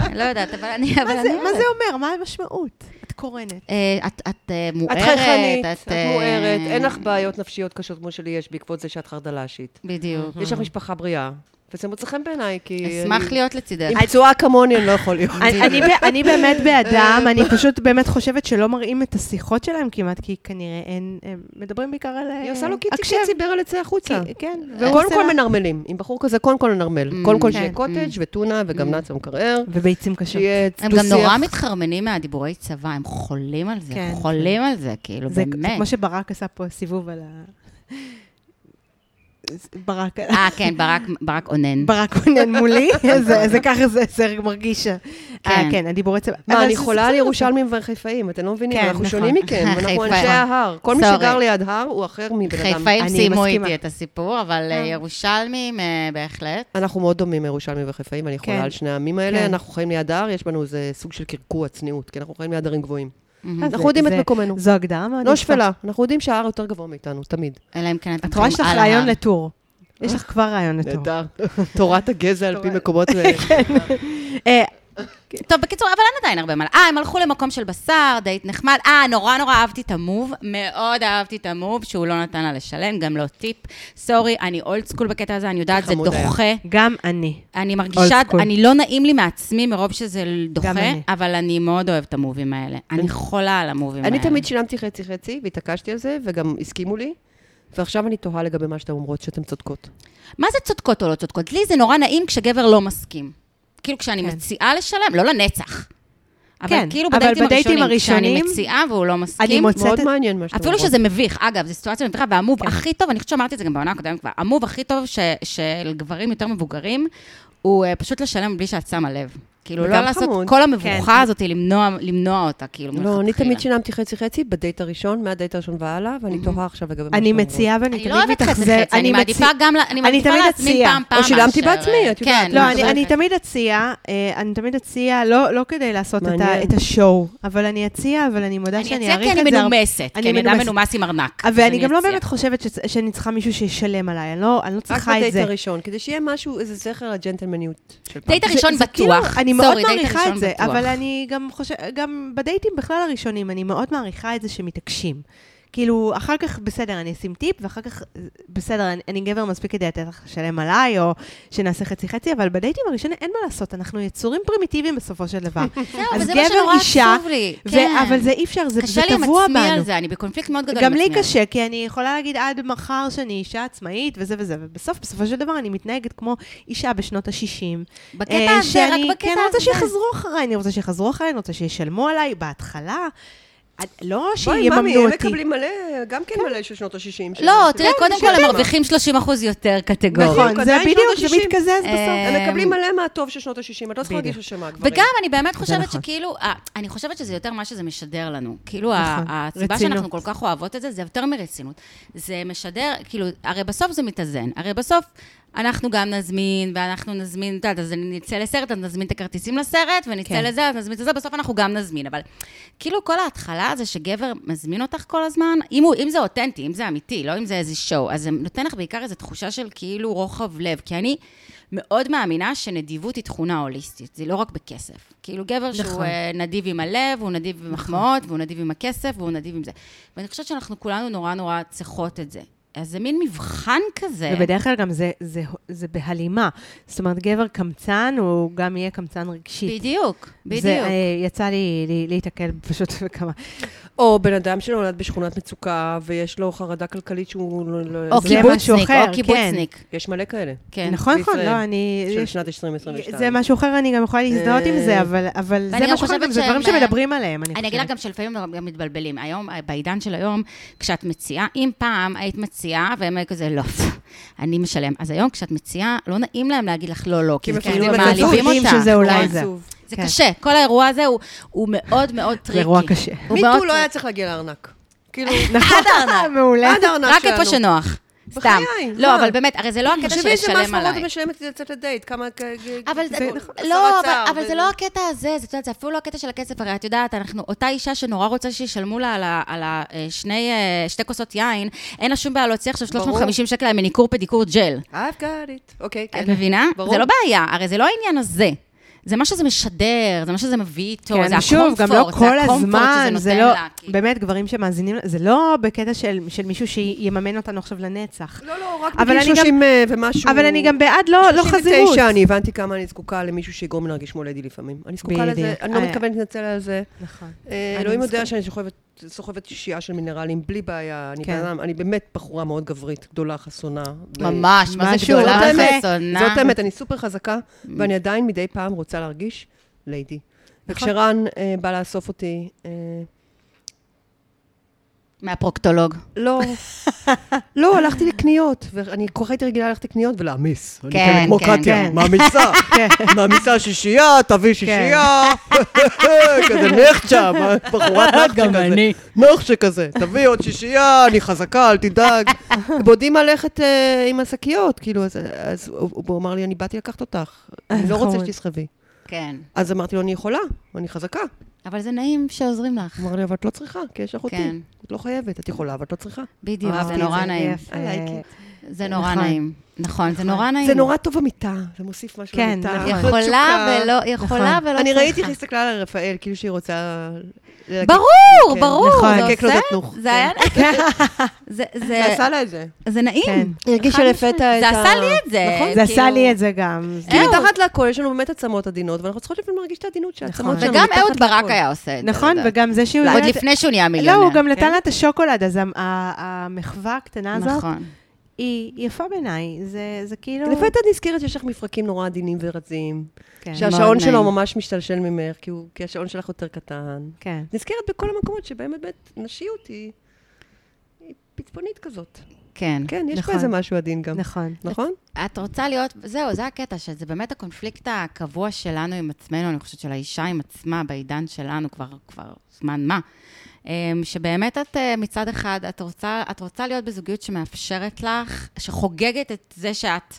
[SPEAKER 1] אני לא יודעת, אבל אני אבל
[SPEAKER 2] מה זה,
[SPEAKER 1] אני
[SPEAKER 2] מה
[SPEAKER 1] אוהבת.
[SPEAKER 2] זה אומר? מה המשמעות? את קורנת.
[SPEAKER 1] אה, את- את אה,
[SPEAKER 3] את
[SPEAKER 1] מוארת.
[SPEAKER 3] חייכנית, את
[SPEAKER 1] אה,
[SPEAKER 3] מוארת, אין לך בעיות נפשיות קשות כמו שלי יש בעקבות זה שאת חרדל"שית.
[SPEAKER 1] בדיוק.
[SPEAKER 3] יש לך משפחה בריאה, וזה מוצא חן בעיניי, כי...
[SPEAKER 1] אשמח
[SPEAKER 3] אני-
[SPEAKER 1] להיות לצידך.
[SPEAKER 3] עם פצועה כמוני אני לא יכול להיות.
[SPEAKER 2] אני- אני ב- אני באמת באדם, <laughs> אני פשוט באמת חושבת שלא מראים את השיחות שלהם כמעט, כי כנראה אין, הם מדברים בעיקר על...
[SPEAKER 3] <laughs> היא
[SPEAKER 2] אה,
[SPEAKER 3] עושה לו קיצי
[SPEAKER 2] הקשב.
[SPEAKER 3] קיצי ברל יצא החוצה.
[SPEAKER 2] כי- כן, והוא
[SPEAKER 3] קודם
[SPEAKER 2] עושה
[SPEAKER 3] כל
[SPEAKER 2] לה-
[SPEAKER 3] מנרמלים. עם בחור כזה, קודם כל ננרמל.
[SPEAKER 1] Mm,
[SPEAKER 3] קודם כל
[SPEAKER 1] כן,
[SPEAKER 3] שיהיה
[SPEAKER 1] mm.
[SPEAKER 3] קוטג' וטונה
[SPEAKER 2] Mm.
[SPEAKER 3] וגם נאצה במקרר.
[SPEAKER 2] וביצים קשות.
[SPEAKER 3] שיהיה דו-שיח.
[SPEAKER 1] הם גם נורא מתחרמנים מהדיבורי צבא, הם חולים על זה,
[SPEAKER 2] כן.
[SPEAKER 1] חולים על זה, כאילו,
[SPEAKER 2] זה זה
[SPEAKER 1] באמת.
[SPEAKER 2] כמו שברק עשה פה סיבוב על ה... <laughs> ברק...
[SPEAKER 1] אה, כן, ברק- ברק אונן.
[SPEAKER 2] ברק עונן מולי, זה- זה ככה זה סרג מרגיש. אה, כן, הדיבורי צבא. אבל
[SPEAKER 3] מה, אני
[SPEAKER 2] זה-
[SPEAKER 3] חולה
[SPEAKER 2] זה- נכון.
[SPEAKER 3] על ירושלמים וחיפאים, אתם לא מבינים,
[SPEAKER 2] כן,
[SPEAKER 3] אנחנו
[SPEAKER 2] נכון.
[SPEAKER 3] שונים
[SPEAKER 2] <laughs>
[SPEAKER 3] מכם, אנחנו
[SPEAKER 1] חיפה.
[SPEAKER 3] אנשי ההר. כל מי
[SPEAKER 1] Sorry.
[SPEAKER 3] שגר ליד הר הוא אחר מבן אדם.
[SPEAKER 1] חיפאים
[SPEAKER 2] אני
[SPEAKER 1] סיימו
[SPEAKER 2] מסכימה.
[SPEAKER 1] איתי את הסיפור, אבל אה,
[SPEAKER 2] כן.
[SPEAKER 1] ירושלמים אה, בהחלט.
[SPEAKER 3] אנחנו מאוד דומים ירושלמים וחיפאים, אני חולה
[SPEAKER 2] כן.
[SPEAKER 3] על שני העמים האלה.
[SPEAKER 2] כן.
[SPEAKER 3] אנחנו חיים ליד ההר, יש בנו איזה סוג של קרקוע, צניעות, כי אנחנו חיים ליד הרים גבוהים.
[SPEAKER 1] מהמם.
[SPEAKER 2] אז
[SPEAKER 3] אנחנו יודעים את
[SPEAKER 2] אה, זה-
[SPEAKER 3] מקומנו.
[SPEAKER 2] זו הגדרה מאוד
[SPEAKER 3] לא
[SPEAKER 2] יפה.
[SPEAKER 3] שפלה, אנחנו יודעים שההר יותר גבוה מאיתנו, תמיד.
[SPEAKER 1] אלא אם כן אתם
[SPEAKER 2] את רואה יש לך
[SPEAKER 1] חיים על
[SPEAKER 2] רעיון
[SPEAKER 1] ההר.
[SPEAKER 2] לטור. יש לך כבר רעיון לטור.
[SPEAKER 3] <laughs> תורת הגזע על פי מקומות...
[SPEAKER 2] <laughs> כן. אה,
[SPEAKER 1] טוב, בקיצור, אבל אין עדיין הרבה מה... אה, הם הלכו למקום של בשר, דייט נחמד. אה, נורא נורא אהבתי את המוב, מאוד אהבתי את המוב, שהוא לא נתן לה לשלם, גם לא טיפ. סורי, אני אולד סקול בקטע הזה, אני יודעת, זה
[SPEAKER 3] חמוד היה.
[SPEAKER 1] דוחה.
[SPEAKER 2] גם אני.
[SPEAKER 1] אני מרגישה,
[SPEAKER 2] Old school.
[SPEAKER 1] אני לא נעים לי מעצמי מרוב שזה דוחה,
[SPEAKER 2] גם אני. כן.
[SPEAKER 1] אבל אני מאוד אוהבת את המובים האלה. אני חולה על המובים האלה.
[SPEAKER 3] אני תמיד שילמתי חצי-חצי, והתעקשתי על זה, וגם הסכימו לי. ועכשיו אני תוהה לגבי מה שאתן אומרות, שאתן צודקות.
[SPEAKER 1] מה זה צודקות או לא צודקות? לי זה נורא נעים כשגבר לא מסכים. כאילו, כשאני
[SPEAKER 2] כן.
[SPEAKER 1] מציעה לשלם, לא לנצח. אבל
[SPEAKER 2] כן,
[SPEAKER 1] כאילו
[SPEAKER 2] אבל
[SPEAKER 1] בדייטים
[SPEAKER 2] בדייטים
[SPEAKER 1] הראשונים, כשאני
[SPEAKER 2] הראשונים,
[SPEAKER 1] מציעה והוא לא מסכים,
[SPEAKER 2] אני מוצאת
[SPEAKER 3] מאוד
[SPEAKER 2] את-
[SPEAKER 3] מעניין מה שאתן אומרות.
[SPEAKER 1] אפילו שזה מביך, אגב, זו סיטואציה מביכה, והמוב
[SPEAKER 2] כן.
[SPEAKER 1] הכי טוב, אני חושבת שאמרתי את זה גם בעונה הקודמת כבר, המוב הכי טוב ש, של גברים יותר מבוגרים, הוא אה, פשוט לשלם בלי שאת שמה לב. כאילו,
[SPEAKER 3] וגם
[SPEAKER 1] לא לעשות
[SPEAKER 3] חמוד.
[SPEAKER 1] כל המבוכה
[SPEAKER 2] כן.
[SPEAKER 1] הזאת, למנוע, למנוע אותה, כאילו,
[SPEAKER 3] לא, אני
[SPEAKER 1] מלכתחילה.
[SPEAKER 3] תמיד שילמתי חצי-חצי בדייט הראשון, מהדייט הראשון והלאה, ואני תוהה עכשיו לגבי מה שאתן
[SPEAKER 2] אני
[SPEAKER 3] אומרות.
[SPEAKER 2] מציעה ואני
[SPEAKER 1] אני
[SPEAKER 2] תמיד
[SPEAKER 1] לא
[SPEAKER 2] מתאכזר.
[SPEAKER 1] אוהבת חצי חצי, אני מעדיפה
[SPEAKER 2] מציע-
[SPEAKER 1] גם, לה- אני מעדיפה
[SPEAKER 2] תמיד
[SPEAKER 1] לעצמי
[SPEAKER 2] אציע.
[SPEAKER 1] פעם פעם
[SPEAKER 3] או שילמתי
[SPEAKER 1] מאשר,
[SPEAKER 3] בעצמי,
[SPEAKER 1] אה,
[SPEAKER 3] את יודעת,
[SPEAKER 1] כן,
[SPEAKER 2] לא,
[SPEAKER 1] אני
[SPEAKER 2] אני-
[SPEAKER 1] מדברת.
[SPEAKER 2] אני תמיד אציע, אה, אני תמיד אציע, לא לא כדי לעשות את ה-
[SPEAKER 3] מעניין.
[SPEAKER 2] את השואו, אבל אני אציע, אבל אני מודה
[SPEAKER 1] אני
[SPEAKER 2] שאני
[SPEAKER 1] אציע
[SPEAKER 2] אעריך
[SPEAKER 1] כי
[SPEAKER 2] את זה.
[SPEAKER 1] אני
[SPEAKER 2] הרבה-
[SPEAKER 1] מנומסת,
[SPEAKER 2] אני
[SPEAKER 1] כי אני אדם
[SPEAKER 2] מנומסת.
[SPEAKER 1] מנומס עם ארנק. אז
[SPEAKER 2] ואני
[SPEAKER 1] אני
[SPEAKER 2] גם לא
[SPEAKER 1] אציע.
[SPEAKER 2] באמת חושבת שצ- שאני צריכה מישהו שישלם עליי, אני לא אני לא
[SPEAKER 3] רק
[SPEAKER 2] צריכה את
[SPEAKER 3] בדייט
[SPEAKER 2] זה.
[SPEAKER 3] הראשון, כדי שיהיה משהו, איזה זכר לג'נטלמניות של פעם.
[SPEAKER 1] דייט הראשון
[SPEAKER 2] זה- זה כאילו,
[SPEAKER 1] בטוח.
[SPEAKER 2] אני מאוד
[SPEAKER 1] סורי, דייט
[SPEAKER 2] מעריכה
[SPEAKER 1] הראשון
[SPEAKER 2] את זה,
[SPEAKER 1] בטוח.
[SPEAKER 2] אבל אני גם חושבת, גם בדייטים בכלל הראשונים, אני מאוד מעריכה את זה שמתעקשים. כאילו, אחר כך, בסדר, אני אשים טיפ, ואחר כך, בסדר, אני, אני גבר מספיק כדי לתת לך לשלם עליי, או שנעשה חצי-חצי, אבל בדייטים הראשונים אין מה לעשות, אנחנו יצורים פרימיטיביים בסופו של דבר.
[SPEAKER 1] <laughs> זהו,
[SPEAKER 2] אז
[SPEAKER 1] וזה מה
[SPEAKER 2] גבר,
[SPEAKER 1] שנורא
[SPEAKER 2] אישה,
[SPEAKER 1] עצוב לי.
[SPEAKER 2] ו-
[SPEAKER 1] כן.
[SPEAKER 2] אבל זה אי אפשר, זה זה
[SPEAKER 1] קשה לי עם
[SPEAKER 2] טבוע
[SPEAKER 1] עצמי
[SPEAKER 2] בנו.
[SPEAKER 1] על זה, לא, אני בקונפליקט מאוד גדול עם
[SPEAKER 2] גם
[SPEAKER 1] עצמי.
[SPEAKER 2] לי
[SPEAKER 1] על
[SPEAKER 2] קשה, כי אני יכולה להגיד עד מחר שאני אישה עצמאית וזה וזה, ובסוף, בסופו של דבר, אני מתנהגת כמו אישה בשנות ה-60,
[SPEAKER 1] זה. בקטע הזה, רק בקטע הזה.
[SPEAKER 2] כן, אני רוצה שיחזרו אחריי, אני רוצה שיחזרו אחריי, אני רוצה שישלמו עליי בהתחלה. אני- לא
[SPEAKER 3] בואי,
[SPEAKER 2] שיממנו
[SPEAKER 3] מאמי, הם
[SPEAKER 2] אותי.
[SPEAKER 3] מקבלים מלא, גם כן מלא של שנות ה-60.
[SPEAKER 1] לא, תראה, קודם כל הם
[SPEAKER 3] הם
[SPEAKER 1] מרוויחים 30 אחוז יותר קטגוריה.
[SPEAKER 3] בדיוק,
[SPEAKER 2] כן, נכון, זה
[SPEAKER 3] עדיין
[SPEAKER 2] בדיוק,
[SPEAKER 3] שנות
[SPEAKER 2] זה
[SPEAKER 3] ה-60.
[SPEAKER 2] מתקזז
[SPEAKER 1] אה,
[SPEAKER 2] בסוף.
[SPEAKER 3] הם מקבלים
[SPEAKER 1] אמ,
[SPEAKER 3] מלא מהטוב של שנות ה-60, את לא צריכה
[SPEAKER 2] בדיוק.
[SPEAKER 3] להרגיש אשמה, גברים.
[SPEAKER 1] וגם אני באמת חושבת
[SPEAKER 2] נכון.
[SPEAKER 1] שכאילו, אה, אני חושבת שזה יותר מה שזה משדר לנו. כאילו, ה-
[SPEAKER 2] נכון,
[SPEAKER 1] הסיבה
[SPEAKER 2] רצינות.
[SPEAKER 1] שאנחנו כל כך אוהבות את זה, זה יותר מרצינות. זה משדר, כאילו, הרי בסוף זה מתאזן. הרי בסוף אנחנו גם נזמין, ואנחנו נזמין, את יודעת, אז נצא לסרט, אז נזמין את הכרטיסים לסרט, ונצא
[SPEAKER 2] כן.
[SPEAKER 1] לזה, אז נזמין את זה, בסוף אנחנו גם נזמין. אבל כאילו, כל ההתחלה זה שגבר מזמין אותך כל הזמן, אם הוא- אם זה אותנטי, אם זה אמיתי, לא אם זה איזה שואו, אז זה נותן לך בעיקר איזו תחושה של כאילו רוחב לב, כי אני... מאוד מאמינה שנדיבות היא תכונה הוליסטית, זה לא רק בכסף. כאילו גבר שהוא
[SPEAKER 2] נכון.
[SPEAKER 1] אה, נדיב עם הלב, הוא נדיב עם מחמאות, והוא נדיב עם הכסף, והוא נדיב עם זה. ואני חושבת שאנחנו כולנו נורא נורא צריכות את זה. אז זה מין מבחן כזה.
[SPEAKER 2] ובדרך כלל גם זה- זה- זה בהלימה. זאת אומרת, גבר קמצן, הוא גם יהיה קמצן רגשי.
[SPEAKER 1] בדיוק, בדיוק.
[SPEAKER 2] זה, אה, יצא לי לי- להיתקל פשוט <laughs> בכמה.
[SPEAKER 3] או בן אדם שנולד בשכונת מצוקה, ויש לו חרדה כלכלית שהוא... לא- לא-
[SPEAKER 1] או
[SPEAKER 3] זה-
[SPEAKER 2] כי- משהו
[SPEAKER 1] קיבוצניק,
[SPEAKER 2] אחר,
[SPEAKER 1] או קיבוצניק.
[SPEAKER 3] יש מלא כאלה,
[SPEAKER 1] כן.
[SPEAKER 2] נכון, נכון,
[SPEAKER 3] בישראל.
[SPEAKER 2] לא, אני...
[SPEAKER 3] של
[SPEAKER 2] יש-
[SPEAKER 3] שנת 2022.
[SPEAKER 2] זה משהו אחר, אני גם יכולה להזדהות עם זה,
[SPEAKER 3] אה,
[SPEAKER 2] אבל אבל זה
[SPEAKER 1] ואני גם
[SPEAKER 2] משהו אחר,
[SPEAKER 1] חושבת
[SPEAKER 2] גם זה דברים
[SPEAKER 1] שהם, אה,
[SPEAKER 2] שמדברים עליהם, אני חושבת.
[SPEAKER 1] אני אגיד לך גם שלפעמים גם גם מתבלבלים. היום, אה, בעידן של היום, כשאת מציעה, אם פעם היית מציעה, והם היו כזה, לא, <laughs> אני משלם. אז היום כשאת מציעה, לא נעים להם להגיד לך לא, לא, כי
[SPEAKER 3] כי
[SPEAKER 1] זה
[SPEAKER 3] מפחדים
[SPEAKER 1] כאילו
[SPEAKER 3] את
[SPEAKER 1] מעליבים
[SPEAKER 2] הזוגים
[SPEAKER 1] אותך.
[SPEAKER 2] שזה אולי
[SPEAKER 1] כן.
[SPEAKER 2] זה.
[SPEAKER 1] זה
[SPEAKER 2] כן.
[SPEAKER 1] קשה, כל האירוע הזה הוא- הוא מאוד מאוד טריקי.
[SPEAKER 2] זה אירוע
[SPEAKER 1] <laughs>
[SPEAKER 2] קשה.
[SPEAKER 1] הוא
[SPEAKER 3] מיטו
[SPEAKER 1] מאוד-
[SPEAKER 3] לא היה צריך להגיע לארנק. כאילו,
[SPEAKER 2] נכון, <laughs> מעולה.
[SPEAKER 3] עד הארנק
[SPEAKER 1] רק
[SPEAKER 3] שלנו.
[SPEAKER 1] איפה שנוח. סתם.
[SPEAKER 3] בחיי,
[SPEAKER 1] לא,
[SPEAKER 3] מה?
[SPEAKER 1] אבל באמת, הרי זה לא הקטע של
[SPEAKER 3] תחשבי איזה
[SPEAKER 1] לשלם
[SPEAKER 3] משכורות
[SPEAKER 1] עליי.
[SPEAKER 3] את משלמת כדי לצאת לדייט, כמה... כ- כ-
[SPEAKER 1] אבל,
[SPEAKER 3] זה-
[SPEAKER 1] זה,
[SPEAKER 3] נכון,
[SPEAKER 1] לא,
[SPEAKER 3] שר
[SPEAKER 1] אבל,
[SPEAKER 3] אוצר,
[SPEAKER 1] אבל זה
[SPEAKER 3] ו-
[SPEAKER 1] לא הקטע הזה, זה, את יודעת, זה אפילו לא הקטע של הכסף, הרי את יודעת, אנחנו, אותה אישה שנורא רוצה שישלמו לה על, ה- על ה- אה, שני, אה, שתי כוסות יין, אין לה שום בעיה להוציא עכשיו 350 שקל על מניקור פדיקור ג'ל.
[SPEAKER 3] I've got it. אוקיי, כן.
[SPEAKER 1] את מבינה?
[SPEAKER 3] ברור.
[SPEAKER 1] זה לא בעיה, הרי זה לא העניין הזה. זה מה שזה משדר, זה מה שזה מביא איתו, זה הקומפורט,
[SPEAKER 2] גם לא כל
[SPEAKER 1] זה הקומפורט שזה
[SPEAKER 2] הזמן,
[SPEAKER 1] נותן
[SPEAKER 2] זה לא,
[SPEAKER 1] לה. כאילו.
[SPEAKER 2] באמת, גברים שמאזינים, זה לא בקטע של, של מישהו שיממן אותנו עכשיו לנצח.
[SPEAKER 3] לא, לא, רק
[SPEAKER 2] אבל
[SPEAKER 3] בגיל
[SPEAKER 2] אני גם-
[SPEAKER 3] 30 אה, ומשהו.
[SPEAKER 2] אבל אני גם בעד לא, לא חזירות.
[SPEAKER 3] 39, אני הבנתי כמה אני זקוקה למישהו שיגרום לי להרגיש מולדי לפעמים. אני זקוקה לזה,
[SPEAKER 2] בדיוק.
[SPEAKER 3] אני לא
[SPEAKER 2] אה.
[SPEAKER 3] מתכוונת להתנצל על זה.
[SPEAKER 2] נכון.
[SPEAKER 3] אה,
[SPEAKER 2] אני
[SPEAKER 3] אלוהים יודע
[SPEAKER 2] מסכימה.
[SPEAKER 3] שאני סוחבת, סוחבת שישייה של מינרלים בלי בעיה. אני
[SPEAKER 2] כן.
[SPEAKER 3] בן אדם- אני באמת בחורה מאוד גברית, גדולה, חסונה. ו-
[SPEAKER 1] ממש, מה זה
[SPEAKER 2] משהו,
[SPEAKER 1] גדולה
[SPEAKER 3] זאת האמת,
[SPEAKER 1] וחסונה.
[SPEAKER 3] זאת האמת, אני סופר חזקה, ואני עדיין מדי פעם רוצה להרגיש ליידי. וכשרן אה, בא לאסוף אותי, אה,
[SPEAKER 1] מהפרוקטולוג.
[SPEAKER 3] לא, לא, הלכתי לקניות, ואני כל כך הייתי רגילה ללכת לקניות ולהעמיס. אני
[SPEAKER 1] כן,
[SPEAKER 3] כמו
[SPEAKER 1] כן,
[SPEAKER 3] קטיה,
[SPEAKER 1] <laughs> כן.
[SPEAKER 3] מעמיסה, מעמיסה שישייה, תביא שישייה, <laughs> כזה נחצ'ה,
[SPEAKER 1] <laughs>
[SPEAKER 3] בחורת נחצ'ה כזה. גם אני. נחצ'ה כזה, תביא עוד שישייה, אני חזקה, אל
[SPEAKER 1] <laughs>
[SPEAKER 3] תדאג. ועודי ללכת אה, עם השקיות, כאילו, אז- אז הוא הוא אמר לי, אני באתי לקחת אותך, אני לא רוצה
[SPEAKER 2] נכון.
[SPEAKER 3] שתסחבי.
[SPEAKER 1] כן.
[SPEAKER 3] אז אמרתי לו, אני יכולה, אני חזקה.
[SPEAKER 1] אבל זה נעים שעוזרים לך.
[SPEAKER 3] הוא אמר לי, אבל את לא צריכה, כי יש לך
[SPEAKER 1] כן.
[SPEAKER 3] אותי. את לא חייבת, את יכולה, אבל את לא צריכה.
[SPEAKER 1] בדיוק,
[SPEAKER 2] אהבתי
[SPEAKER 1] זה
[SPEAKER 2] את
[SPEAKER 1] נורא נעים. אה,
[SPEAKER 2] יפה.
[SPEAKER 3] like
[SPEAKER 1] זה נורא
[SPEAKER 2] נכון.
[SPEAKER 1] נעים. נכון, זה נורא נעים.
[SPEAKER 3] זה נורא טוב במיטה, זה מוסיף משהו
[SPEAKER 2] כן,
[SPEAKER 3] למיטה.
[SPEAKER 2] נכון.
[SPEAKER 1] יכולה ולא, יכולה
[SPEAKER 2] נכון.
[SPEAKER 1] ולא
[SPEAKER 3] אני ראיתי איך היא
[SPEAKER 1] צריכה.
[SPEAKER 3] הסתכלה על רפאל, כאילו שהיא רוצה... ללקק-
[SPEAKER 1] ברור,
[SPEAKER 3] כן,
[SPEAKER 1] ברור,
[SPEAKER 2] נכון.
[SPEAKER 1] זה
[SPEAKER 3] לקק לו את
[SPEAKER 1] עושה-
[SPEAKER 3] התנוך.
[SPEAKER 1] זה היה...
[SPEAKER 2] <laughs>
[SPEAKER 1] זה- זה-
[SPEAKER 3] זה עשה לה את זה.
[SPEAKER 1] זה
[SPEAKER 2] כן.
[SPEAKER 1] נעים.
[SPEAKER 3] היא הרגישה
[SPEAKER 1] חד
[SPEAKER 3] לפתע
[SPEAKER 1] משמעית.
[SPEAKER 3] את
[SPEAKER 1] זה
[SPEAKER 3] ה- נכון?
[SPEAKER 1] עשה לי את זה.
[SPEAKER 2] נכון? זה
[SPEAKER 1] כאילו-
[SPEAKER 2] עשה לי את זה גם.
[SPEAKER 1] אה,
[SPEAKER 3] כי
[SPEAKER 1] אהוד.
[SPEAKER 3] מתחת לכל יש לנו באמת עצמות עדינות, ואנחנו צריכות לפעמים להרגיש את העדינות של העצמות
[SPEAKER 2] נכון.
[SPEAKER 3] שלנו.
[SPEAKER 1] וגם
[SPEAKER 3] מתחת
[SPEAKER 1] אהוד ברק
[SPEAKER 3] לכל.
[SPEAKER 1] היה עושה את זה.
[SPEAKER 2] נכון,
[SPEAKER 1] לדעתי.
[SPEAKER 2] וגם זה שהוא...
[SPEAKER 1] עוד
[SPEAKER 2] נתן-
[SPEAKER 1] לפני שהוא נהיה מיליונר.
[SPEAKER 2] לא, הוא גם נתן
[SPEAKER 3] כן?
[SPEAKER 2] לה את השוקולד, אז המ- ה- המחווה הקטנה הזאת,
[SPEAKER 1] נכון.
[SPEAKER 2] היא יפה בעיניי. זה זה כאילו...
[SPEAKER 3] לפתע את נזכרת שיש לך מפרקים נורא עדינים ורזים,
[SPEAKER 2] כן,
[SPEAKER 1] מאוד
[SPEAKER 3] שהשעון
[SPEAKER 1] נעים.
[SPEAKER 3] שלו ממש משתלשל ממך, כי הוא- כי השעון שלך יותר קטן.
[SPEAKER 2] כן.
[SPEAKER 3] נזכרת בכל המקומות שבהם באמת נשיות היא היא פצפונית כזאת.
[SPEAKER 1] כן.
[SPEAKER 3] כן, יש פה
[SPEAKER 2] נכון.
[SPEAKER 3] איזה משהו עדין גם.
[SPEAKER 2] נכון.
[SPEAKER 3] נכון?
[SPEAKER 1] את רוצה להיות, זהו, זה הקטע, שזה באמת הקונפליקט הקבוע שלנו עם עצמנו, אני חושבת של האישה עם עצמה בעידן שלנו כבר, כבר זמן מה. אמ, שבאמת את אה, מצד אחד, את רוצה, את רוצה להיות בזוגיות שמאפשרת לך, שחוגגת את זה שאת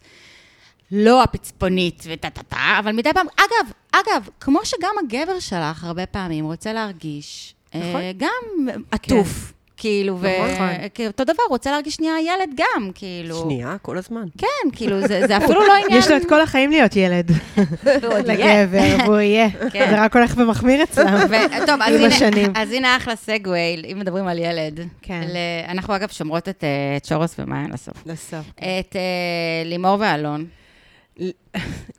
[SPEAKER 1] לא הפצפונית וטה-טה-טה, אבל מדי פעם, אגב, אגב, כמו שגם הגבר שלך הרבה פעמים רוצה להרגיש,
[SPEAKER 2] נכון.
[SPEAKER 1] אה, גם עטוף, כאילו, ו...
[SPEAKER 2] נכון.
[SPEAKER 1] כי אותו דבר, רוצה להרגיש שנייה ילד גם, כאילו.
[SPEAKER 3] שנייה, כל הזמן.
[SPEAKER 1] כן, כאילו, זה, זה אפילו לא עניין...
[SPEAKER 2] <laughs> יש לו את כל החיים להיות ילד.
[SPEAKER 1] <laughs> ועוד יהיה.
[SPEAKER 2] לגבר, והוא יהיה.
[SPEAKER 1] <laughs> כן.
[SPEAKER 2] זה רק הולך ומחמיר אצלם.
[SPEAKER 1] ו- טוב, אז
[SPEAKER 2] עם
[SPEAKER 1] הנה,
[SPEAKER 2] השנים.
[SPEAKER 1] אז הנה אחלה סגווי, אם מדברים על ילד.
[SPEAKER 2] כן.
[SPEAKER 1] ל- אנחנו אגב שומרות את אה, את שורוס ומעיין לסוף.
[SPEAKER 2] לסוף.
[SPEAKER 1] את אה, לימור ואלון.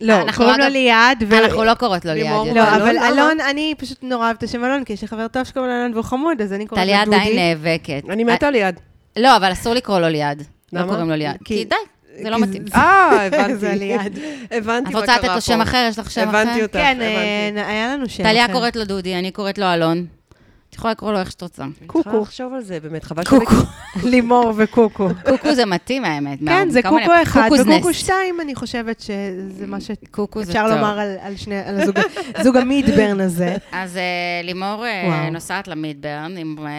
[SPEAKER 2] לא,
[SPEAKER 1] אנחנו
[SPEAKER 2] קוראים לו
[SPEAKER 1] אגב-
[SPEAKER 2] ליעד. ו-
[SPEAKER 1] אנחנו לא קוראות לו ליעד.
[SPEAKER 3] לימור
[SPEAKER 1] יותר.
[SPEAKER 2] לא,
[SPEAKER 3] אלון,
[SPEAKER 2] אבל
[SPEAKER 3] למה?
[SPEAKER 2] אלון, אני פשוט נורא אוהבת את השם אלון, כי יש לי חבר טוב שקוראים לו אלון והוא חמוד, אז אני קוראת
[SPEAKER 1] טליה
[SPEAKER 2] לו דודי.
[SPEAKER 1] עדיין אה, נאבקת.
[SPEAKER 3] אני מתה ליד.
[SPEAKER 1] אה, לא, אבל אסור לקרוא לו ליעד. לא
[SPEAKER 3] למה?
[SPEAKER 1] קוראים לו ליעד. כי
[SPEAKER 2] כי-
[SPEAKER 1] די, זה לא
[SPEAKER 2] כי
[SPEAKER 1] מתאים.
[SPEAKER 3] אה, הבנתי.
[SPEAKER 2] זה ליד.
[SPEAKER 3] הבנתי
[SPEAKER 1] את
[SPEAKER 3] מה
[SPEAKER 1] רוצה
[SPEAKER 3] קרה
[SPEAKER 1] לתת
[SPEAKER 3] פה.
[SPEAKER 1] לו שם אחר? יש לך שם אחר?
[SPEAKER 3] הבנתי אותך,
[SPEAKER 2] כן,
[SPEAKER 3] הבנתי.
[SPEAKER 2] אה, היה לנו שם.
[SPEAKER 1] טליה
[SPEAKER 2] כן.
[SPEAKER 1] קוראת לו דודי, אני קוראת לו אלון. את יכולה לקרוא לו איך שאת
[SPEAKER 2] <laughs>
[SPEAKER 1] רוצה.
[SPEAKER 3] צריכה
[SPEAKER 2] קוקו.
[SPEAKER 3] לחשוב על זה, באמת, חבל לא- שזה...
[SPEAKER 2] <laughs> קוקו. לימור וקוקו.
[SPEAKER 1] קוקו זה מתאים, האמת.
[SPEAKER 2] כן,
[SPEAKER 1] מה-
[SPEAKER 2] זה
[SPEAKER 1] כל
[SPEAKER 2] קוקו
[SPEAKER 1] מיני-
[SPEAKER 2] אחד
[SPEAKER 1] קוקו's
[SPEAKER 2] וקוקו
[SPEAKER 1] nest.
[SPEAKER 2] שתיים, אני חושבת שזה מה
[SPEAKER 1] קוקו זה
[SPEAKER 2] שאפשר
[SPEAKER 1] טוב.
[SPEAKER 2] לומר על- על שני, על הזוג- <laughs> זוג המידברן הזה.
[SPEAKER 1] אז אה, לימור אה,
[SPEAKER 2] וואו.
[SPEAKER 1] נוסעת למידברן, עם אה,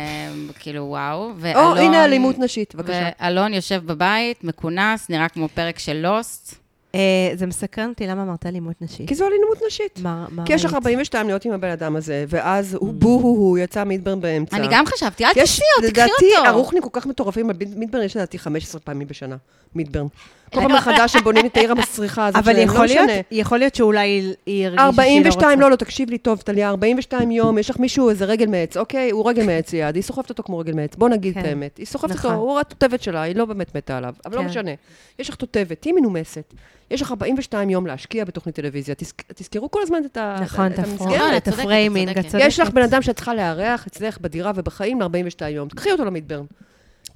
[SPEAKER 1] כאילו וואו, ואלון...
[SPEAKER 3] או, הנה אלימות נשית, בבקשה.
[SPEAKER 1] ואלון יושב בבית, מכונס, נראה כמו פרק של לוסט.
[SPEAKER 2] אה, זה מסקרן אותי, למה אמרת אלימות נשית?
[SPEAKER 3] כי זו אלימות נשית.
[SPEAKER 2] מה מה
[SPEAKER 3] כי יש לך
[SPEAKER 2] ראית?
[SPEAKER 3] 42 להיות עם הבן אדם הזה, ואז הוא בו הוא הוא, יצא מידברן באמצע.
[SPEAKER 1] אני גם חשבתי, אל
[SPEAKER 3] יש-
[SPEAKER 1] תוציאי אותו, תקחי אותו.
[SPEAKER 3] לדעתי, ערוכנים כל כך מטורפים, על מיד- מידברן יש לדעתי 15 פעמים בשנה, מידברן. כל
[SPEAKER 1] לא-
[SPEAKER 3] פעם מחדש הם בונים את העיר המסריחה הזאת
[SPEAKER 2] אבל
[SPEAKER 3] שלהם, לא
[SPEAKER 2] יכול להיות,
[SPEAKER 3] משנה.
[SPEAKER 2] יכול להיות שאולי היא- היא הרגישה שהיא לא רוצה.
[SPEAKER 3] 42, לא, לא, תקשיב לי טוב, טליה, 42 יום, יש לך מישהו, איזה רגל מעץ, אוקיי, הוא רגל מעץ ליד, היא סוחבת אותו כמו רגל מעץ, בוא נגיד את
[SPEAKER 2] כן.
[SPEAKER 3] האמת. היא סוחבת
[SPEAKER 2] נכון.
[SPEAKER 3] אותו, הוא התותבת שלה, היא לא באמת מתה עליו, אבל לא
[SPEAKER 2] כן.
[SPEAKER 3] משנה. יש לך תותבת, תהיי מנומסת. יש לך 42 יום להשקיע בתוכנית טלוויזיה, תזכ- תזכרו כל הזמן את ה-
[SPEAKER 2] נכון,
[SPEAKER 3] את
[SPEAKER 2] את
[SPEAKER 3] המסגרת.
[SPEAKER 1] לא,
[SPEAKER 2] הפרונט, את
[SPEAKER 1] צודקת,
[SPEAKER 2] הפריימינג,
[SPEAKER 1] צודקת.
[SPEAKER 2] את צודקת.
[SPEAKER 3] יש לך בן אדם שאת צריכה לארח אצלך בדירה ובחיים ל-42 יום, תקחי אותו למידברן.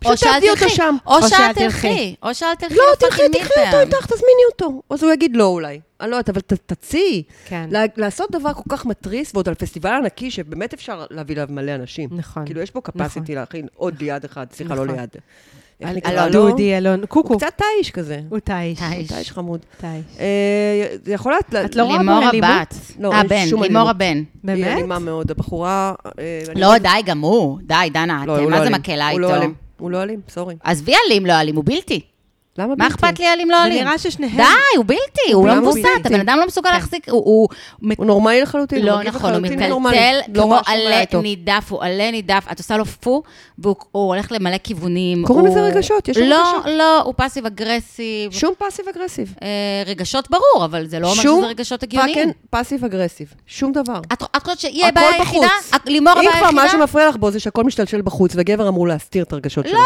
[SPEAKER 1] או
[SPEAKER 3] פשוט
[SPEAKER 1] שאל
[SPEAKER 3] תעבדי אותו
[SPEAKER 1] תלכי,
[SPEAKER 3] שם.
[SPEAKER 1] או שאל תלכי, או שאל תלכי.
[SPEAKER 3] לא,
[SPEAKER 1] לפאקינג
[SPEAKER 3] תלכי, תקחי אותו
[SPEAKER 1] מידברן.
[SPEAKER 3] איתך, תזמיני אותו. אז הוא יגיד לא אולי. אני לא יודעת, אבל ת- תציעי.
[SPEAKER 2] כן.
[SPEAKER 3] לה- לעשות דבר כל כך מתריס, ועוד על פסטיבל ענקי, שבאמת אפשר להביא אליו מלא אנשים.
[SPEAKER 2] נכון.
[SPEAKER 3] כאילו, יש פה
[SPEAKER 2] נכון.
[SPEAKER 3] capacity להכין עוד ליד אחד, סליחה, לא
[SPEAKER 2] נכון.
[SPEAKER 3] ליד. איך
[SPEAKER 2] אל-
[SPEAKER 3] נקרא
[SPEAKER 1] לא-
[SPEAKER 2] אלון,
[SPEAKER 3] לו?
[SPEAKER 2] דודי, אלון,
[SPEAKER 3] הוא
[SPEAKER 2] קוקו.
[SPEAKER 3] קצת תאיש כזה.
[SPEAKER 2] הוא תאיש.
[SPEAKER 1] תאיש.
[SPEAKER 3] תאיש חמוד.
[SPEAKER 2] תאיש.
[SPEAKER 3] אה, זה יכול להיות...
[SPEAKER 2] את לא רואה
[SPEAKER 1] לימור
[SPEAKER 2] בו אלימות?
[SPEAKER 1] הבת.
[SPEAKER 3] לא,
[SPEAKER 1] אה,
[SPEAKER 3] אין
[SPEAKER 1] בן,
[SPEAKER 3] שום
[SPEAKER 1] לימור
[SPEAKER 3] אלימות.
[SPEAKER 1] הבן.
[SPEAKER 3] היא
[SPEAKER 2] באמת?
[SPEAKER 3] אלימה מאוד, הבחורה... אה, אני-
[SPEAKER 1] לא, די, גם הוא. די, דנה,
[SPEAKER 3] לא,
[SPEAKER 1] אתם,
[SPEAKER 3] הוא
[SPEAKER 1] מה
[SPEAKER 3] לא
[SPEAKER 1] זה
[SPEAKER 3] אלים.
[SPEAKER 1] מקהלה
[SPEAKER 3] הוא לא
[SPEAKER 1] איתו?
[SPEAKER 3] אלים. הוא לא אלים, סורי.
[SPEAKER 1] עזבי אלים, לא אלים, הוא בלתי.
[SPEAKER 3] למה
[SPEAKER 1] מה אכפת לי אלים, לא
[SPEAKER 2] זה
[SPEAKER 1] אלים?
[SPEAKER 2] נראה ששניהם...
[SPEAKER 1] די, הוא בלתי, הוא לא
[SPEAKER 3] למה הוא
[SPEAKER 1] מבוסת,
[SPEAKER 3] בלתי? כן.
[SPEAKER 1] הבן אדם לא מסוגל להחזיק, הוא- הוא...
[SPEAKER 3] הוא נורמלי לחלוטין,
[SPEAKER 1] לא
[SPEAKER 3] מגיב
[SPEAKER 1] נכון, הוא
[SPEAKER 3] לחלוטין כאילו, נורמלי.
[SPEAKER 1] מטלטל
[SPEAKER 3] לא
[SPEAKER 1] כמו
[SPEAKER 3] רואה שום בעיה
[SPEAKER 1] עלה
[SPEAKER 3] איתו.
[SPEAKER 1] נידף, הוא עלה נידף, את עושה לו פו, והוא הוא הולך למלא כיוונים.
[SPEAKER 3] קוראים
[SPEAKER 1] הוא-
[SPEAKER 3] לזה רגשות, יש לו
[SPEAKER 1] לא,
[SPEAKER 3] רגשות.
[SPEAKER 1] לא, הוא פאסיב אגרסיב.
[SPEAKER 3] שום פאסיב אגרסיב.
[SPEAKER 1] אה, רגשות ברור, אבל זה לא אומר
[SPEAKER 3] שום
[SPEAKER 1] שזה רגשות הגיוניים.
[SPEAKER 3] פאקינג פאסיב אגרסיב. שום דבר.
[SPEAKER 1] את את חושבת שהיא
[SPEAKER 3] הכל
[SPEAKER 1] הבעיה היחידה?
[SPEAKER 3] בחוץ.
[SPEAKER 1] את- לימור הבעיה
[SPEAKER 3] אם כבר
[SPEAKER 1] היחידה?
[SPEAKER 3] משהו מפריע לך בו, זה שהכל משתלשל בחוץ, וגבר אמור להסתיר את הרגשות שלו.
[SPEAKER 1] לא,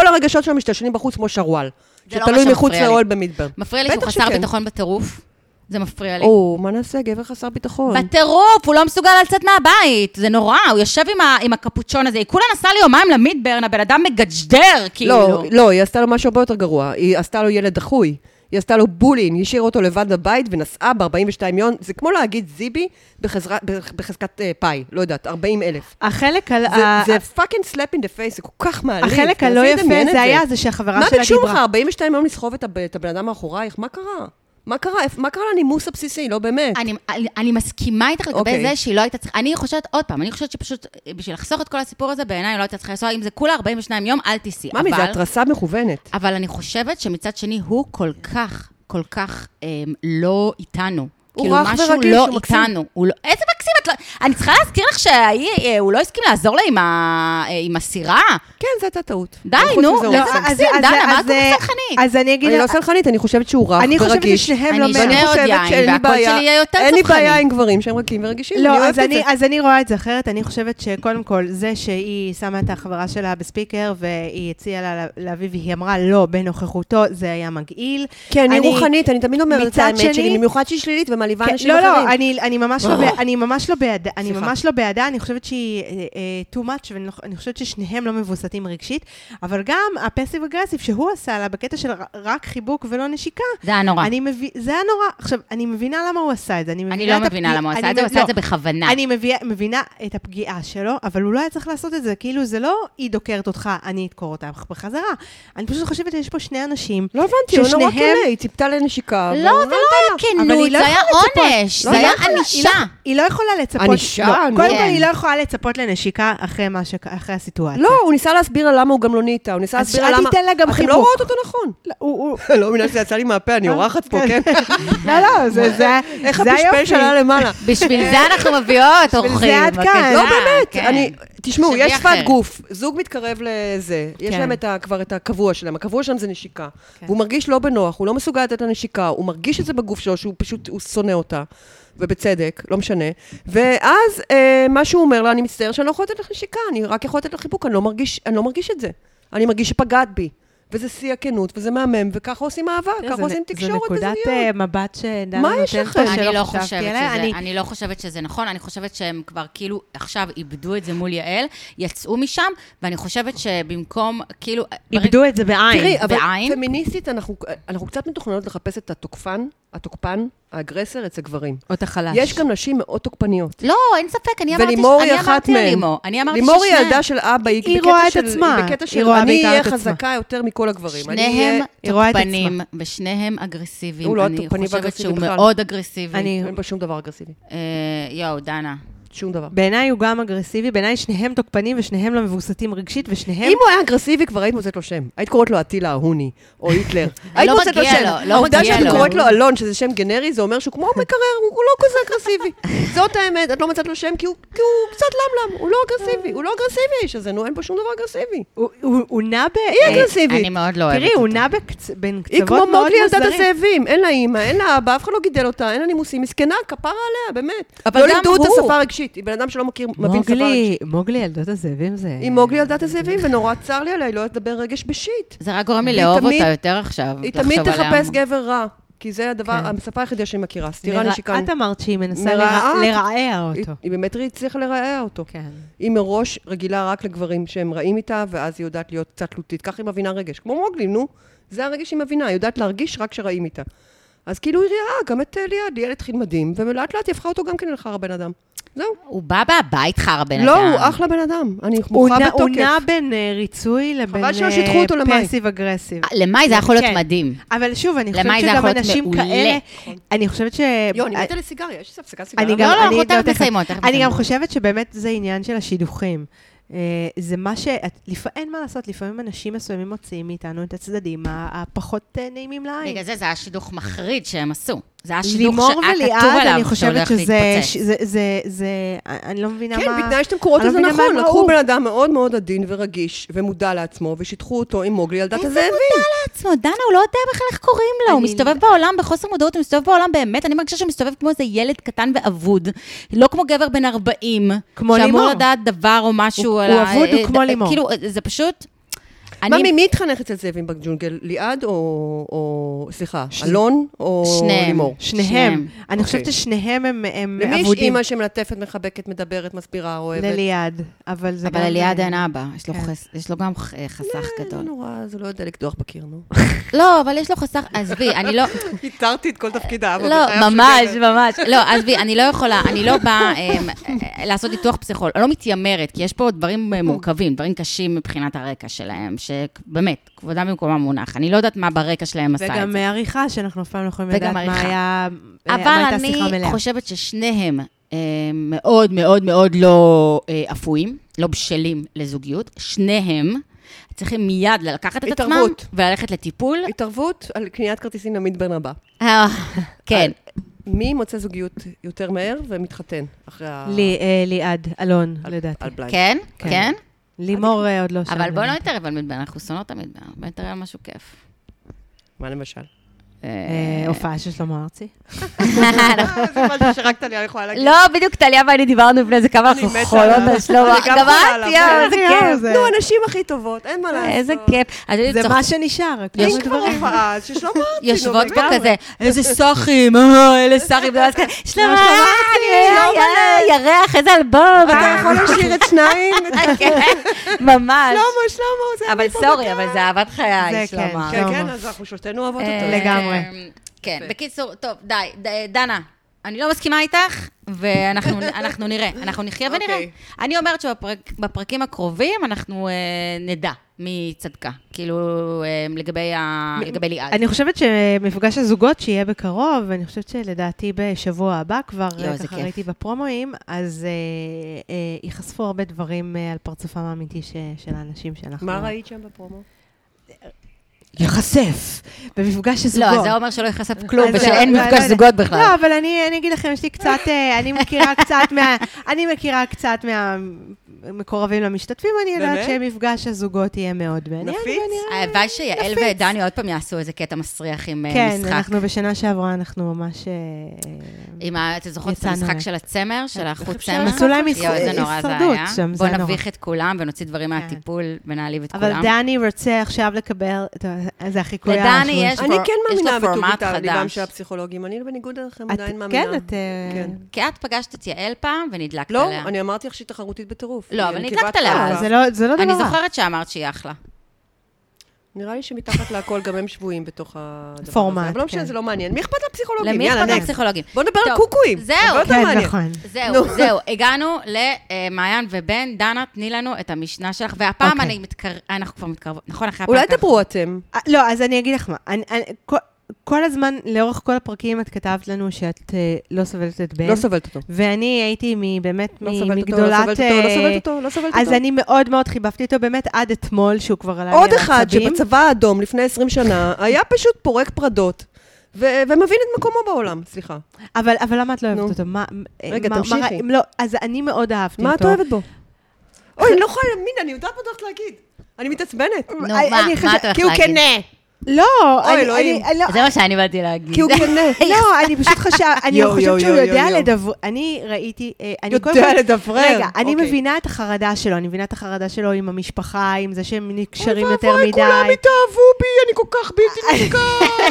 [SPEAKER 3] כל הרגשות שלו משתלשלים בחוץ כמו שרוואל.
[SPEAKER 1] זה לא
[SPEAKER 3] שתלוי
[SPEAKER 1] מה
[SPEAKER 3] מחוץ
[SPEAKER 1] שמפריע לי.
[SPEAKER 3] לאוהל במדבר.
[SPEAKER 1] מפריע לי שהוא
[SPEAKER 3] בטח
[SPEAKER 1] חסר
[SPEAKER 3] שכן.
[SPEAKER 1] ביטחון בטירוף. זה מפריע לי.
[SPEAKER 3] או, מה נעשה, גבר חסר ביטחון.
[SPEAKER 1] בטירוף, הוא לא מסוגל לצאת מהבית, זה נורא, הוא יושב עם, ה, עם הקפוצ'ון הזה, היא כולה נסעה לי יומיים למידברן, הבן אדם מגג'דר, כאילו.
[SPEAKER 3] לא, לא, היא עשתה לו משהו הרבה יותר גרוע. היא עשתה לו ילד דחוי. היא עשתה לו בולינג, היא השאירה אותו לבד בבית ונסעה ב-42 יום. זה כמו להגיד זיבי בחזרה- בח- בחזקת אה, פאי, לא יודעת, 40 אלף.
[SPEAKER 2] החלק על...
[SPEAKER 3] זה-
[SPEAKER 2] ה-
[SPEAKER 3] זה פאקינג סלאפ אין דה פייס, זה כל כך מעליב.
[SPEAKER 2] החלק
[SPEAKER 3] תנסי
[SPEAKER 2] הלא
[SPEAKER 3] לדמיין
[SPEAKER 2] יפה
[SPEAKER 3] את
[SPEAKER 2] זה היה זה שהחברה
[SPEAKER 3] מה
[SPEAKER 2] שלה
[SPEAKER 3] ביקשו
[SPEAKER 2] דיברה.
[SPEAKER 3] ממך 42 יום לסחוב את הב- את הבן אדם מאחורייך? מה קרה? מה קרה? איפ- מה קרה לנימוס הבסיסי? לא באמת.
[SPEAKER 1] אני, אני, אני מסכימה איתך לגבי
[SPEAKER 3] אוקיי.
[SPEAKER 1] זה שהיא לא הייתה צריכה, אני חושבת, עוד פעם, אני חושבת שפשוט, אה, בשביל לחסוך את כל הסיפור הזה, בעיניי היא לא הייתה צריכה לנסוע, אם זה כולה 42 יום, אל תיסעי.
[SPEAKER 3] ממי,
[SPEAKER 1] אבל-
[SPEAKER 3] זה התרסה מכוונת.
[SPEAKER 1] אבל אני חושבת שמצד שני, הוא כל כך, כל כך אמ, לא איתנו.
[SPEAKER 3] הוא
[SPEAKER 1] כאילו,
[SPEAKER 3] רך
[SPEAKER 1] משהו
[SPEAKER 3] ורגיל
[SPEAKER 1] לא
[SPEAKER 3] שהוא מקסים.
[SPEAKER 1] איתנו. הוא לא... איזה מקסים את לא... אני צריכה להזכיר לך שהוא לא הסכים לעזור לה עם, ה... אה, עם הסירה?
[SPEAKER 3] כן, זו הייתה טעות.
[SPEAKER 1] די,
[SPEAKER 3] וחוץ
[SPEAKER 1] נו,
[SPEAKER 3] מזה, הוא
[SPEAKER 1] לא,
[SPEAKER 3] מקסים.
[SPEAKER 1] מקסים, דנה, מה את כל כך סלחנית?
[SPEAKER 2] אז אני אגיד...
[SPEAKER 3] אני לא סלחנית, אני חושבת שהוא רך
[SPEAKER 2] אני חושבת
[SPEAKER 3] ורגיש.
[SPEAKER 2] ששניהם לא...
[SPEAKER 1] אני
[SPEAKER 2] מאה.
[SPEAKER 1] אשנה עוד
[SPEAKER 3] חושבת
[SPEAKER 1] יין,
[SPEAKER 3] שאין לי
[SPEAKER 1] והקול
[SPEAKER 3] בעיה-
[SPEAKER 1] שלי יהיה יותר
[SPEAKER 3] אין לי בעיה
[SPEAKER 1] צמחוני.
[SPEAKER 3] עם גברים שהם רכים ורגישים, אני
[SPEAKER 2] לא,
[SPEAKER 3] אוהבת
[SPEAKER 2] אז
[SPEAKER 3] את זה.
[SPEAKER 2] אני, אז אני רואה את זה אחרת. אני חושבת שקודם כל, זה שהיא שמה את החברה שלה בספיקר והיא הציעה לה להביא והיא אמרה לא בנוכחותו, זה היה מגעיל.
[SPEAKER 3] כי אני רוחנית, אני תמיד אומרת את
[SPEAKER 2] מצד
[SPEAKER 3] האמת שלי,
[SPEAKER 2] שני-
[SPEAKER 3] במיוחד שהיא שלילית ומעליבה
[SPEAKER 2] כן,
[SPEAKER 3] אנשים
[SPEAKER 2] לא,
[SPEAKER 3] אחרים.
[SPEAKER 2] לא, אני, אני, ממש לא,
[SPEAKER 1] אה.
[SPEAKER 2] ב- אני ממש לא בעדה, אני
[SPEAKER 3] סליחה.
[SPEAKER 2] ממש לא בעדה, אני חושבת שהיא אה, אה, too much, ואני לא- אני חושבת ששניהם לא מבוסתים רגשית, אבל גם הפסיב אגרסיב שהוא עשה לה בקטע של ר- רק חיבוק ולא נשיקה,
[SPEAKER 1] זה היה נורא.
[SPEAKER 2] אני מבין, זה היה נורא. עכשיו, אני מבינה למה הוא עשה את זה, אני מבינה
[SPEAKER 1] אני לא
[SPEAKER 2] את הפ-
[SPEAKER 1] מבינה למה הוא עשה
[SPEAKER 2] אני
[SPEAKER 1] את זה, הוא
[SPEAKER 2] מב-
[SPEAKER 1] עשה את
[SPEAKER 2] לא.
[SPEAKER 1] זה בכוונה.
[SPEAKER 2] אני מביאה- מבינה את הפגיעה שלו, אבל הוא לא היה צריך לעשות את זה. כאילו, זה לא היא דוקרת אותך, אני אדקור אותך בחזרה. אני פשוט חושבת שיש פה שני אנשים.
[SPEAKER 3] לא הבנתי, הוא נורא
[SPEAKER 2] ששניהם-
[SPEAKER 3] כנה, היא ציפתה לנשיקה.
[SPEAKER 1] לא,
[SPEAKER 3] והוא
[SPEAKER 1] זה לא היה
[SPEAKER 2] אבל
[SPEAKER 1] כנות,
[SPEAKER 2] היא לא
[SPEAKER 1] זה היה
[SPEAKER 2] יכולה לצפות.
[SPEAKER 1] עונש,
[SPEAKER 2] לא,
[SPEAKER 1] זה
[SPEAKER 2] היא
[SPEAKER 1] היה
[SPEAKER 2] לא יכולה- היא לא-
[SPEAKER 1] ענישה.
[SPEAKER 2] היא לא יכולה לצפות...
[SPEAKER 3] ענישה,
[SPEAKER 2] לא,
[SPEAKER 3] נו.
[SPEAKER 2] קודם כל,
[SPEAKER 1] כן.
[SPEAKER 2] היא לא יכולה לצפות לנשיקה אחרי מה ש- אחרי הסיטואציה.
[SPEAKER 3] לא, הוא ניסה להסביר לה למה הוא גם לא ניטה, הוא ניסה
[SPEAKER 2] אז
[SPEAKER 3] להסביר
[SPEAKER 2] אל
[SPEAKER 3] לה למה...
[SPEAKER 2] תיתן לה גם
[SPEAKER 3] אתם לא
[SPEAKER 2] חיבוק.
[SPEAKER 3] רואות אותו נכון.
[SPEAKER 2] לא, הוא... הוא-
[SPEAKER 3] <laughs> לא מבינה שזה יצא לי מהפה, אני אורחת פה, <laughs> כן?
[SPEAKER 2] לא, לא, זה זה-
[SPEAKER 3] איך
[SPEAKER 2] זה
[SPEAKER 3] הפשפש
[SPEAKER 2] היופי.
[SPEAKER 3] עלה למעלה?
[SPEAKER 1] בשביל זה אנחנו מביאות אורחים.
[SPEAKER 2] זה עד כאן.
[SPEAKER 1] בבקשה,
[SPEAKER 3] לא באמת,
[SPEAKER 1] כן.
[SPEAKER 3] אני... תשמעו,
[SPEAKER 1] תחשבי
[SPEAKER 3] יש
[SPEAKER 1] אחרת.
[SPEAKER 3] שפת גוף, זוג מתקרב לזה, יש
[SPEAKER 2] כן.
[SPEAKER 3] להם את ה- כבר את הקבוע שלהם, הקבוע שלהם זה נשיקה.
[SPEAKER 2] כן.
[SPEAKER 3] והוא מרגיש לא בנוח, הוא לא מסוגל לתת לה נשיקה, הוא מרגיש את זה בגוף שלו, שהוא פשוט, הוא שונא אותה. ובצדק, לא משנה. ואז אה, מה שהוא אומר לה, אני מצטער שאני לא יכול לתת לך נשיקה, אני רק יכול לתת לך חיבוק, אני לא מרגיש, אני לא מרגיש את זה. אני מרגיש שפגעת בי. וזה שיא הכנות, וזה מהמם, וככה עושים אהבה, ככה
[SPEAKER 2] זה-
[SPEAKER 3] עושים תקשורת, וזה
[SPEAKER 2] זו נקודת
[SPEAKER 3] יהיה.
[SPEAKER 2] אה, מבט שדנה
[SPEAKER 3] מה יש
[SPEAKER 2] נותנת
[SPEAKER 3] לכם?
[SPEAKER 2] פה,
[SPEAKER 1] אני
[SPEAKER 2] שלא
[SPEAKER 1] לא
[SPEAKER 2] חשבתי
[SPEAKER 1] חושבת
[SPEAKER 2] עליה.
[SPEAKER 1] שזה,
[SPEAKER 2] אני-
[SPEAKER 1] אני לא חושבת שזה נכון, אני חושבת שהם כבר כאילו עכשיו איבדו את זה מול יעל, יצאו משם, ואני חושבת שבמקום, כאילו...
[SPEAKER 2] איבדו את זה בעין.
[SPEAKER 3] תראי, אבל
[SPEAKER 1] בעין.
[SPEAKER 3] פמיניסטית, אנחנו, אנחנו קצת מתוכננות לחפש את התוקפן, התוקפן, האגרסר אצל גברים.
[SPEAKER 2] או את החלש.
[SPEAKER 3] יש גם נשים מאוד תוקפניות.
[SPEAKER 1] לא, אין ספק, אני אמרתי
[SPEAKER 3] ולימור היא
[SPEAKER 1] אני
[SPEAKER 3] אחת
[SPEAKER 1] אמרתי על
[SPEAKER 3] מהן.
[SPEAKER 1] לימור. אני אמרתי
[SPEAKER 3] לימור היא
[SPEAKER 1] ששניהם-
[SPEAKER 3] ילדה של אבא, היא,
[SPEAKER 2] היא
[SPEAKER 3] בקטע
[SPEAKER 2] רואה את
[SPEAKER 3] של,
[SPEAKER 2] עצמה.
[SPEAKER 3] היא בקטע
[SPEAKER 2] היא
[SPEAKER 3] של
[SPEAKER 2] רואה
[SPEAKER 3] אני
[SPEAKER 2] בעיקר
[SPEAKER 3] אהיה
[SPEAKER 2] את עצמה.
[SPEAKER 3] חזקה יותר מכל הגברים. אני
[SPEAKER 1] שניהם
[SPEAKER 3] אהיה-
[SPEAKER 2] היא רואה את
[SPEAKER 1] תוקפנים, ושניהם אגרסיביים.
[SPEAKER 3] הוא לא
[SPEAKER 1] אני
[SPEAKER 3] תוקפני
[SPEAKER 1] חושבת
[SPEAKER 3] ואגרסיבי
[SPEAKER 1] שהוא
[SPEAKER 3] בכלל.
[SPEAKER 1] מאוד אגרסיבי.
[SPEAKER 2] אני-
[SPEAKER 3] אין פה שום דבר אגרסיבי.
[SPEAKER 1] אה, יואו, דנה.
[SPEAKER 3] שום דבר.
[SPEAKER 2] בעיניי הוא גם אגרסיבי, בעיניי שניהם תוקפנים ושניהם לא מבוסתים רגשית ושניהם...
[SPEAKER 3] אם הוא היה אגרסיבי, כבר היית מוצאת לו שם. היית קוראת לו אטילה ההוני,
[SPEAKER 1] <laughs>
[SPEAKER 3] או היטלר. היית
[SPEAKER 1] לא
[SPEAKER 3] מוצאת לו
[SPEAKER 1] מגיע
[SPEAKER 3] שם.
[SPEAKER 1] לו, לא
[SPEAKER 3] העובדה
[SPEAKER 1] מגיע
[SPEAKER 3] שאת
[SPEAKER 1] לו.
[SPEAKER 3] קוראת לו אלון, שזה שם גנרי, זה אומר שהוא כמו מקרר, הוא הוא לא כזה אגרסיבי.
[SPEAKER 1] <laughs>
[SPEAKER 3] זאת האמת, את לא מצאת לו שם כי הוא כי הוא קצת למלם, הוא לא אגרסיבי. הוא לא אגרסיבי האיש הזה, נו, אין פה שום דבר אגרסיבי.
[SPEAKER 2] הוא- הוא הוא נע ב...
[SPEAKER 3] היא
[SPEAKER 1] אה,
[SPEAKER 3] אגרסיבית.
[SPEAKER 1] אני מאוד לא אוהבת.
[SPEAKER 2] תראי, הוא נע בקצ- בין
[SPEAKER 3] היא
[SPEAKER 2] קצוות מאוד
[SPEAKER 3] כמו
[SPEAKER 2] מוזרים.
[SPEAKER 3] מוגלי ילדת הזאבים, אין לה אימא, אין לה אבא, אף אחד לא גידל אותה, אין לה נימוסים, מסכנה, כפרה עליה, באמת.
[SPEAKER 1] אבל
[SPEAKER 3] לא
[SPEAKER 1] גם
[SPEAKER 3] לימדו אותה
[SPEAKER 1] הוא.
[SPEAKER 3] שפה רגשית, היא בן אדם שלא מכיר, מבין שפה רגשית.
[SPEAKER 2] מוגלי, מוגלי ילדות הזאבים זה...
[SPEAKER 3] היא מוגלי ילדת הזאבים, ונורא צר לי עליה, היא לא יודעת לדבר רגש בשיט.
[SPEAKER 1] זה רק גורם לי
[SPEAKER 3] היא
[SPEAKER 1] לאהוב
[SPEAKER 3] תמיד-
[SPEAKER 1] אותה יותר עכשיו.
[SPEAKER 3] היא תמיד
[SPEAKER 1] לחשוב עליה.
[SPEAKER 3] תחפש גבר רע, כי זה הדבר,
[SPEAKER 2] כן.
[SPEAKER 3] השפה היחידה שהיא מכירה, סתירה
[SPEAKER 2] מרע-
[SPEAKER 3] נשיקה.
[SPEAKER 2] את אמרת שהיא מנסה
[SPEAKER 3] מרעה-
[SPEAKER 2] לרע- לרעע
[SPEAKER 3] היא-
[SPEAKER 2] אותו.
[SPEAKER 3] היא באמת הצליחה לרעע אותו.
[SPEAKER 2] כן.
[SPEAKER 3] היא מראש רגילה רק לגברים שהם רעים איתה, ואז היא יודעת להיות קצת תלותית. ככה היא מבינה רגש. כמו מוגלי, נו. זה הרגש שהיא מבינה, היא יודעת להרגיש רק כשרעים איתה. אז כאילו היא רעה, גם את אה, ליעד, ילד חילמדים, ולאט לאט היא הפכה אותו גם כן לחרא בן אדם. זהו.
[SPEAKER 1] הוא בא מהבית חרא בן אדם.
[SPEAKER 3] לא, הוא אחלה בן אדם. אני
[SPEAKER 2] הוא
[SPEAKER 3] מוחה
[SPEAKER 2] נע-
[SPEAKER 3] בתוקף.
[SPEAKER 2] הוא נע בין אה, ריצוי לבין אה,
[SPEAKER 3] חבל שלא שיתחו אותו למאי.
[SPEAKER 2] פסיב אגרסיב.
[SPEAKER 1] אה, למאי זה יכול להיות
[SPEAKER 2] כן.
[SPEAKER 1] מדהים.
[SPEAKER 2] אבל שוב, אני
[SPEAKER 1] למאי
[SPEAKER 2] חושבת
[SPEAKER 1] זה
[SPEAKER 2] שגם
[SPEAKER 1] יכול להיות
[SPEAKER 2] אנשים
[SPEAKER 1] מעולה. נכון.
[SPEAKER 2] כאלה... אני חושבת ש... אה,
[SPEAKER 3] יו, אני מתה לסיגריה, יש לי הפסקת
[SPEAKER 2] אני
[SPEAKER 3] סיגריה.
[SPEAKER 2] גם,
[SPEAKER 1] לא, לא,
[SPEAKER 2] אני,
[SPEAKER 1] אנחנו תכף
[SPEAKER 2] תכף.
[SPEAKER 1] מסיימות, תכף
[SPEAKER 2] אני גם
[SPEAKER 1] מסיימות.
[SPEAKER 2] חושבת שבאמת זה עניין של השידוכים. אה, זה מה ש... את- לפע- אין מה לעשות, לפעמים אנשים מסוימים מוציאים מאיתנו את הצדדים ה- הפחות אה, נעימים לעין.
[SPEAKER 1] בגלל זה זה היה שידוך מחריד שהם עשו. זה היה שידוך
[SPEAKER 2] לימור
[SPEAKER 1] שהיה כתוב
[SPEAKER 2] וליעד, אני
[SPEAKER 1] עליו
[SPEAKER 2] חושבת
[SPEAKER 1] שהולך
[SPEAKER 2] שזה...
[SPEAKER 1] להתפוצץ.
[SPEAKER 2] ש- זה- זה... זה- אני לא מבינה מה...
[SPEAKER 3] כן, בתנאי שאתם קוראות
[SPEAKER 2] אני
[SPEAKER 3] לזה
[SPEAKER 2] לא מבינה
[SPEAKER 3] נכון.
[SPEAKER 2] מה הם
[SPEAKER 3] לקחו
[SPEAKER 2] ראו.
[SPEAKER 3] בן אדם מאוד מאוד עדין ורגיש ומודע לעצמו, ושיטחו אותו עם מוג לילדת
[SPEAKER 1] איזה
[SPEAKER 3] הזאבים.
[SPEAKER 1] עצמו, דנה, הוא לא יודע בכלל איך קוראים לו, הוא
[SPEAKER 2] אני-
[SPEAKER 1] מסתובב בעולם בחוסר מודעות, הוא מסתובב בעולם באמת, אני מרגישה שהוא מסתובב כמו איזה ילד קטן ואבוד, לא כמו גבר בן 40,
[SPEAKER 2] כמו
[SPEAKER 1] שאמור
[SPEAKER 2] לימור.
[SPEAKER 1] לדעת דבר או משהו
[SPEAKER 2] הוא-
[SPEAKER 1] על
[SPEAKER 2] הוא
[SPEAKER 1] ה-
[SPEAKER 2] אבוד, הוא
[SPEAKER 1] אה,
[SPEAKER 2] כמו
[SPEAKER 1] אה,
[SPEAKER 2] לימור.
[SPEAKER 1] כאילו, אה, זה פשוט...
[SPEAKER 3] מה, מי-
[SPEAKER 1] אני...
[SPEAKER 3] מי התחנך אצל זאבים בג'ונגל? ליעד או... או- סליחה, אלון או
[SPEAKER 1] שניהם.
[SPEAKER 3] לימור?
[SPEAKER 2] שניהם.
[SPEAKER 1] שניהם.
[SPEAKER 2] אני חושבת
[SPEAKER 3] אוקיי.
[SPEAKER 2] ששניהם הם הם
[SPEAKER 3] למי יש
[SPEAKER 2] אבודים.
[SPEAKER 3] אימא שמלטפת, מחבקת, מדברת, מסבירה, אוהבת?
[SPEAKER 2] לליעד, אבל זה
[SPEAKER 1] אבל
[SPEAKER 2] גם-
[SPEAKER 1] אליעד אין אבא, יש לו
[SPEAKER 2] כן.
[SPEAKER 1] חס- יש לו גם ח- אה, חסך
[SPEAKER 3] לא
[SPEAKER 1] גדול.
[SPEAKER 3] נורא, זה לא יודע לקדוח בקיר,
[SPEAKER 2] <laughs>
[SPEAKER 3] נו.
[SPEAKER 1] לא, אבל יש לו חסך, עזבי, אני לא...
[SPEAKER 3] ייתרתי את כל תפקיד האבא.
[SPEAKER 1] לא, ממש, ממש. לא, עזבי, אני לא יכולה, אני לא באה אמ, אה, לעשות ניתוח פסיכולוגי, אני לא מתיימרת, כי יש פה דברים אה, מורכבים, דברים קשים מבחינת הרקע שלהם, שבאמת, כבודם במקומם מונח. אני לא יודעת מה ברקע שלהם עשה את
[SPEAKER 2] וגם
[SPEAKER 1] זה.
[SPEAKER 2] אה, עריכה, שאנחנו אף פעם לא יכולים
[SPEAKER 1] וגם
[SPEAKER 2] לדעת מה
[SPEAKER 1] עריכה.
[SPEAKER 2] היה... אה,
[SPEAKER 1] אבל
[SPEAKER 2] מה הייתה
[SPEAKER 1] אני
[SPEAKER 2] שיחה מלאה.
[SPEAKER 1] חושבת ששניהם אה, מאוד מאוד מאוד לא אה, אפויים, לא בשלים לזוגיות. שניהם צריכים מיד לקחת את עצמם
[SPEAKER 3] התערבות.
[SPEAKER 1] וללכת לטיפול.
[SPEAKER 3] התערבות על קניית כרטיסים למדברן הבא.
[SPEAKER 1] אה, כן.
[SPEAKER 3] מי מוצא זוגיות יותר מהר ומתחתן אחרי ה...
[SPEAKER 2] לי- אה, ליעד, אלון, לדעתי.
[SPEAKER 3] על בליינד.
[SPEAKER 1] כן?
[SPEAKER 2] כן.
[SPEAKER 1] כן?
[SPEAKER 2] לימור אה, עוד לא שם.
[SPEAKER 1] אבל בואו לא נתערב על מדבר, אנחנו שונאות על מדבר, בואו נתערב על משהו כיף.
[SPEAKER 3] מה למשל?
[SPEAKER 2] אה, הופעה של שלמה ארצי.
[SPEAKER 3] <laughs> זה משהו שרק טליה יכולה להגיד.
[SPEAKER 1] לא, בדיוק טליה ואני דיברנו לפני זה כמה אנחנו
[SPEAKER 3] מתה
[SPEAKER 1] חולות
[SPEAKER 3] עליו.
[SPEAKER 1] על שלמה.
[SPEAKER 3] אני גם
[SPEAKER 1] גם
[SPEAKER 3] חולה
[SPEAKER 1] את,
[SPEAKER 3] עליו.
[SPEAKER 1] יואו, איזה כיף.
[SPEAKER 2] אה, זה-
[SPEAKER 3] נו, הנשים הכי טובות, אין מה לעשות.
[SPEAKER 1] אה, איזה כיף. אז
[SPEAKER 2] זה
[SPEAKER 1] צוחק-
[SPEAKER 2] מה שנשאר. רק
[SPEAKER 1] יש
[SPEAKER 2] כמה
[SPEAKER 3] יש כבר
[SPEAKER 2] דברים.
[SPEAKER 3] הופעה
[SPEAKER 1] <laughs>
[SPEAKER 3] ששלמה ארצי, נו,
[SPEAKER 1] יושבות פה
[SPEAKER 3] כאילו לגמרי.
[SPEAKER 1] כזה, איזה סאחים, אה, אלה סאחים, ואז
[SPEAKER 3] <laughs>
[SPEAKER 1] כזה, שלמה, אני-
[SPEAKER 3] שלמה,
[SPEAKER 1] יאללה, ירח, איזה אלבום.
[SPEAKER 3] אתה יכול לשיר את שניים?
[SPEAKER 1] <laughs> כן, ממש.
[SPEAKER 3] אה, שלמה, שלמה, זה...
[SPEAKER 1] אבל
[SPEAKER 3] אני פה
[SPEAKER 1] סורי,
[SPEAKER 3] בקהל.
[SPEAKER 1] אבל זה אהבת חיי,
[SPEAKER 2] זה כן.
[SPEAKER 1] שלמה.
[SPEAKER 3] כן, כן,
[SPEAKER 2] שלמה.
[SPEAKER 3] אז אנחנו שלושתנו אוהבות אותו.
[SPEAKER 1] אה,
[SPEAKER 2] לגמרי.
[SPEAKER 1] כן, בקיצור, טוב, די, ד- דנה, אני לא מסכימה איתך,
[SPEAKER 2] <laughs>
[SPEAKER 1] ואנחנו אנחנו נראה, אנחנו נחיה ונראה.
[SPEAKER 3] אוקיי.
[SPEAKER 1] אני אומרת שבפרקים הקרובים אנחנו אה, נדע מי צדקה, כאילו, אה, לגבי ה- לגבי ליעד.
[SPEAKER 2] אני חושבת שמפגש הזוגות שיהיה בקרוב, אני חושבת שלדעתי בשבוע הבא כבר,
[SPEAKER 1] יואו,
[SPEAKER 2] אה,
[SPEAKER 1] איזה
[SPEAKER 2] ככה
[SPEAKER 1] כיף.
[SPEAKER 2] ראיתי בפרומואים, אז אה, אה, ייחשפו הרבה דברים אה, על פרצופם האמיתי ש- של האנשים שאנחנו...
[SPEAKER 3] מה ראית שם בפרומו?
[SPEAKER 2] ייחשף במפגש
[SPEAKER 1] לא,
[SPEAKER 2] הזוגות.
[SPEAKER 1] אז זה אומר שלא ייחשף כלום,
[SPEAKER 2] אז
[SPEAKER 1] ושאין
[SPEAKER 2] זהו,
[SPEAKER 1] מפגש
[SPEAKER 2] אבל-
[SPEAKER 1] זוגות בכלל.
[SPEAKER 2] לא, אבל אני, אני אגיד לכם, יש לי קצת, אה, אני מכירה קצת מה... אני מכירה קצת מהמקורבים למשתתפים, אני יודעת
[SPEAKER 3] באמת?
[SPEAKER 2] שמפגש הזוגות יהיה מאוד מעניין.
[SPEAKER 3] נפיץ?
[SPEAKER 1] הלוואי שיעל ודני עוד פעם יעשו איזה קטע מסריח עם אה,
[SPEAKER 2] כן,
[SPEAKER 1] משחק.
[SPEAKER 2] אנחנו בשנה שעברה, אנחנו ממש... אה,
[SPEAKER 1] עם ה... אתם זוכרות את
[SPEAKER 2] יצאנו
[SPEAKER 1] המשחק
[SPEAKER 2] מהם.
[SPEAKER 1] של הצמר, של החוט
[SPEAKER 3] אפשר?
[SPEAKER 1] צמר?
[SPEAKER 2] עשו להם
[SPEAKER 1] יואו, איזה נורא זה
[SPEAKER 2] הישרדות
[SPEAKER 1] היה.
[SPEAKER 2] שם, זה
[SPEAKER 1] בואו
[SPEAKER 2] היה נורא.
[SPEAKER 1] נביך את כולם ונוציא דברים
[SPEAKER 2] כן.
[SPEAKER 1] מהטיפול ונעליב את
[SPEAKER 2] אבל
[SPEAKER 1] כולם.
[SPEAKER 2] דני רוצה עכשיו לקבל, טוב, זה החיקוי
[SPEAKER 1] לדני יש-
[SPEAKER 3] אני
[SPEAKER 1] כבר-
[SPEAKER 3] כן
[SPEAKER 1] יש
[SPEAKER 3] מאמינה
[SPEAKER 1] לה פורמט
[SPEAKER 3] בטוב ליבם
[SPEAKER 1] חדש.
[SPEAKER 3] של הפסיכולוגים, אני בניגוד אליכם
[SPEAKER 2] את-
[SPEAKER 3] עדיין מאמינה.
[SPEAKER 2] כן, את... אה,
[SPEAKER 3] כן.
[SPEAKER 1] כי את פגשת את יעל פעם ונדלקת
[SPEAKER 3] לא,
[SPEAKER 1] עליה.
[SPEAKER 3] אני אמרתי לך שהיא תחרותית בטירוף.
[SPEAKER 1] לא,
[SPEAKER 3] היא
[SPEAKER 1] אבל
[SPEAKER 3] נתיבת
[SPEAKER 1] נדלקת עליה
[SPEAKER 3] חלבה.
[SPEAKER 2] אה, זה לא- זה לא דבר
[SPEAKER 1] אני
[SPEAKER 2] רע.
[SPEAKER 1] זוכרת שאמרת שהיא אחלה.
[SPEAKER 3] נראה לי שמתחת להכל גם הם שבויים בתוך הדבר הזה.
[SPEAKER 2] פורמט,
[SPEAKER 3] אבל לא משנה,
[SPEAKER 2] כן.
[SPEAKER 3] זה לא מעניין. מי אכפת לפסיכולוגים?
[SPEAKER 1] למי
[SPEAKER 3] יאללה,
[SPEAKER 1] אכפת
[SPEAKER 3] next.
[SPEAKER 1] מהפסיכולוגים?
[SPEAKER 3] בוא נדבר על
[SPEAKER 1] טוב,
[SPEAKER 3] קוקויים.
[SPEAKER 1] זהו.
[SPEAKER 3] הרבה יותר
[SPEAKER 2] כן,
[SPEAKER 3] מעניין.
[SPEAKER 2] נכון.
[SPEAKER 1] זהו, זהו, הגענו למעיין ובן, דנה, תני לנו את המשנה שלך, והפעם
[SPEAKER 2] אוקיי.
[SPEAKER 1] אני מתקר... אנחנו כבר מתקרבות, נכון, אחרי הפעם
[SPEAKER 3] אולי תדברו אתם.
[SPEAKER 2] אה, לא, אז אני אגיד לך מה. אני- אני- כל- כל הזמן, לאורך כל הפרקים, את כתבת לנו שאת אה, לא סובלת את בן.
[SPEAKER 3] לא סובלת אותו.
[SPEAKER 2] ואני הייתי מ- באמת
[SPEAKER 3] לא
[SPEAKER 2] מ-
[SPEAKER 3] סובלת אותו, לא
[SPEAKER 2] מגדולת...
[SPEAKER 3] סובלת אותו, לא
[SPEAKER 2] אה,
[SPEAKER 3] סובלת אותו, לא סובלת
[SPEAKER 2] אז
[SPEAKER 3] אותו. לא,
[SPEAKER 2] אני מאוד מאוד חיבבתי אותו, באמת עד אתמול, שהוא כבר עלה לי על
[SPEAKER 3] עוד אחד
[SPEAKER 2] העצבים.
[SPEAKER 3] שבצבא האדום לפני 20 שנה היה פשוט פורק פרדות. ו- ומבין את מקומו בעולם, סליחה.
[SPEAKER 2] אבל, אבל למה את לא אוהבת
[SPEAKER 3] נו.
[SPEAKER 2] אותו? מה,
[SPEAKER 3] רגע,
[SPEAKER 2] מה- מה-
[SPEAKER 3] תמשיכי.
[SPEAKER 2] לא, אז אני מאוד אהבתי אותו.
[SPEAKER 3] מה את אוהבת <laughs> בו? אוי, אני לא יכולה להאמין, אני יודעת מה את הולכת להגיד. אני מתעצבנת.
[SPEAKER 1] נו,
[SPEAKER 2] אני-
[SPEAKER 1] מה,
[SPEAKER 2] אני
[SPEAKER 1] מה
[SPEAKER 2] חושבת-
[SPEAKER 1] את הולכת
[SPEAKER 3] כי הוא
[SPEAKER 1] להגיד?
[SPEAKER 3] כנה.
[SPEAKER 2] לא,
[SPEAKER 3] אוי,
[SPEAKER 2] אני-
[SPEAKER 3] אלוהים.
[SPEAKER 2] אני- אני לא-
[SPEAKER 1] זה מה שאני באתי להגיד.
[SPEAKER 3] <laughs> כי הוא כנה.
[SPEAKER 2] לא, אני פשוט חשבת, אני
[SPEAKER 3] יואו, יואו,
[SPEAKER 2] חושבת שהוא
[SPEAKER 3] יואו,
[SPEAKER 2] יודע
[SPEAKER 3] יואו.
[SPEAKER 2] לדבר... אני ראיתי... אה, אני
[SPEAKER 3] יודע
[SPEAKER 2] קודם כל-
[SPEAKER 3] לדברר.
[SPEAKER 2] רגע, אני
[SPEAKER 3] אוקיי.
[SPEAKER 2] מבינה את החרדה שלו, אני מבינה את החרדה שלו עם המשפחה, עם זה שהם נקשרים
[SPEAKER 3] אוי
[SPEAKER 2] יותר
[SPEAKER 3] ואבוי,
[SPEAKER 2] מדי.
[SPEAKER 3] כולם התאהבו בי, אני כל כך <laughs> בלתי נזכר.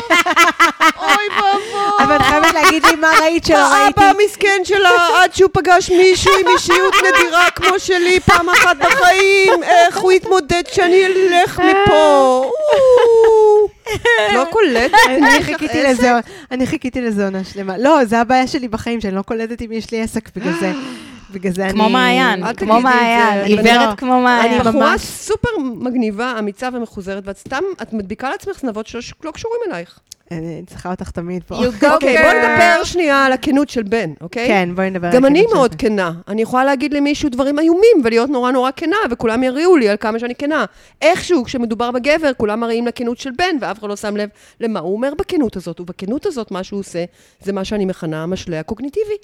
[SPEAKER 3] אוי ואבוי.
[SPEAKER 2] אבל את חייבת להגיד לי מה ראית שלא ראיתי.
[SPEAKER 3] האבא המסכן שלה,
[SPEAKER 2] <laughs>
[SPEAKER 3] עד שהוא פגש מישהו עם אישיות נדירה כמו שלי פעם אחת בחיים, איך הוא יתמודד שאני אלך מפה. אוו. לא קולטת.
[SPEAKER 2] אני חיכיתי לזה,
[SPEAKER 3] <gasps>
[SPEAKER 2] אני חיכיתי לזה עונה שלמה. לא, זה הבעיה שלי בחיים, שאני לא קולטת אם יש לי עסק בגלל זה. בגלל זה אני...
[SPEAKER 1] כמו מעיין.
[SPEAKER 3] אל
[SPEAKER 4] כמו
[SPEAKER 3] תגידי את זה.
[SPEAKER 4] מעיין,
[SPEAKER 3] אני
[SPEAKER 4] עיוורת
[SPEAKER 2] לא-
[SPEAKER 4] כמו
[SPEAKER 3] אני
[SPEAKER 4] מעיין.
[SPEAKER 3] בחורה
[SPEAKER 2] ממש.
[SPEAKER 3] סופר מגניבה, אמיצה ומחוזרת, ואת סתם, את מדביקה לעצמך זנבות שלא לא קשורים אלייך.
[SPEAKER 2] אני צריכה אותך תמיד פה.
[SPEAKER 4] You go
[SPEAKER 3] אוקיי, בואי
[SPEAKER 4] girl.
[SPEAKER 3] נדבר שנייה על הכנות של בן, אוקיי?
[SPEAKER 2] אה. כן, בואי נדבר. על
[SPEAKER 3] גם אני
[SPEAKER 2] הכנות
[SPEAKER 3] מאוד
[SPEAKER 2] שלך.
[SPEAKER 3] כנה. אני יכולה להגיד למישהו דברים איומים ולהיות נורא נורא כנה, וכולם יריעו לי על כמה שאני כנה. איכשהו, כשמדובר בגבר, כולם מראים לכנות של בן, ואף אחד לא שם לב למה הוא אומר בכנות הזאת. ובכנות הזאת, מה שהוא עושה, זה מה שאני מכנה המשלה הקוגניטיבי.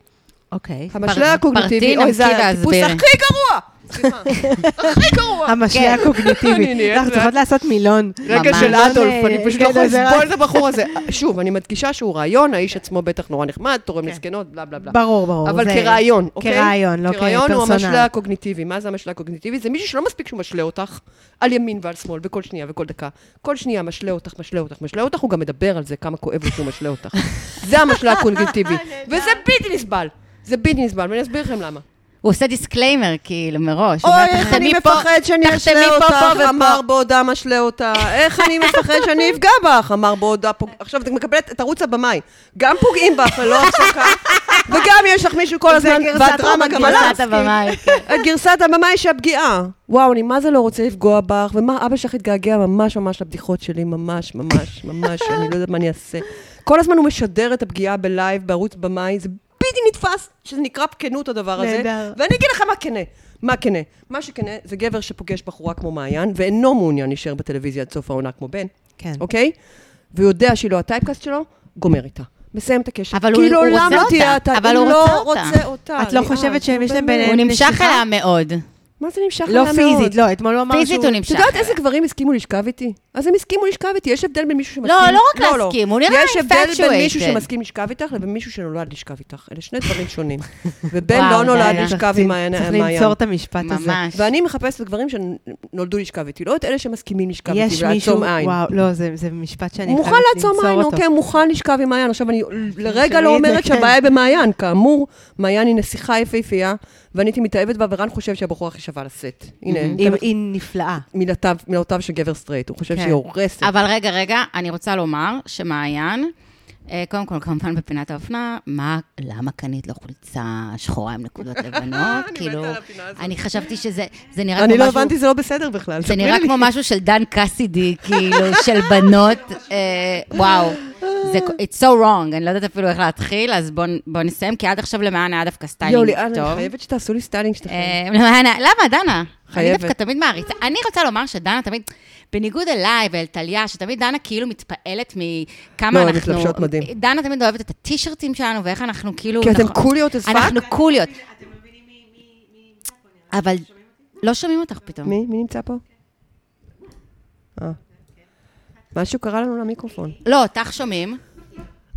[SPEAKER 2] אוקיי.
[SPEAKER 3] המשלה
[SPEAKER 1] פרטי,
[SPEAKER 3] הקוגניטיבי, אוי,
[SPEAKER 1] נמקי
[SPEAKER 3] זה הטיפוס
[SPEAKER 1] והסבירי.
[SPEAKER 3] הכי גרוע! סליחה, הכי גרוע!
[SPEAKER 2] המשלה
[SPEAKER 3] כן. <laughs> אני
[SPEAKER 2] הקוגניטיבית.
[SPEAKER 3] נהיית
[SPEAKER 2] אנחנו צריכות לעשות מילון.
[SPEAKER 3] רגע
[SPEAKER 1] ממש.
[SPEAKER 3] של אדולף, אני פשוט לא
[SPEAKER 2] כן,
[SPEAKER 3] יכולה
[SPEAKER 2] זה
[SPEAKER 3] לסבול
[SPEAKER 2] רק-
[SPEAKER 3] את הבחור הזה. שוב, אני מדגישה שהוא רעיון, האיש עצמו בטח נורא נחמד, תורם לזקנות, בלה בלה בלה.
[SPEAKER 2] ברור, ברור.
[SPEAKER 3] אבל
[SPEAKER 2] זה-
[SPEAKER 3] כרעיון, אוקיי?
[SPEAKER 2] כרעיון, לא
[SPEAKER 3] כרעיון הוא
[SPEAKER 2] כפרסונל.
[SPEAKER 3] המשלה הקוגניטיבי. מה זה המשלה הקוגניטיבי? זה מישהו שלא מספיק שהוא משלה אותך על ימין ועל שמאל, בכל שנייה וכל דקה. כל שנייה משלה אותך, משלה אותך, משלה אותך, הוא גם מדבר על זה, כמה כואב לו שהוא משלה <laughs> אותך. זה המשלה <laughs> הקוגניטיבי. וזה בלתי נסבל. זה בלתי נסבל, ואני אסביר לכם למה.
[SPEAKER 1] הוא עושה דיסקליימר, כאילו, מראש. הוא
[SPEAKER 3] אוי,
[SPEAKER 1] אומר,
[SPEAKER 3] איך
[SPEAKER 1] "תחתמי
[SPEAKER 3] אני
[SPEAKER 1] פה,
[SPEAKER 3] מפחד שאני
[SPEAKER 1] תחתמי
[SPEAKER 3] אשלה
[SPEAKER 1] פה, פה
[SPEAKER 3] אותך,
[SPEAKER 1] ופה."
[SPEAKER 3] אמר בעודה משלה אותה. איך אני מפחד שאני אפגע בך, אמר בעודה. פוג- עכשיו את מקבלת את ערוץ הבמאי. גם פוגעים בך ללא <laughs> הפסקה, וגם יש לך מישהו כל
[SPEAKER 2] זה
[SPEAKER 3] הזמן,
[SPEAKER 2] גרסת
[SPEAKER 3] והדרמה
[SPEAKER 2] רומן,
[SPEAKER 3] גם עליו.
[SPEAKER 1] גרסת הבמאי, כן.
[SPEAKER 2] אוקיי.
[SPEAKER 3] את גרסת הבמאי שהפגיעה. וואו, אני מה זה לא רוצה לפגוע בך, ומה אבא שלך התגעגע ממש ממש לבדיחות שלי, ממש ממש ממש, אני לא יודעת מה אני אעשה. כל הזמן הוא משדר את הפגיעה בלייב בערוץ במאי, זה בלתי נתפס שזה נקרא כנות הדבר הזה.
[SPEAKER 2] נהדר.
[SPEAKER 3] ואני אגיד לך מה כנה. מה כנה? מה שכנה זה גבר שפוגש בחורה כמו מעיין, ואינו מעוניין להישאר בטלוויזיה עד סוף העונה כמו בן,
[SPEAKER 2] כן.
[SPEAKER 3] אוקיי? והוא יודע שהיא לא הטייפקאסט שלו, גומר איתה. מסיים את הקשר.
[SPEAKER 1] אבל הוא- הוא רוצה
[SPEAKER 3] לא תהיה
[SPEAKER 1] אותה.
[SPEAKER 3] הטי-
[SPEAKER 1] אבל הוא
[SPEAKER 3] לא
[SPEAKER 1] רוצה אותה.
[SPEAKER 3] רוצה אותה.
[SPEAKER 2] את לא
[SPEAKER 3] ליאת,
[SPEAKER 2] חושבת שהם
[SPEAKER 3] נו,
[SPEAKER 2] יש להם
[SPEAKER 3] באמת.
[SPEAKER 1] הוא
[SPEAKER 2] ביניהם
[SPEAKER 1] נמשך
[SPEAKER 2] נשיכה?
[SPEAKER 1] אליה מאוד.
[SPEAKER 3] מה זה נמשך
[SPEAKER 2] לא
[SPEAKER 3] אליה מאוד?
[SPEAKER 2] פיזית, לא, אתמול הוא אמר שהוא...
[SPEAKER 1] פיזית הוא נמשך.
[SPEAKER 3] את יודעת איזה גברים הסכימו לשכב איתי? אז הם הסכימו לשכב איתי, יש הבדל בין מישהו שמסכים...
[SPEAKER 1] לא, לא רק להסכים, הוא נראה
[SPEAKER 3] יש הבדל בין מישהו
[SPEAKER 1] infatuated.
[SPEAKER 3] שמסכים לשכב איתך לבין מישהו שנולד לשכב איתך. אלה שני דברים
[SPEAKER 2] <laughs>
[SPEAKER 3] שונים. ובן
[SPEAKER 1] וואו,
[SPEAKER 3] לא נולד
[SPEAKER 1] די,
[SPEAKER 3] לשכב עם מעיין.
[SPEAKER 2] צריך
[SPEAKER 3] מעיין.
[SPEAKER 2] למצוא את המשפט הזה.
[SPEAKER 1] ממש.
[SPEAKER 3] ואני מחפשת גברים שנולדו לשכב איתי, לא את אלה שמסכימים לשכב איתי
[SPEAKER 2] יש מישהו,
[SPEAKER 3] ולעצום עין.
[SPEAKER 2] וואו, לא, זה זה משפט שאני
[SPEAKER 3] הוא
[SPEAKER 2] חייבת
[SPEAKER 3] מוכן לעצום
[SPEAKER 2] למסור
[SPEAKER 3] עין,
[SPEAKER 2] אותו.
[SPEAKER 3] אוקיי, הוא מוכן לשכב עם מעיין. עכשיו, אני לרגע
[SPEAKER 2] תרשמי
[SPEAKER 3] לא
[SPEAKER 2] את זה,
[SPEAKER 3] אומרת
[SPEAKER 2] כן.
[SPEAKER 3] שהבעיה היא במעיין. כאמור, מעיין היא נסיכה יפהפייה, ואני הייתי מתאהבת בה, ורן חושב שהיא הבחורה הכי שווה לסט. הנה,
[SPEAKER 1] כן.
[SPEAKER 3] אני אתן
[SPEAKER 2] אם-
[SPEAKER 3] לך
[SPEAKER 2] היא נפלאה.
[SPEAKER 3] מילותיו, מילותיו של גבר סטרייט, הוא חושב
[SPEAKER 2] כן.
[SPEAKER 3] שהיא הורסת.
[SPEAKER 1] אבל רגע, רגע, אני רוצה לומר שמעיין, אה, קודם כל, כמובן בפינת האופנה, מה, למה קנית לו חולצה שחורה עם
[SPEAKER 3] <laughs>
[SPEAKER 1] נקודות לבנות? כאילו,
[SPEAKER 3] על הפינה הזאת.
[SPEAKER 1] אני חשבתי שזה זה נראה
[SPEAKER 3] אני
[SPEAKER 1] כמו
[SPEAKER 3] לא
[SPEAKER 1] משהו...
[SPEAKER 3] הבנתי, זה לא בסדר בכלל.
[SPEAKER 1] זה נראה כמו משהו של דן קסידי,
[SPEAKER 3] <laughs>
[SPEAKER 1] כאילו, של בנות. אה, וואו, זה, it's so wrong, אני לא יודעת אפילו איך להתחיל, אז בואו בוא נסיים, כי עד עכשיו למען היה דווקא
[SPEAKER 3] יואו,
[SPEAKER 1] סטיילינג
[SPEAKER 3] ליאן, אה, אני
[SPEAKER 1] טוב.
[SPEAKER 3] חייבת שתעשו לי סטיילינג שלכם.
[SPEAKER 1] אה, למען ה- למה, דנה? אני
[SPEAKER 3] חייבת.
[SPEAKER 1] דווקא תמיד מעריצה. אני רוצה לומר שדנה תמיד, בניגוד אליי ואל טליה, שתמיד דנה כאילו מתפעלת מכמה
[SPEAKER 3] לא, הן
[SPEAKER 1] אנחנו...
[SPEAKER 3] מתלבשות מדהים.
[SPEAKER 1] דנה תמיד אוהבת את הטישרטים שלנו, ואיך אנחנו כאילו...
[SPEAKER 3] כי אתם
[SPEAKER 1] אנחנו-
[SPEAKER 3] קוליות as fuck?
[SPEAKER 1] אנחנו קוליות. אבל לא שומעים אותך פתאום.
[SPEAKER 3] מי? מי נמצא פה? אה. משהו קרה לנו למיקרופון.
[SPEAKER 1] לא, אותך שומעים.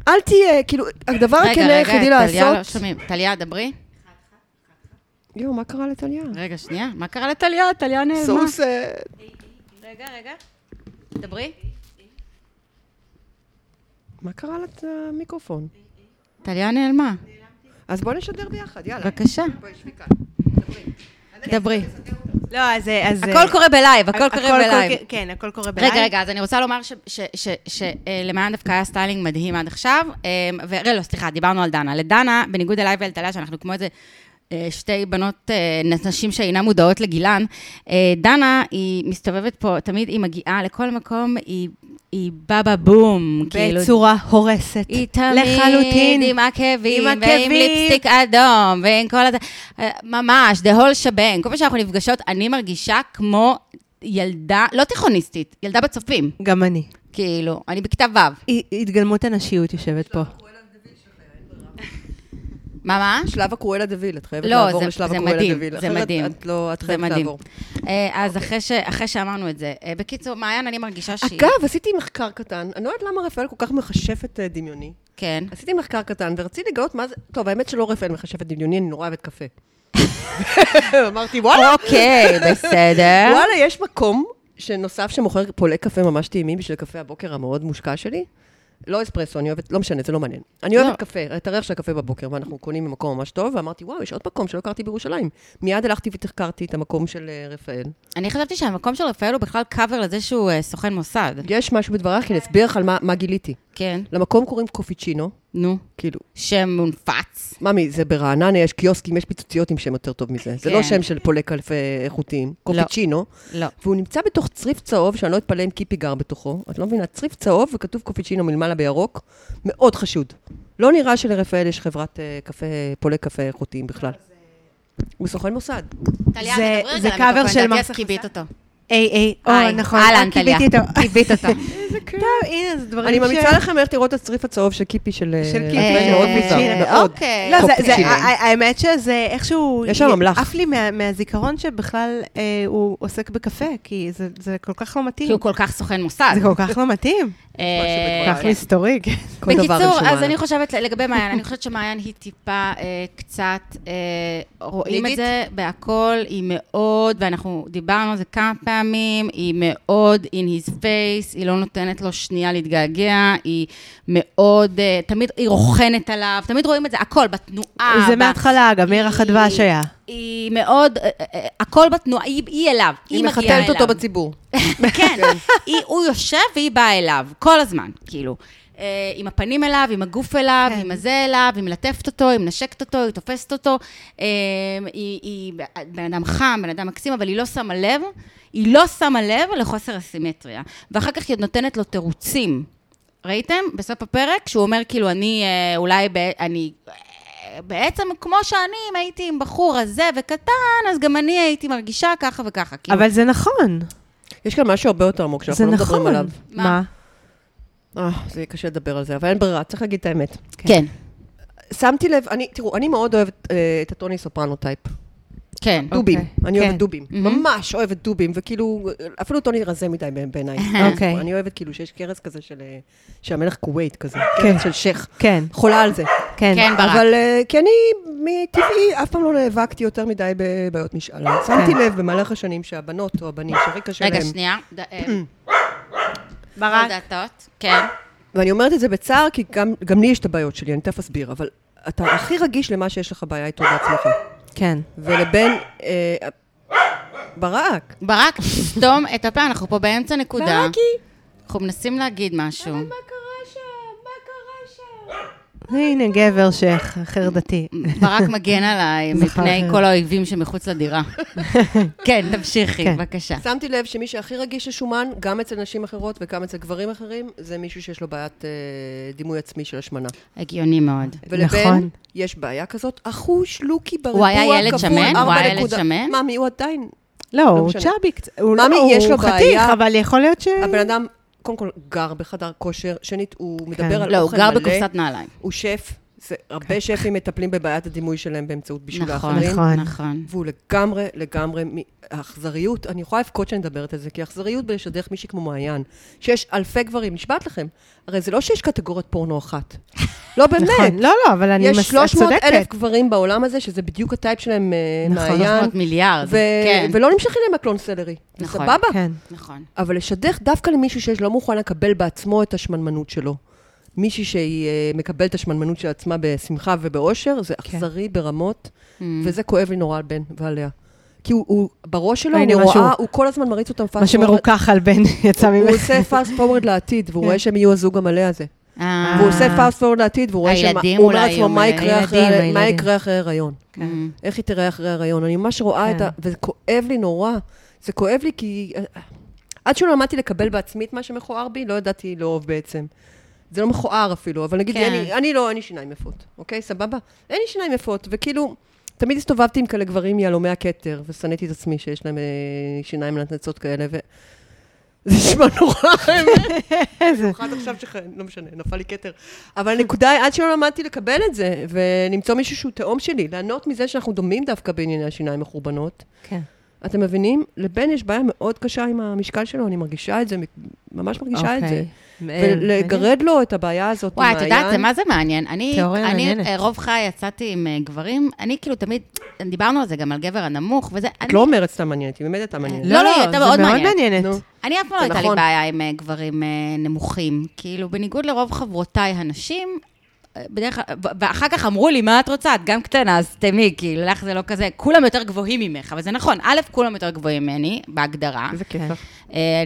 [SPEAKER 3] אל תהיה, כאילו, הדבר הכנה
[SPEAKER 1] רגע,
[SPEAKER 3] היחידי
[SPEAKER 1] רגע, טליה לא
[SPEAKER 3] לעשות...
[SPEAKER 1] שומעים. טליה, דברי.
[SPEAKER 3] יואו, מה קרה לטליה?
[SPEAKER 1] רגע, שנייה. אה, מה קרה לטליה? טליה נעלמה.
[SPEAKER 3] סוסט.
[SPEAKER 1] רגע, רגע. דברי.
[SPEAKER 3] מה קרה למיקרופון?
[SPEAKER 1] טליה נעלמה.
[SPEAKER 3] אז בואו נשדר ביחד, יאללה.
[SPEAKER 1] בבקשה.
[SPEAKER 3] בואי, שבי כאן.
[SPEAKER 1] דברי.
[SPEAKER 2] לא, אז... אז-
[SPEAKER 1] הכל קורה בלייב, הכל קורה בלייב.
[SPEAKER 2] קורה- כן, הכל קורה בלייב.
[SPEAKER 1] רגע, רגע, אז אני רוצה לומר שלמען דווקא היה סטיילינג מדהים עד עכשיו. אה, ו... רגע, לא, סליחה, דיברנו על דנה. לדנה, בניגוד אליי ואל טליה, שאנחנו כמו איזה אה, שתי בנות, אה, נשים שאינן מודעות לגילן, אה, דנה, היא מסתובבת פה, תמיד היא מגיעה לכל מקום, היא... היא בבא בום, כאילו.
[SPEAKER 2] בצורה הורסת.
[SPEAKER 1] היא תמיד
[SPEAKER 2] לחלוטין.
[SPEAKER 1] עם עקבים,
[SPEAKER 2] עם
[SPEAKER 1] ועם
[SPEAKER 2] עקבים.
[SPEAKER 1] ליפסטיק אדום, ועם כל הזה, ממש, the whole shebang. כל פעם שאנחנו נפגשות, אני מרגישה כמו ילדה, לא תיכוניסטית, ילדה בצופים.
[SPEAKER 2] גם אני.
[SPEAKER 1] כאילו, אני בכיתה ו'.
[SPEAKER 2] היא- התגלמות הנשיות יושבת פה.
[SPEAKER 3] לא.
[SPEAKER 1] מה, מה?
[SPEAKER 3] שלב הקרואלה דוויל, את חייבת
[SPEAKER 1] לא,
[SPEAKER 3] לעבור
[SPEAKER 1] זה-
[SPEAKER 3] לשלב
[SPEAKER 1] זה
[SPEAKER 3] הקרואלה
[SPEAKER 1] מדהים,
[SPEAKER 3] דוויל.
[SPEAKER 1] זה
[SPEAKER 3] אחרת
[SPEAKER 1] מדהים.
[SPEAKER 3] את לא, את
[SPEAKER 1] זה
[SPEAKER 3] חייבת
[SPEAKER 1] מדהים.
[SPEAKER 3] לעבור.
[SPEAKER 1] אה, אז אחרי ש- אחרי שאמרנו את זה, אה, בקיצור, מעיין, אני מרגישה שהיא...
[SPEAKER 3] אגב, עשיתי מחקר קטן, אני לא יודעת למה רפאל כל כך מחשבת אה, דמיוני.
[SPEAKER 1] כן.
[SPEAKER 3] עשיתי מחקר קטן ורציתי לגלות מה זה... טוב, האמת שלא רפאל מחשבת דמיוני, אני נורא אוהבת קפה. <laughs> אמרתי, וואלה,
[SPEAKER 1] אוקיי, בסדר.
[SPEAKER 3] וואלה, יש מקום שנוסף שמוכר פולעי קפה ממש טעימים בשביל קפה הבוקר המאוד מושקע שלי. לא אספרסו, אני אוהבת, לא משנה, זה לא מעניין. אני
[SPEAKER 1] לא.
[SPEAKER 3] אוהבת קפה, את הריח של הקפה בבוקר, ואנחנו קונים במקום ממש טוב, ואמרתי, וואו, יש עוד מקום שלא הכרתי בירושלים. מיד הלכתי ותחקרתי את המקום של אה, רפאל.
[SPEAKER 1] אני חשבתי שהמקום של רפאל הוא בכלל קאבר לזה שהוא אה, סוכן מוסד.
[SPEAKER 3] יש משהו בדברייך, כי אני אסביר לך על מה- מה גיליתי.
[SPEAKER 1] כן,
[SPEAKER 3] למקום קוראים קופיצ'ינו,
[SPEAKER 1] נו,
[SPEAKER 3] כאילו,
[SPEAKER 1] שם מונפץ.
[SPEAKER 3] ממי, זה ברעננה, יש קיוסקים, יש פיצוציות עם שם יותר טוב מזה. זה לא
[SPEAKER 1] כן.
[SPEAKER 3] שם של פולי קלפי איכותיים, קופיצ'ינו.
[SPEAKER 1] לא.
[SPEAKER 3] והוא נמצא בתוך צריף צהוב, שאני לא אתפלא אם קיפי גר בתוכו. את לא מבינה, צריף צהוב וכתוב קופיצ'ינו מלמעלה בירוק, מאוד חשוד. לא נראה שלרפאל יש חברת אה, קפה, פולי קפה איכותיים בכלל. הוא סוכן מוסד.
[SPEAKER 1] טליה,
[SPEAKER 2] זה-
[SPEAKER 1] מדברים
[SPEAKER 2] זה
[SPEAKER 1] רגע על המיקרופון,
[SPEAKER 2] קאבר של
[SPEAKER 1] לדעתי
[SPEAKER 2] מס
[SPEAKER 1] את כיבית
[SPEAKER 2] <laughs>
[SPEAKER 1] אותו.
[SPEAKER 2] איי, איי,
[SPEAKER 1] היי,
[SPEAKER 2] או, נכון.
[SPEAKER 1] אהלן,
[SPEAKER 2] אה,
[SPEAKER 1] טליה.
[SPEAKER 2] כיביתי אותו.
[SPEAKER 3] <laughs>
[SPEAKER 1] כיבית <laughs> אותו.
[SPEAKER 2] טוב, הנה, זה דברים
[SPEAKER 3] אני ממליצה לכם ללכת לראות את הצריף הצהוב של קיפי של... אה,
[SPEAKER 2] של קיפי,
[SPEAKER 3] רפאל,
[SPEAKER 1] אה,
[SPEAKER 3] מאוד
[SPEAKER 1] אה,
[SPEAKER 3] מוזר, מאוד.
[SPEAKER 1] אוקיי.
[SPEAKER 2] לא, זה- זה-
[SPEAKER 3] קופצ'ינו.
[SPEAKER 2] ה- האמת שזה איכשהו...
[SPEAKER 3] יש שם אמל"ח.
[SPEAKER 2] עף לי מה- מהזיכרון שבכלל אה, הוא עוסק בקפה, כי זה- זה כל כך לא
[SPEAKER 1] כי
[SPEAKER 2] מתאים.
[SPEAKER 1] הוא כל כך סוכן מוסד.
[SPEAKER 2] זה כל כך לא מתאים.
[SPEAKER 1] אה,
[SPEAKER 2] כל כך
[SPEAKER 1] כן.
[SPEAKER 2] מסתורי, כן.
[SPEAKER 3] כל דבר
[SPEAKER 1] בקיצור,
[SPEAKER 3] רשום
[SPEAKER 1] אז
[SPEAKER 3] עליו.
[SPEAKER 1] אני חושבת לגבי מעיין, אני חושבת שמעיין היא טיפה אה, קצת, אה, רואים את
[SPEAKER 3] לידית?
[SPEAKER 1] זה בהכל, היא מאוד, ואנחנו דיברנו על זה כמה פעמים, היא מאוד in his face, היא לא נותנת לו שנייה להתגעגע, היא מאוד, אה, תמיד היא רוכנת עליו, תמיד רואים את זה, הכל, בתנועה.
[SPEAKER 2] זה
[SPEAKER 1] ב-
[SPEAKER 2] מההתחלה, גם ירח
[SPEAKER 1] היא-
[SPEAKER 2] הדבש היה.
[SPEAKER 1] היא מאוד, אה, אה, אה, הכל בתנועה, היא- היא אליו, היא
[SPEAKER 3] היא
[SPEAKER 1] מגיעה אליו.
[SPEAKER 3] מחתלת אותו בציבור.
[SPEAKER 1] <laughs> כן, היא, הוא יושב והיא באה אליו, כל הזמן, כאילו. אה, עם הפנים אליו, עם הגוף אליו,
[SPEAKER 2] כן.
[SPEAKER 1] עם הזה אליו, היא מלטפת אותו, היא מנשקת אותו, היא תופסת אותו. אה, היא, היא בן אדם חם, בן אדם מקסים, אבל היא לא שמה לב, היא לא שמה לב לחוסר הסימטריה. ואחר כך היא עוד נותנת לו תירוצים. ראיתם? בסוף הפרק, שהוא אומר כאילו, אני אה, אולי, ב, אני... אה, בעצם כמו שאני, אם הייתי עם בחור הזה וקטן, אז גם אני הייתי מרגישה ככה וככה. כאילו,
[SPEAKER 2] אבל זה נכון.
[SPEAKER 3] יש כאן משהו הרבה יותר עמוק
[SPEAKER 2] זה
[SPEAKER 3] שאנחנו לא מדברים
[SPEAKER 2] נכון.
[SPEAKER 3] עליו.
[SPEAKER 2] מה?
[SPEAKER 3] אה, זה יהיה קשה לדבר על זה, אבל אין ברירה, צריך להגיד את האמת.
[SPEAKER 1] כן,
[SPEAKER 3] שמתי לב, אני, תראו, אני מאוד אוהבת אה, את הטוני סופרנו טייפ.
[SPEAKER 1] כן.
[SPEAKER 3] דובים,
[SPEAKER 2] אוקיי,
[SPEAKER 3] אני
[SPEAKER 2] כן.
[SPEAKER 3] אוהבת דובים.
[SPEAKER 1] מהמם.
[SPEAKER 3] ממש אוהבת דובים, וכאילו, אפילו טוני רזה מדי בעיני- בעיניי.
[SPEAKER 2] אוקיי.
[SPEAKER 3] אני אוהבת כאילו שיש קרס כזה של אה, שהמלך כווית כזה,
[SPEAKER 2] כן.
[SPEAKER 3] קרס של שייח.
[SPEAKER 2] כן,
[SPEAKER 3] חולה על זה.
[SPEAKER 2] כן.
[SPEAKER 1] כן, ברק.
[SPEAKER 3] אבל אה, כי אני מטבעי אף פעם לא נאבקתי יותר מדי בבעיות משאלה. שמתי לב במהלך השנים שהבנות או הבנים, שהרקע שלהם...
[SPEAKER 1] רגע, שנייה. ד- אה,
[SPEAKER 2] ברק.
[SPEAKER 1] כל דעתות, כן.
[SPEAKER 3] ואני אומרת את זה בצער, כי גם, גם לי יש את הבעיות שלי, אני תכף אסביר, אבל אתה הכי רגיש למה שיש לך בעיה איתו בעצמך.
[SPEAKER 2] כן.
[SPEAKER 3] ולבין... אה, ברק.
[SPEAKER 1] ברק, סתום את הפה, אנחנו פה באמצע נקודה. אנחנו מנסים להגיד משהו.
[SPEAKER 2] הנה גבר שחרדתי.
[SPEAKER 1] ברק מגן עליי
[SPEAKER 2] זכר.
[SPEAKER 1] מפני כל האויבים שמחוץ לדירה. כן, תמשיכי,
[SPEAKER 2] כן.
[SPEAKER 1] בבקשה.
[SPEAKER 3] שמתי לב שמי שהכי רגיש לשומן, גם אצל נשים אחרות וגם אצל גברים אחרים, זה מישהו שיש לו בעיית אה, דימוי עצמי של השמנה.
[SPEAKER 1] הגיוני מאוד.
[SPEAKER 3] ולבין,
[SPEAKER 2] נכון.
[SPEAKER 3] יש בעיה כזאת, אחוש לוקי בריבוע
[SPEAKER 1] הוא היה ילד
[SPEAKER 3] כפול
[SPEAKER 1] שמן? הוא
[SPEAKER 3] ארבע
[SPEAKER 1] היה ילד
[SPEAKER 3] נקודה-
[SPEAKER 1] שמן?
[SPEAKER 3] ממי, הוא עדיין...
[SPEAKER 2] לא, הוא
[SPEAKER 3] משנה.
[SPEAKER 2] צ'אבי קצת. הוא
[SPEAKER 3] ממי,
[SPEAKER 2] לא-
[SPEAKER 3] יש לו
[SPEAKER 2] הוא חתיך,
[SPEAKER 3] בעיה.
[SPEAKER 2] אבל יכול להיות ש...
[SPEAKER 3] הבן אדם, קודם כל, גר בחדר כושר, שנית, הוא מדבר על
[SPEAKER 1] לא, הוא
[SPEAKER 3] אוכל
[SPEAKER 1] גר
[SPEAKER 3] מלא.
[SPEAKER 1] בקופסת נעליים.
[SPEAKER 3] הוא שף, זה הרבה שפים מטפלים בבעיית הדימוי שלהם באמצעות בישול
[SPEAKER 1] נכון,
[SPEAKER 3] האחרים.
[SPEAKER 2] כן. נכון.
[SPEAKER 1] נכון.
[SPEAKER 3] והוא לגמרי, לגמרי, מ- האכזריות, אני יכולה לבכות שאני מדברת על זה, כי האכזריות בלשדך מישהי כמו מעיין, שיש אלפי גברים, נשבעת לכם, הרי זה לא שיש קטגוריית פורנו אחת. לא באמת.
[SPEAKER 2] <laughs> נכון. לא, לא, אבל אני
[SPEAKER 3] יש
[SPEAKER 2] מס- את
[SPEAKER 3] 300 אלף
[SPEAKER 2] צודקת.
[SPEAKER 3] גברים בעולם הזה, שזה בדיוק הטייפ שלהם, אה,
[SPEAKER 2] נכון.
[SPEAKER 3] מעיין,
[SPEAKER 1] 300 מיליארד,
[SPEAKER 3] ו-
[SPEAKER 1] כן.
[SPEAKER 3] ולא נמשכים להם הקלון סלרי. זה
[SPEAKER 1] נכון.
[SPEAKER 3] סבבה.
[SPEAKER 2] כן.
[SPEAKER 1] נכון.
[SPEAKER 3] אבל לשדך דווקא למישהו שלא מוכן לקבל בעצמו את השמנמנות שלו. מישהי שהיא אה, מקבלת את השמנמנות של עצמה בשמחה ובאושר, זה
[SPEAKER 2] כן.
[SPEAKER 3] אכזרי ברמות,
[SPEAKER 2] Mm.
[SPEAKER 3] וזה כואב לי נורא על בן ועליה. כי הוא, הוא בראש שלו,
[SPEAKER 2] הנה,
[SPEAKER 3] אני
[SPEAKER 2] מה שהוא-
[SPEAKER 3] רואה, הוא כל הזמן מריץ אותם
[SPEAKER 2] מה
[SPEAKER 3] פאסט
[SPEAKER 2] שמרוכך על בן <laughs> יצא
[SPEAKER 3] הוא
[SPEAKER 2] ממך.
[SPEAKER 3] עושה פאסט פורוורד לעתיד,
[SPEAKER 2] כן.
[SPEAKER 3] והוא רואה שהם יהיו הזוג המלא הזה.
[SPEAKER 1] אה,
[SPEAKER 3] והוא עושה פאסט פורוורד לעתיד, והוא רואה שהם...
[SPEAKER 1] הילדים
[SPEAKER 3] הוא אומר
[SPEAKER 1] אולי,
[SPEAKER 3] לעצמו,
[SPEAKER 1] הוא
[SPEAKER 3] מה
[SPEAKER 1] אומר,
[SPEAKER 3] יקרה אחרי-
[SPEAKER 2] הילדים,
[SPEAKER 3] מה
[SPEAKER 2] הילדים."
[SPEAKER 3] יקרה אחרי ההיריון?
[SPEAKER 1] כן.
[SPEAKER 3] איך היא תראה אחרי ההיריון? אני ממש רואה
[SPEAKER 2] כן.
[SPEAKER 3] את ה... וזה כואב לי נורא. זה כואב לי כי... אה, עד שלא למדתי לקבל בעצמי את מה שמכוער בי, לא ידעתי לאהוב בעצם. זה לא מכוער אפילו, אבל נגיד,
[SPEAKER 1] כן.
[SPEAKER 3] כן. אני, אני לא, אין לי שיניים יפות, אוקיי? סבבה? אין לי שיניים יפות, וכאילו, תמיד הסתובבתי עם כאלה גברים יהלומי הכתר, ושנאתי את עצמי שיש להם אה, שיניים לנצנצות כאלה, ו... זה נשמע נורא, האמת. במיוחד עכשיו שח... לא משנה, נפל לי כתר. אבל הנקודה היא, עד שלא למדתי לקבל את זה, ולמצוא מישהו שהוא תאום שלי, ליהנות מזה שאנחנו דומים דווקא בענייני השיניים מחורבנות.
[SPEAKER 2] כן.
[SPEAKER 3] אתם מבינים? לבן יש בעיה מאוד קשה עם המשקל שלו, אני מרגישה את זה, ממש מרגישה את זה.
[SPEAKER 2] אוקיי.
[SPEAKER 3] ולגרד לו את הבעיה הזאת,
[SPEAKER 1] אה, וואי, את
[SPEAKER 3] מעיין.
[SPEAKER 1] יודעת, זה מה זה מעניין. אני,
[SPEAKER 2] תיאוריה
[SPEAKER 1] אני
[SPEAKER 2] מעניינת.
[SPEAKER 1] אה, רוב חיי יצאתי עם אה, גברים, אני כאילו תמיד, דיברנו על זה גם על גבר הנמוך וזה.
[SPEAKER 3] את
[SPEAKER 1] אני-
[SPEAKER 3] לא אומרת סתם מעניין אותי, באמת אתה מעניין.
[SPEAKER 1] לא, לא, היא הייתה מאוד
[SPEAKER 2] זה מאוד
[SPEAKER 1] מעניינת.
[SPEAKER 2] מעניינת.
[SPEAKER 3] נו.
[SPEAKER 1] אני אף פעם לא
[SPEAKER 3] זה
[SPEAKER 1] הייתה לי
[SPEAKER 3] נכון.
[SPEAKER 1] בעיה עם אה, גברים אה, נמוכים. כאילו, בניגוד לרוב חברותיי הנשים, בדרך כלל, ו- ואחר כך אמרו לי, מה את רוצה? את גם קטנה, אז תמי, כי לך זה לא כזה. כולם יותר גבוהים ממך, אבל זה נכון. א', כולם יותר גבוהים ממני, בהגדרה.
[SPEAKER 2] איזה קטע.
[SPEAKER 1] אה,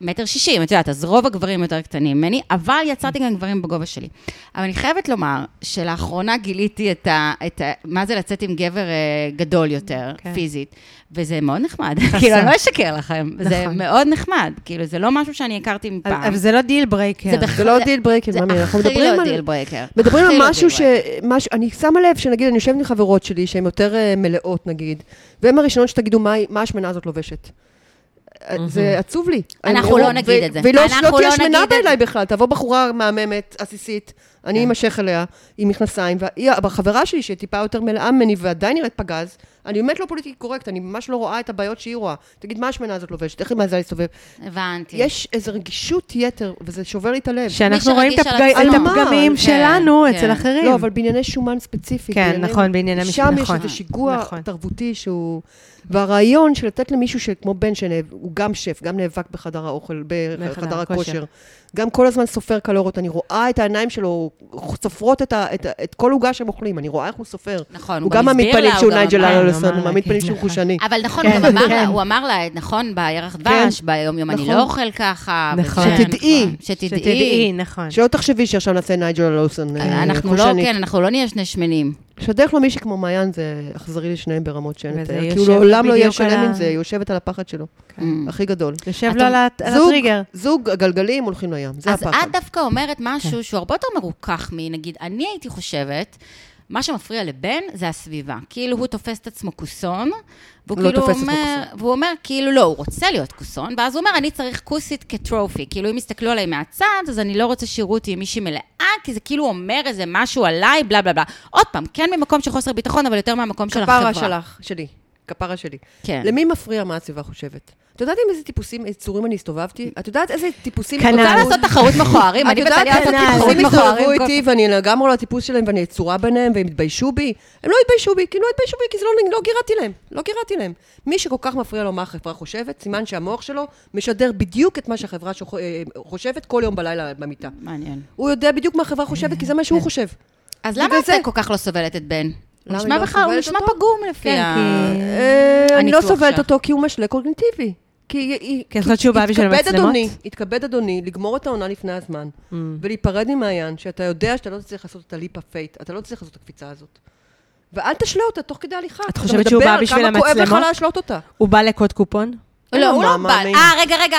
[SPEAKER 1] מטר שישים, את יודעת, אז רוב הגברים יותר קטנים ממני, אבל יצרתי גם גברים בגובה שלי. אבל אני חייבת לומר שלאחרונה גיליתי את ה... את ה מה זה לצאת עם גבר אה, גדול יותר,
[SPEAKER 3] אוקיי.
[SPEAKER 2] כן.
[SPEAKER 1] פיזית, וזה מאוד
[SPEAKER 3] <laughs>
[SPEAKER 1] נחמד. כאילו,
[SPEAKER 3] נכון.
[SPEAKER 1] אני לא אשקר לכם, זה
[SPEAKER 2] נכון.
[SPEAKER 1] מאוד נחמד. כאילו, זה לא משהו שאני הכרתי מפעם.
[SPEAKER 2] אבל זה לא דיל ברייקר.
[SPEAKER 1] זה בח-
[SPEAKER 3] זה לא דיל ברקר,
[SPEAKER 1] זה
[SPEAKER 3] מאמי, אנחנו
[SPEAKER 1] הכי
[SPEAKER 3] מדברים
[SPEAKER 1] לא
[SPEAKER 3] על...
[SPEAKER 1] דיל ברייקר.
[SPEAKER 3] מדברים
[SPEAKER 1] הכי
[SPEAKER 3] על
[SPEAKER 1] לא
[SPEAKER 3] משהו
[SPEAKER 1] deal
[SPEAKER 3] ש... משהו, אני שמה לב שנגיד, אני יושבת עם חברות שלי שהן יותר אה, מלאות נגיד, והן הראשונות שתגידו מה היא- מה השמנה הזאת לובשת. אה, זה עצוב לי.
[SPEAKER 1] אנחנו
[SPEAKER 3] אני-
[SPEAKER 1] לא נגיד
[SPEAKER 3] ו-
[SPEAKER 1] את זה.
[SPEAKER 3] והיא לא
[SPEAKER 1] אנחנו
[SPEAKER 3] לא תהיה
[SPEAKER 1] לא נגיד
[SPEAKER 3] שמנה
[SPEAKER 1] את זה. כן.
[SPEAKER 3] בעיניי בכלל, תבוא בחורה מהממת, עסיסית, אני אמשך אליה עם מכנסיים, והחברה שלי שהיא טיפה יותר מלאה ממני ועדיין נראית פגז, אני באמת לא פוליטיקלי קורקט, אני ממש לא רואה את הבעיות שהיא רואה. תגיד, מה השמנה הזאת לובשת? איך היא מעזה להסתובב?
[SPEAKER 1] הבנתי.
[SPEAKER 3] יש איזו רגישות יתר, וזה שובר לי את הלב.
[SPEAKER 2] שאנחנו
[SPEAKER 1] מי
[SPEAKER 2] רואים את
[SPEAKER 1] שרגיש
[SPEAKER 2] הפג-
[SPEAKER 1] על
[SPEAKER 2] את
[SPEAKER 3] עצמו.
[SPEAKER 2] הפגמים
[SPEAKER 1] כן,
[SPEAKER 2] שלנו
[SPEAKER 1] כן.
[SPEAKER 2] אצל אחרים.
[SPEAKER 3] לא, אבל בענייני שומן ספציפית.
[SPEAKER 2] כן, נכון, בענייני משנה,
[SPEAKER 3] שם יש
[SPEAKER 2] נכון.
[SPEAKER 3] איזה שיגוע
[SPEAKER 2] נכון.
[SPEAKER 3] תרבותי שהוא... והרעיון של לתת למישהו שכמו בן, שהוא גם שף, גם נאבק בחדר האוכל,
[SPEAKER 2] בחדר
[SPEAKER 3] בחדר
[SPEAKER 2] הכושר.
[SPEAKER 3] הכושר, גם כל הזמן סופר קלוריות, אני רואה את העיניים שלו סופרות את ה- את ה- את כל עוגה שהם אוכלים, אני רואה איך הוא סופר.
[SPEAKER 1] נכון,
[SPEAKER 3] הוא גם מעמיד
[SPEAKER 1] הסביר
[SPEAKER 3] פנים
[SPEAKER 1] לה,
[SPEAKER 3] שהוא
[SPEAKER 1] הוא גם
[SPEAKER 3] נייג'ל
[SPEAKER 1] אמר.
[SPEAKER 2] הוא
[SPEAKER 3] אלנסון,
[SPEAKER 2] אמר
[SPEAKER 3] הוא
[SPEAKER 2] לה,
[SPEAKER 3] מעמיד
[SPEAKER 2] כן,
[SPEAKER 3] פנים שהוא
[SPEAKER 2] נכון.
[SPEAKER 3] חושני.
[SPEAKER 1] אבל נכון,
[SPEAKER 2] כן,
[SPEAKER 1] הוא גם אמר לה,
[SPEAKER 2] כן.
[SPEAKER 1] הוא אמר לה, נכון, בירח
[SPEAKER 3] כן.
[SPEAKER 1] דבש, ביום-יום אני
[SPEAKER 3] נכון.
[SPEAKER 1] לא אוכל ככה.
[SPEAKER 2] נכון.
[SPEAKER 1] וזה,
[SPEAKER 3] שתדעי.
[SPEAKER 1] נכון.
[SPEAKER 2] שתדעי,
[SPEAKER 1] שתדעי.
[SPEAKER 2] נכון.
[SPEAKER 3] שלא תחשבי שעכשיו נעשה נייג'ל אלנסון אה,
[SPEAKER 1] אנחנו לא,
[SPEAKER 3] חושני.
[SPEAKER 1] כן, אנחנו לא נהיה שני שמנים.
[SPEAKER 3] שדרך לו מישהי כמו מעיין זה אכזרי לשניהם ברמות שאין
[SPEAKER 2] וזה
[SPEAKER 3] לתאר, כי
[SPEAKER 2] יושב
[SPEAKER 3] הוא לעולם לא יהיה
[SPEAKER 2] בדיוק על
[SPEAKER 3] שלם
[SPEAKER 2] ה- כן.
[SPEAKER 3] עם זה, היא יושבת על הפחד שלו,
[SPEAKER 1] Mm.
[SPEAKER 3] הכי גדול.
[SPEAKER 2] יושב
[SPEAKER 1] אתה-
[SPEAKER 2] לו על הט- על
[SPEAKER 3] זוג-
[SPEAKER 2] הטריגר.
[SPEAKER 3] זוג הגלגלים הולכים לים, זה כן.
[SPEAKER 1] אז
[SPEAKER 3] הפחד.
[SPEAKER 1] את דווקא אומרת משהו שהוא הרבה יותר מרוכך מנגיד, אני הייתי חושבת, מה שמפריע לבן זה הסביבה. כאילו הוא תופס את עצמו כוסון, והוא
[SPEAKER 3] לא
[SPEAKER 1] כאילו
[SPEAKER 3] תופס את עצמו
[SPEAKER 1] אומר, והוא אומר, כאילו לא, הוא רוצה להיות כוסון, ואז הוא אומר, אני צריך כוסית כטרופי. כאילו אם יסתכלו עליי מהצד, אז אני לא רוצה שיראו אותי עם מישהי מלאה, כי זה כאילו אומר איזה משהו עליי, בלה בלה בלה. עוד פעם, כן ממקום של חוסר ביטחון, אבל יותר מהמקום של החברה.
[SPEAKER 3] כפרה שלך, שלי, כפרה שלי.
[SPEAKER 1] כן.
[SPEAKER 3] למי מפריע מה הסביבה חושבת? את יודעת עם איזה טיפוסים, איזה צורים אני הסתובבתי? את יודעת איזה טיפוסים...
[SPEAKER 2] כנ"ל.
[SPEAKER 1] רוצה לעשות תחרות מכוערים,
[SPEAKER 3] את
[SPEAKER 1] אני
[SPEAKER 3] יודעת
[SPEAKER 1] בטליה
[SPEAKER 3] איזה
[SPEAKER 1] לעשות
[SPEAKER 2] כנ"ל.
[SPEAKER 1] תחרות
[SPEAKER 3] טיפוסים
[SPEAKER 1] מכוערים.
[SPEAKER 3] הסתובבו איתי, ואני לגמרי לא הטיפוס שלהם, ואני אצורה ביניהם, והם התביישו בי? הם לא התביישו בי, כי לא התביישו בי, כי זה לא- לא גירדתי להם. לא גירדתי להם. מי שכל כך מפריע לו מה החברה חושבת, סימן שהמוח שלו משדר בדיוק את מה שהחברה שחו- אה, חושבת כל יום בלילה במיטה.
[SPEAKER 1] מעניין.
[SPEAKER 3] הוא יודע בדיוק מה החברה חושבת, כי זה מה שהוא חושב.
[SPEAKER 1] כן. אז
[SPEAKER 3] בגלל
[SPEAKER 1] למה את
[SPEAKER 3] זה-
[SPEAKER 1] כל כך לא סובלת את בן? הוא
[SPEAKER 3] למה
[SPEAKER 1] נשמע
[SPEAKER 3] היא לא
[SPEAKER 1] בכלל, הוא
[SPEAKER 3] סובלת
[SPEAKER 1] נשמע
[SPEAKER 3] אותו?
[SPEAKER 1] פגום לפי
[SPEAKER 2] כן,
[SPEAKER 1] ה...
[SPEAKER 2] כי-
[SPEAKER 3] אה, אני לא
[SPEAKER 1] הניתוח
[SPEAKER 3] סובלת
[SPEAKER 1] שלך.
[SPEAKER 3] אותו כי הוא משלה קוגניטיבי. כי היא- היא...
[SPEAKER 2] כי את חושבת שהוא בא בשביל
[SPEAKER 3] התכבד
[SPEAKER 2] המצלמות?
[SPEAKER 3] אדוני, התכבד אדוני לגמור את העונה לפני הזמן, ולהיפרד ממעיין, שאתה יודע שאתה לא תצליח לעשות את הליפ הפייט, אתה לא תצליח לעשות את הקפיצה הזאת. ואל תשלה אותה תוך כדי הליכה. אתה
[SPEAKER 2] חושבת שהוא
[SPEAKER 3] מדבר
[SPEAKER 2] בא
[SPEAKER 3] על
[SPEAKER 2] בשביל
[SPEAKER 3] כמה כואב
[SPEAKER 2] המצלמות?
[SPEAKER 3] לך להשלות אותה.
[SPEAKER 2] הוא בא לקוד קופון?
[SPEAKER 1] לא, הוא לא
[SPEAKER 3] מה,
[SPEAKER 1] בא.
[SPEAKER 3] מאמין.
[SPEAKER 1] אה, רגע, רגע.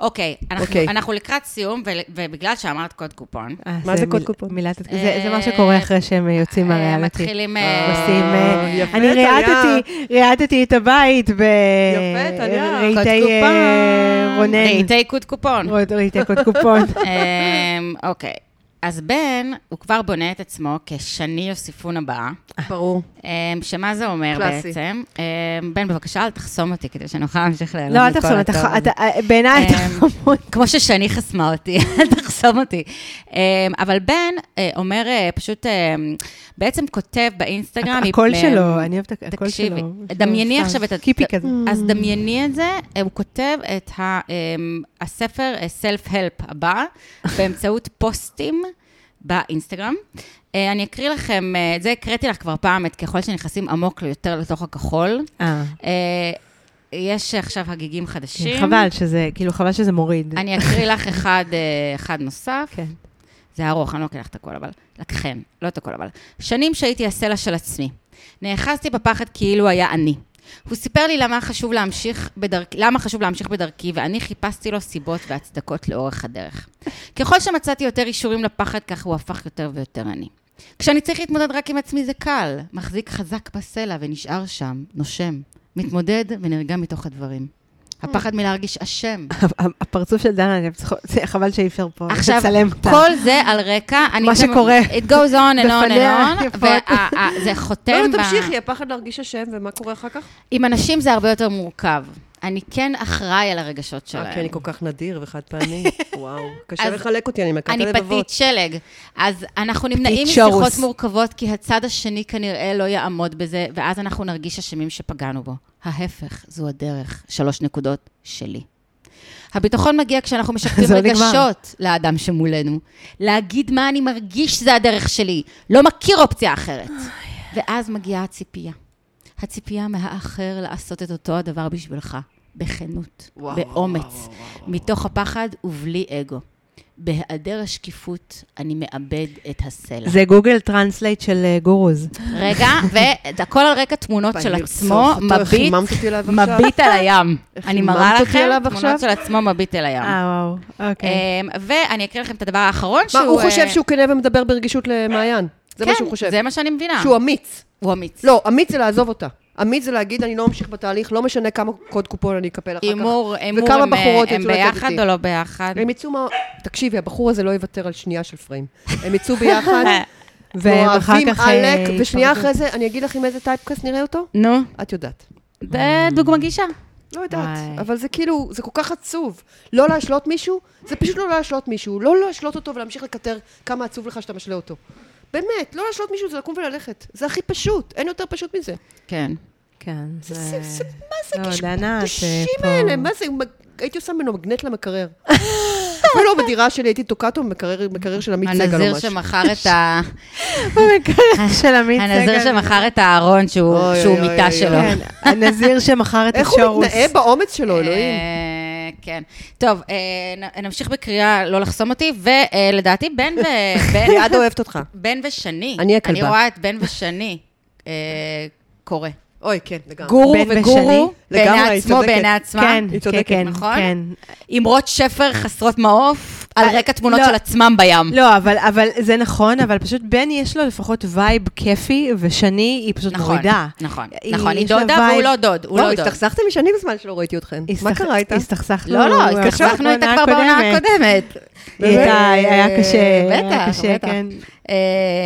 [SPEAKER 1] אוקיי, אנחנו-
[SPEAKER 3] אוקיי.
[SPEAKER 1] אנחנו לקראת סיום, ול- ובגלל שאמרת קוד קופון,
[SPEAKER 2] אה,
[SPEAKER 3] מה זה קוד
[SPEAKER 2] מיל-
[SPEAKER 3] קופון?
[SPEAKER 2] מילת... זה זה מה
[SPEAKER 1] אה,
[SPEAKER 2] שקורה אחרי שהם יוצאים
[SPEAKER 1] אה,
[SPEAKER 2] מהריאליטי.
[SPEAKER 1] מתחילים, אה,
[SPEAKER 2] עושים... אה,
[SPEAKER 3] יפה,
[SPEAKER 2] אני
[SPEAKER 3] טליה.
[SPEAKER 2] ריאטתי, ריאטתי את הבית ב...
[SPEAKER 3] יפה, טליה.
[SPEAKER 2] רהיטי,
[SPEAKER 3] קוד
[SPEAKER 2] אה,
[SPEAKER 3] קופון.
[SPEAKER 2] רונן.
[SPEAKER 1] רהיטי קוד קופון.
[SPEAKER 2] עוד רהיטי קוד קופון.
[SPEAKER 1] אמ, אוקיי. אז בן, הוא כבר בונה את עצמו כשני יוסיפון הבאה,
[SPEAKER 3] ברור.
[SPEAKER 1] אמ, שמה זה אומר
[SPEAKER 3] קלאסי.
[SPEAKER 1] בעצם? אמ, בן, בבקשה, אל תחסום אותי כדי שאני אוכל להמשיך ליהנות
[SPEAKER 2] לא, אל
[SPEAKER 1] מכל
[SPEAKER 2] תחשוב, אתה
[SPEAKER 1] הטוב
[SPEAKER 2] ח-
[SPEAKER 1] הזה.
[SPEAKER 2] אתה- אה, בעיניי אתה
[SPEAKER 1] אמ,
[SPEAKER 2] חמוד.
[SPEAKER 1] כמו ששני חסמה אותי, <laughs> אל תחסום אותי. אמ, אבל בן אה, אומר, אה, פשוט אה, בעצם כותב
[SPEAKER 2] <laughs>
[SPEAKER 1] באינסטגרם...
[SPEAKER 2] הקול
[SPEAKER 1] אה,
[SPEAKER 2] שלו, אני אוהבת את הקול שלו.
[SPEAKER 1] תקשיבי,
[SPEAKER 2] יש לו
[SPEAKER 1] דמייני
[SPEAKER 2] סאונד
[SPEAKER 1] עכשיו את... ה-
[SPEAKER 2] קיפי כזה.
[SPEAKER 1] אז דמייני את זה, אה, הוא כותב את ה- אמ, הספר Self-Help
[SPEAKER 2] <laughs>
[SPEAKER 1] הבא, באמצעות פוסטים באינסטגרם. אה, אני אקריא לכם, אה, את זה הקראתי לך כבר פעם, את ככל שנכנסים עמוק יותר לתוך הכחול.
[SPEAKER 2] אה,
[SPEAKER 1] אה, יש עכשיו הגיגים חדשים.
[SPEAKER 2] כן, חבל שזה, כאילו, חבל שזה מוריד.
[SPEAKER 1] אני אקריא לך אחד, אה, אחד נוסף.
[SPEAKER 2] כן.
[SPEAKER 1] זה ארוך, אני לא אקריא לך את הכל, אבל... לקחן, לא את הכל, אבל... שנים שהייתי הסלע של עצמי. נאחזתי בפחד כאילו היה אני. הוא סיפר לי למה חשוב להמשיך בדרכי, למה חשוב להמשיך בדרכי, ואני חיפשתי לו סיבות והצדקות לאורך הדרך. ככל שמצאתי יותר אישורים לפחד, כך הוא הפך יותר ויותר אני. כשאני צריך להתמודד רק עם עצמי זה קל. מחזיק חזק בסלע ונשאר שם, נושם. מתמודד ונרגע מתוך הדברים. הפחד מלהרגיש אשם,
[SPEAKER 2] הפרצוף של דנה, אני צריכה- זה חבל שאי אפשר פה
[SPEAKER 1] עכשיו,
[SPEAKER 2] לצלם אותה.
[SPEAKER 1] כל זה על רקע... אני
[SPEAKER 2] מה
[SPEAKER 1] גם-
[SPEAKER 2] שקורה.
[SPEAKER 1] It goes on and on
[SPEAKER 2] בפניה,
[SPEAKER 1] and on,
[SPEAKER 2] יפות.
[SPEAKER 1] וזה חותם...
[SPEAKER 3] לא, לא,
[SPEAKER 1] ב-
[SPEAKER 3] תמשיכי, הפחד להרגיש אשם, ומה קורה אחר כך?
[SPEAKER 1] עם אנשים זה הרבה יותר מורכב. אני כן אחראי על הרגשות
[SPEAKER 3] אה, כי
[SPEAKER 1] שלהם.
[SPEAKER 3] אני כל כך נדיר וחד פעמי. וואו. קשה
[SPEAKER 1] אז
[SPEAKER 3] לחלק אותי, אני מכת
[SPEAKER 1] אני
[SPEAKER 3] לבבות.
[SPEAKER 1] פתית שלג. אז אנחנו נמנעים
[SPEAKER 2] שורוס.
[SPEAKER 1] משיחות מורכבות, כי הצד השני כנראה לא יעמוד בזה, ואז אנחנו נרגיש אשמים שפגענו בו. ההפך, זו הדרך. שלוש נקודות שלי. הביטחון מגיע כשאנחנו משקפים
[SPEAKER 2] זהו, נגמר.
[SPEAKER 1] רגשות לאדם שמולנו. להגיד מה אני מרגיש זה הדרך שלי, לא מכיר אופציה אחרת. ואז מגיעה הציפייה. הציפייה מהאחר לעשות את אותו הדבר בשבילך, בכנות,
[SPEAKER 3] וואו,
[SPEAKER 1] באומץ,
[SPEAKER 3] וואו, וואו,
[SPEAKER 1] מתוך הפחד ובלי אגו. בהיעדר השקיפות, אני מאבד את הסלע.
[SPEAKER 2] זה גוגל טרנסלייט של אה, גורוז.
[SPEAKER 1] רגע, והכל על רקע תמונות לא, של
[SPEAKER 3] ואני
[SPEAKER 1] עצמו,
[SPEAKER 3] ארצוף אותו, איך
[SPEAKER 1] מביט,
[SPEAKER 3] היממת אותי אליו עכשיו?
[SPEAKER 1] מביט על הים.
[SPEAKER 3] איך
[SPEAKER 1] אני
[SPEAKER 3] היממת
[SPEAKER 1] מראה
[SPEAKER 3] אותי
[SPEAKER 1] לכם
[SPEAKER 2] אליו עכשיו?
[SPEAKER 1] תמונות של עצמו מביט אל הים.
[SPEAKER 2] אה, וואו, אוקיי.
[SPEAKER 1] אמ, ואני אקריא לכם את הדבר האחרון
[SPEAKER 3] כן. מה,
[SPEAKER 1] שהוא...
[SPEAKER 3] הוא חושב
[SPEAKER 1] אה,
[SPEAKER 3] שהוא כנה ומדבר ברגישות למעיין. זה מה
[SPEAKER 1] כן,
[SPEAKER 3] שהוא חושב.
[SPEAKER 1] זה מה שאני מבינה.
[SPEAKER 3] שהוא אמיץ.
[SPEAKER 1] הוא אמיץ.
[SPEAKER 3] לא, אמיץ זה לעזוב אותה. אמיץ זה להגיד, אני לא אמשיך בתהליך, לא משנה כמה קוד קופון אני אקפל אחר כך.
[SPEAKER 1] הימור, הימור,
[SPEAKER 3] וכמה
[SPEAKER 1] הם-
[SPEAKER 3] בחורות
[SPEAKER 1] הם
[SPEAKER 3] ירצו לצאת
[SPEAKER 1] ביחד
[SPEAKER 3] איתי.
[SPEAKER 1] או לא ביחד?
[SPEAKER 3] הם יצאו מה... תקשיבי, הבחור הזה לא יוותר על שנייה של פריים. הם יצאו
[SPEAKER 1] <laughs>
[SPEAKER 3] ביחד,
[SPEAKER 1] אה,
[SPEAKER 2] והם אחר
[SPEAKER 3] אוהבים
[SPEAKER 2] כך, אה,
[SPEAKER 3] עלק, ושנייה
[SPEAKER 2] ייפרדו.
[SPEAKER 3] אחרי זה, אני אגיד לך עם איזה טייפקאסט נראה אותו?
[SPEAKER 1] נו,
[SPEAKER 3] את יודעת.
[SPEAKER 1] זה דוגמה גישה.
[SPEAKER 3] לא יודעת,
[SPEAKER 1] וואי.
[SPEAKER 3] אבל זה כאילו, זה כל כך עצוב. לא להשלות מישהו, זה פשוט לא להשלות מישהו. לא להשלות אותו ולהמשיך לקטר כמה עצוב לך שאתה משלה אותו. באמת, לא להשלות מישהו זה לקום וללכת. זה הכי פשוט, אין יותר פשוט מזה.
[SPEAKER 1] כן.
[SPEAKER 2] כן, זה...
[SPEAKER 3] זה- זה- מה זה
[SPEAKER 2] לא,
[SPEAKER 3] קשקושים
[SPEAKER 2] דנה, זה פה...
[SPEAKER 3] האלה? מה זה? מג- הייתי עושה ממנו מגנט למקרר. אפילו לא בדירה שלי הייתי תוקעת אותו במקרר במקרר של עמית סגל
[SPEAKER 1] הנזיר
[SPEAKER 3] ממש.
[SPEAKER 1] שמכר את ה...
[SPEAKER 2] של עמית סגל.
[SPEAKER 1] הנזיר שמכר את הארון שהוא
[SPEAKER 3] אוי,
[SPEAKER 1] שהוא
[SPEAKER 3] אוי,
[SPEAKER 1] מיטה
[SPEAKER 3] אוי,
[SPEAKER 1] שלו. אה,
[SPEAKER 2] כן, הנזיר שמכר את
[SPEAKER 3] איך הוא
[SPEAKER 2] הצ'ורוס.
[SPEAKER 3] מתנאה באומץ שלו, אלוהים?
[SPEAKER 1] אה, כן. טוב, אה, נ- נמשיך בקריאה לא לחסום אותי, ולדעתי בן
[SPEAKER 3] <laughs>
[SPEAKER 1] ו... בן-
[SPEAKER 3] ליעד אוהבת אותך.
[SPEAKER 1] בן ושני.
[SPEAKER 3] אני הכלבה.
[SPEAKER 1] אני רואה את בן ושני אה, קורא.
[SPEAKER 3] אוי, כן, לגמרי.
[SPEAKER 1] גורו
[SPEAKER 2] בן
[SPEAKER 1] וגורו,
[SPEAKER 2] ושני?
[SPEAKER 1] בעיני
[SPEAKER 3] לגמרי, היא
[SPEAKER 1] עצמו,
[SPEAKER 3] צודקת.
[SPEAKER 1] בעיני עצמה.
[SPEAKER 2] כן,
[SPEAKER 3] היא
[SPEAKER 2] כן,
[SPEAKER 3] צודקת,
[SPEAKER 2] כן,
[SPEAKER 1] נכון?
[SPEAKER 2] כן.
[SPEAKER 1] אמרות שפר חסרות מעוף, על
[SPEAKER 2] אה,
[SPEAKER 1] רקע תמונות
[SPEAKER 2] לא.
[SPEAKER 1] של עצמם בים.
[SPEAKER 2] לא, אבל, אבל זה נכון, אבל פשוט בן יש לו לפחות וייב כיפי, ושני היא פשוט
[SPEAKER 1] נכון,
[SPEAKER 2] מורידה.
[SPEAKER 1] נכון,
[SPEAKER 2] היא-
[SPEAKER 1] נכון, היא
[SPEAKER 2] יש לה
[SPEAKER 1] דודה
[SPEAKER 2] וייב-
[SPEAKER 1] והוא לא דוד, הוא
[SPEAKER 3] לא,
[SPEAKER 1] לא דוד.
[SPEAKER 3] הסתכסכתם משנים בזמן שלא ראיתי אתכם. מה
[SPEAKER 2] הסתכ-
[SPEAKER 3] קרה איתה?
[SPEAKER 2] הסתכסכנו. אה,
[SPEAKER 1] לא, לא,
[SPEAKER 2] עכשיו
[SPEAKER 1] הסתכסכנו איתה כבר בעונה הקודמת.
[SPEAKER 2] היא הייתה,
[SPEAKER 1] אה,
[SPEAKER 2] היה קשה, היה
[SPEAKER 1] בטח,
[SPEAKER 2] קשה,
[SPEAKER 1] בטח.
[SPEAKER 2] כן.
[SPEAKER 1] אה,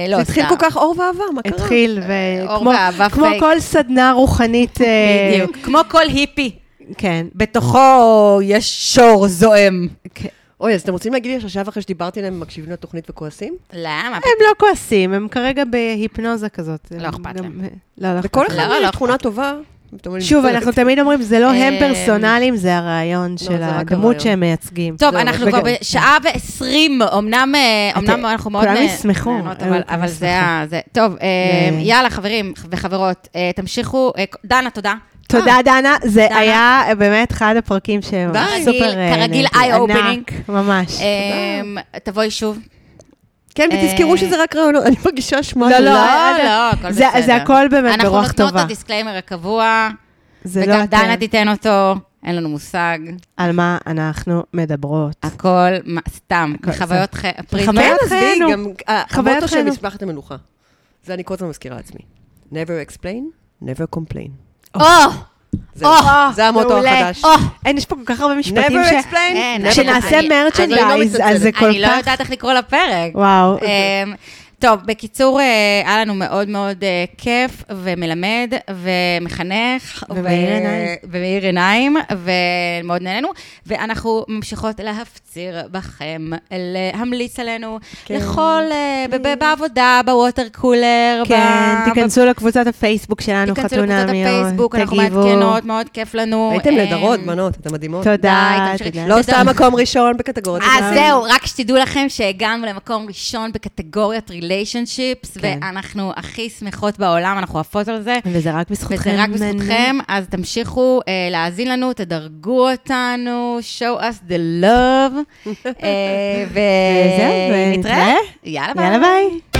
[SPEAKER 1] לא,
[SPEAKER 3] זה התחיל
[SPEAKER 1] סתם.
[SPEAKER 3] כל כך אור ועבר, מה קרה?
[SPEAKER 2] התחיל,
[SPEAKER 1] אה, אור
[SPEAKER 2] וכמו
[SPEAKER 1] ואהבה
[SPEAKER 2] כמו
[SPEAKER 1] פייק.
[SPEAKER 2] כל סדנה רוחנית... אה,
[SPEAKER 1] בדיוק, כמו כל היפי.
[SPEAKER 2] כן.
[SPEAKER 1] בתוכו יש שור זועם.
[SPEAKER 3] אוי, אז אתם רוצים להגיד לי שעכשיו אחרי שדיברתי להם, הם מקשיבים לתוכנית וכועסים?
[SPEAKER 1] למה?
[SPEAKER 2] הם לא כועסים, הם כרגע בהיפנוזה כזאת.
[SPEAKER 1] לא
[SPEAKER 2] הם
[SPEAKER 1] אכפת
[SPEAKER 2] גם-
[SPEAKER 1] להם.
[SPEAKER 2] לא, לא אכפת
[SPEAKER 3] וכל
[SPEAKER 2] להם.
[SPEAKER 1] לא,
[SPEAKER 3] אחד
[SPEAKER 1] לא
[SPEAKER 3] יש תכונה טובה. ואתם אומרים,
[SPEAKER 2] שוב,
[SPEAKER 3] "טוב,
[SPEAKER 2] אנחנו תמיד אומרים, זה לא הם
[SPEAKER 1] אה, לא,
[SPEAKER 2] פרסונליים, זה הרעיון של
[SPEAKER 3] זה רק
[SPEAKER 2] הדמות
[SPEAKER 3] הרעיון.
[SPEAKER 2] שהם מייצגים.
[SPEAKER 1] טוב,
[SPEAKER 3] זהו,
[SPEAKER 1] אנחנו
[SPEAKER 2] וגם-
[SPEAKER 1] כבר בשעה ועשרים, אמנם אה,
[SPEAKER 2] לא, אתם-
[SPEAKER 1] אמנם אנחנו מאוד...
[SPEAKER 2] כולם
[SPEAKER 1] נה-
[SPEAKER 2] ישמחו,
[SPEAKER 1] נהנות,
[SPEAKER 2] אה,
[SPEAKER 1] אבל-
[SPEAKER 2] כולם
[SPEAKER 1] אבל זה ה... זה- טוב, אה,
[SPEAKER 2] ו-
[SPEAKER 1] יאללה, חברים וחברות, אה, תמשיכו. אה, דנה, תודה.
[SPEAKER 2] תודה, דנה. זה
[SPEAKER 1] אה, דנה.
[SPEAKER 2] היה אה, באמת אחד הפרקים שממש
[SPEAKER 1] כרגיל-
[SPEAKER 2] סופר... אה,
[SPEAKER 1] כרגיל,
[SPEAKER 2] נהניתי.
[SPEAKER 1] eye-opening.
[SPEAKER 2] ענק, ממש.
[SPEAKER 1] אה, תבואי שוב.
[SPEAKER 3] כן,
[SPEAKER 1] אה,
[SPEAKER 3] ותזכרו שזה רק רעיונות, אני מרגישה אשמה.
[SPEAKER 2] לא,
[SPEAKER 3] נורא.
[SPEAKER 2] לא,
[SPEAKER 1] לא, הכל
[SPEAKER 2] זה-
[SPEAKER 1] בסדר.
[SPEAKER 2] זה הכל באמת
[SPEAKER 1] אנחנו
[SPEAKER 2] ברוח
[SPEAKER 1] נותנות את
[SPEAKER 2] טובה.
[SPEAKER 1] הדיסקליימר הקבוע,
[SPEAKER 2] זה לא
[SPEAKER 1] וגם
[SPEAKER 2] אתם.
[SPEAKER 1] דנה תיתן אותו, אין לנו מושג.
[SPEAKER 2] על מה אנחנו מדברות.
[SPEAKER 1] הכל מה- סתם, מחוויות ח- פריזמה.
[SPEAKER 2] חוויות
[SPEAKER 3] כן, עזבי,
[SPEAKER 2] חיינו.
[SPEAKER 3] גם אה,
[SPEAKER 2] חוויית
[SPEAKER 3] המוטו של
[SPEAKER 2] חיינו.
[SPEAKER 3] משפחת המלוכה. זה אני כל הזמן מזכירה לעצמי. never explain, never complain.
[SPEAKER 1] או!
[SPEAKER 3] זהו, זה המוטו
[SPEAKER 2] מעולה.
[SPEAKER 3] החדש.
[SPEAKER 1] או!
[SPEAKER 2] אין, יש פה כל כך הרבה משפטים
[SPEAKER 3] אה, never
[SPEAKER 2] ש...
[SPEAKER 3] explain,
[SPEAKER 1] אין,
[SPEAKER 3] never
[SPEAKER 2] כשנעשה
[SPEAKER 3] complain.
[SPEAKER 2] merchandise,
[SPEAKER 3] אני לא
[SPEAKER 2] אז זה
[SPEAKER 3] מתנצלת.
[SPEAKER 2] כל
[SPEAKER 1] אני לא
[SPEAKER 2] כך- אוקיי.
[SPEAKER 1] יודעת איך לקרוא לפרק.
[SPEAKER 2] וואו.
[SPEAKER 1] אמ, טוב, בקיצור, אה, היה לנו מאוד מאוד אה, כיף ומלמד ומחנך. ו-
[SPEAKER 2] ומאיר עיניים.
[SPEAKER 1] ומאיר עיניים, ומאוד נהנינו. ואנחנו ממשיכות להפציר בכם, להמליץ עלינו,
[SPEAKER 2] כן.
[SPEAKER 1] לכל, אה, ב- ב- בעבודה, בווטר קולר,
[SPEAKER 2] כן,
[SPEAKER 1] ב-
[SPEAKER 2] תיכנסו לקבוצת הפייסבוק שלנו,
[SPEAKER 1] תיכנסו לקבוצת
[SPEAKER 2] חתונמיות,
[SPEAKER 1] הפייסבוק, אנחנו
[SPEAKER 2] תגיבו.
[SPEAKER 1] מעדכנות, מאוד כיף לנו.
[SPEAKER 3] הייתם
[SPEAKER 1] אמ,
[SPEAKER 3] נהדרות, בנות, אתן מדהימות.
[SPEAKER 2] תודה.
[SPEAKER 1] די, תמשיכי.
[SPEAKER 2] אה, תודה.
[SPEAKER 3] לא עושה מקום ראשון בקטגוריות.
[SPEAKER 2] אה,
[SPEAKER 1] אז אה, זהו, רק שתדעו לכם שהגענו למקום ראשון בקטגוריית ריליישנשיפס,
[SPEAKER 2] כן.
[SPEAKER 1] ואנחנו הכי שמחות בעולם, אנחנו עפות על זה.
[SPEAKER 2] וזה רק בזכותכם.
[SPEAKER 1] וזה רק
[SPEAKER 2] אני-
[SPEAKER 1] בזכותכם, אז תמשיכו אה, להאזין לנו, תדרגו אותנו, show us the love, אה,
[SPEAKER 2] וזהו, <laughs>
[SPEAKER 1] ונתראה.
[SPEAKER 2] ונתראה.
[SPEAKER 1] יאללה ביי.
[SPEAKER 2] יאללה ביי.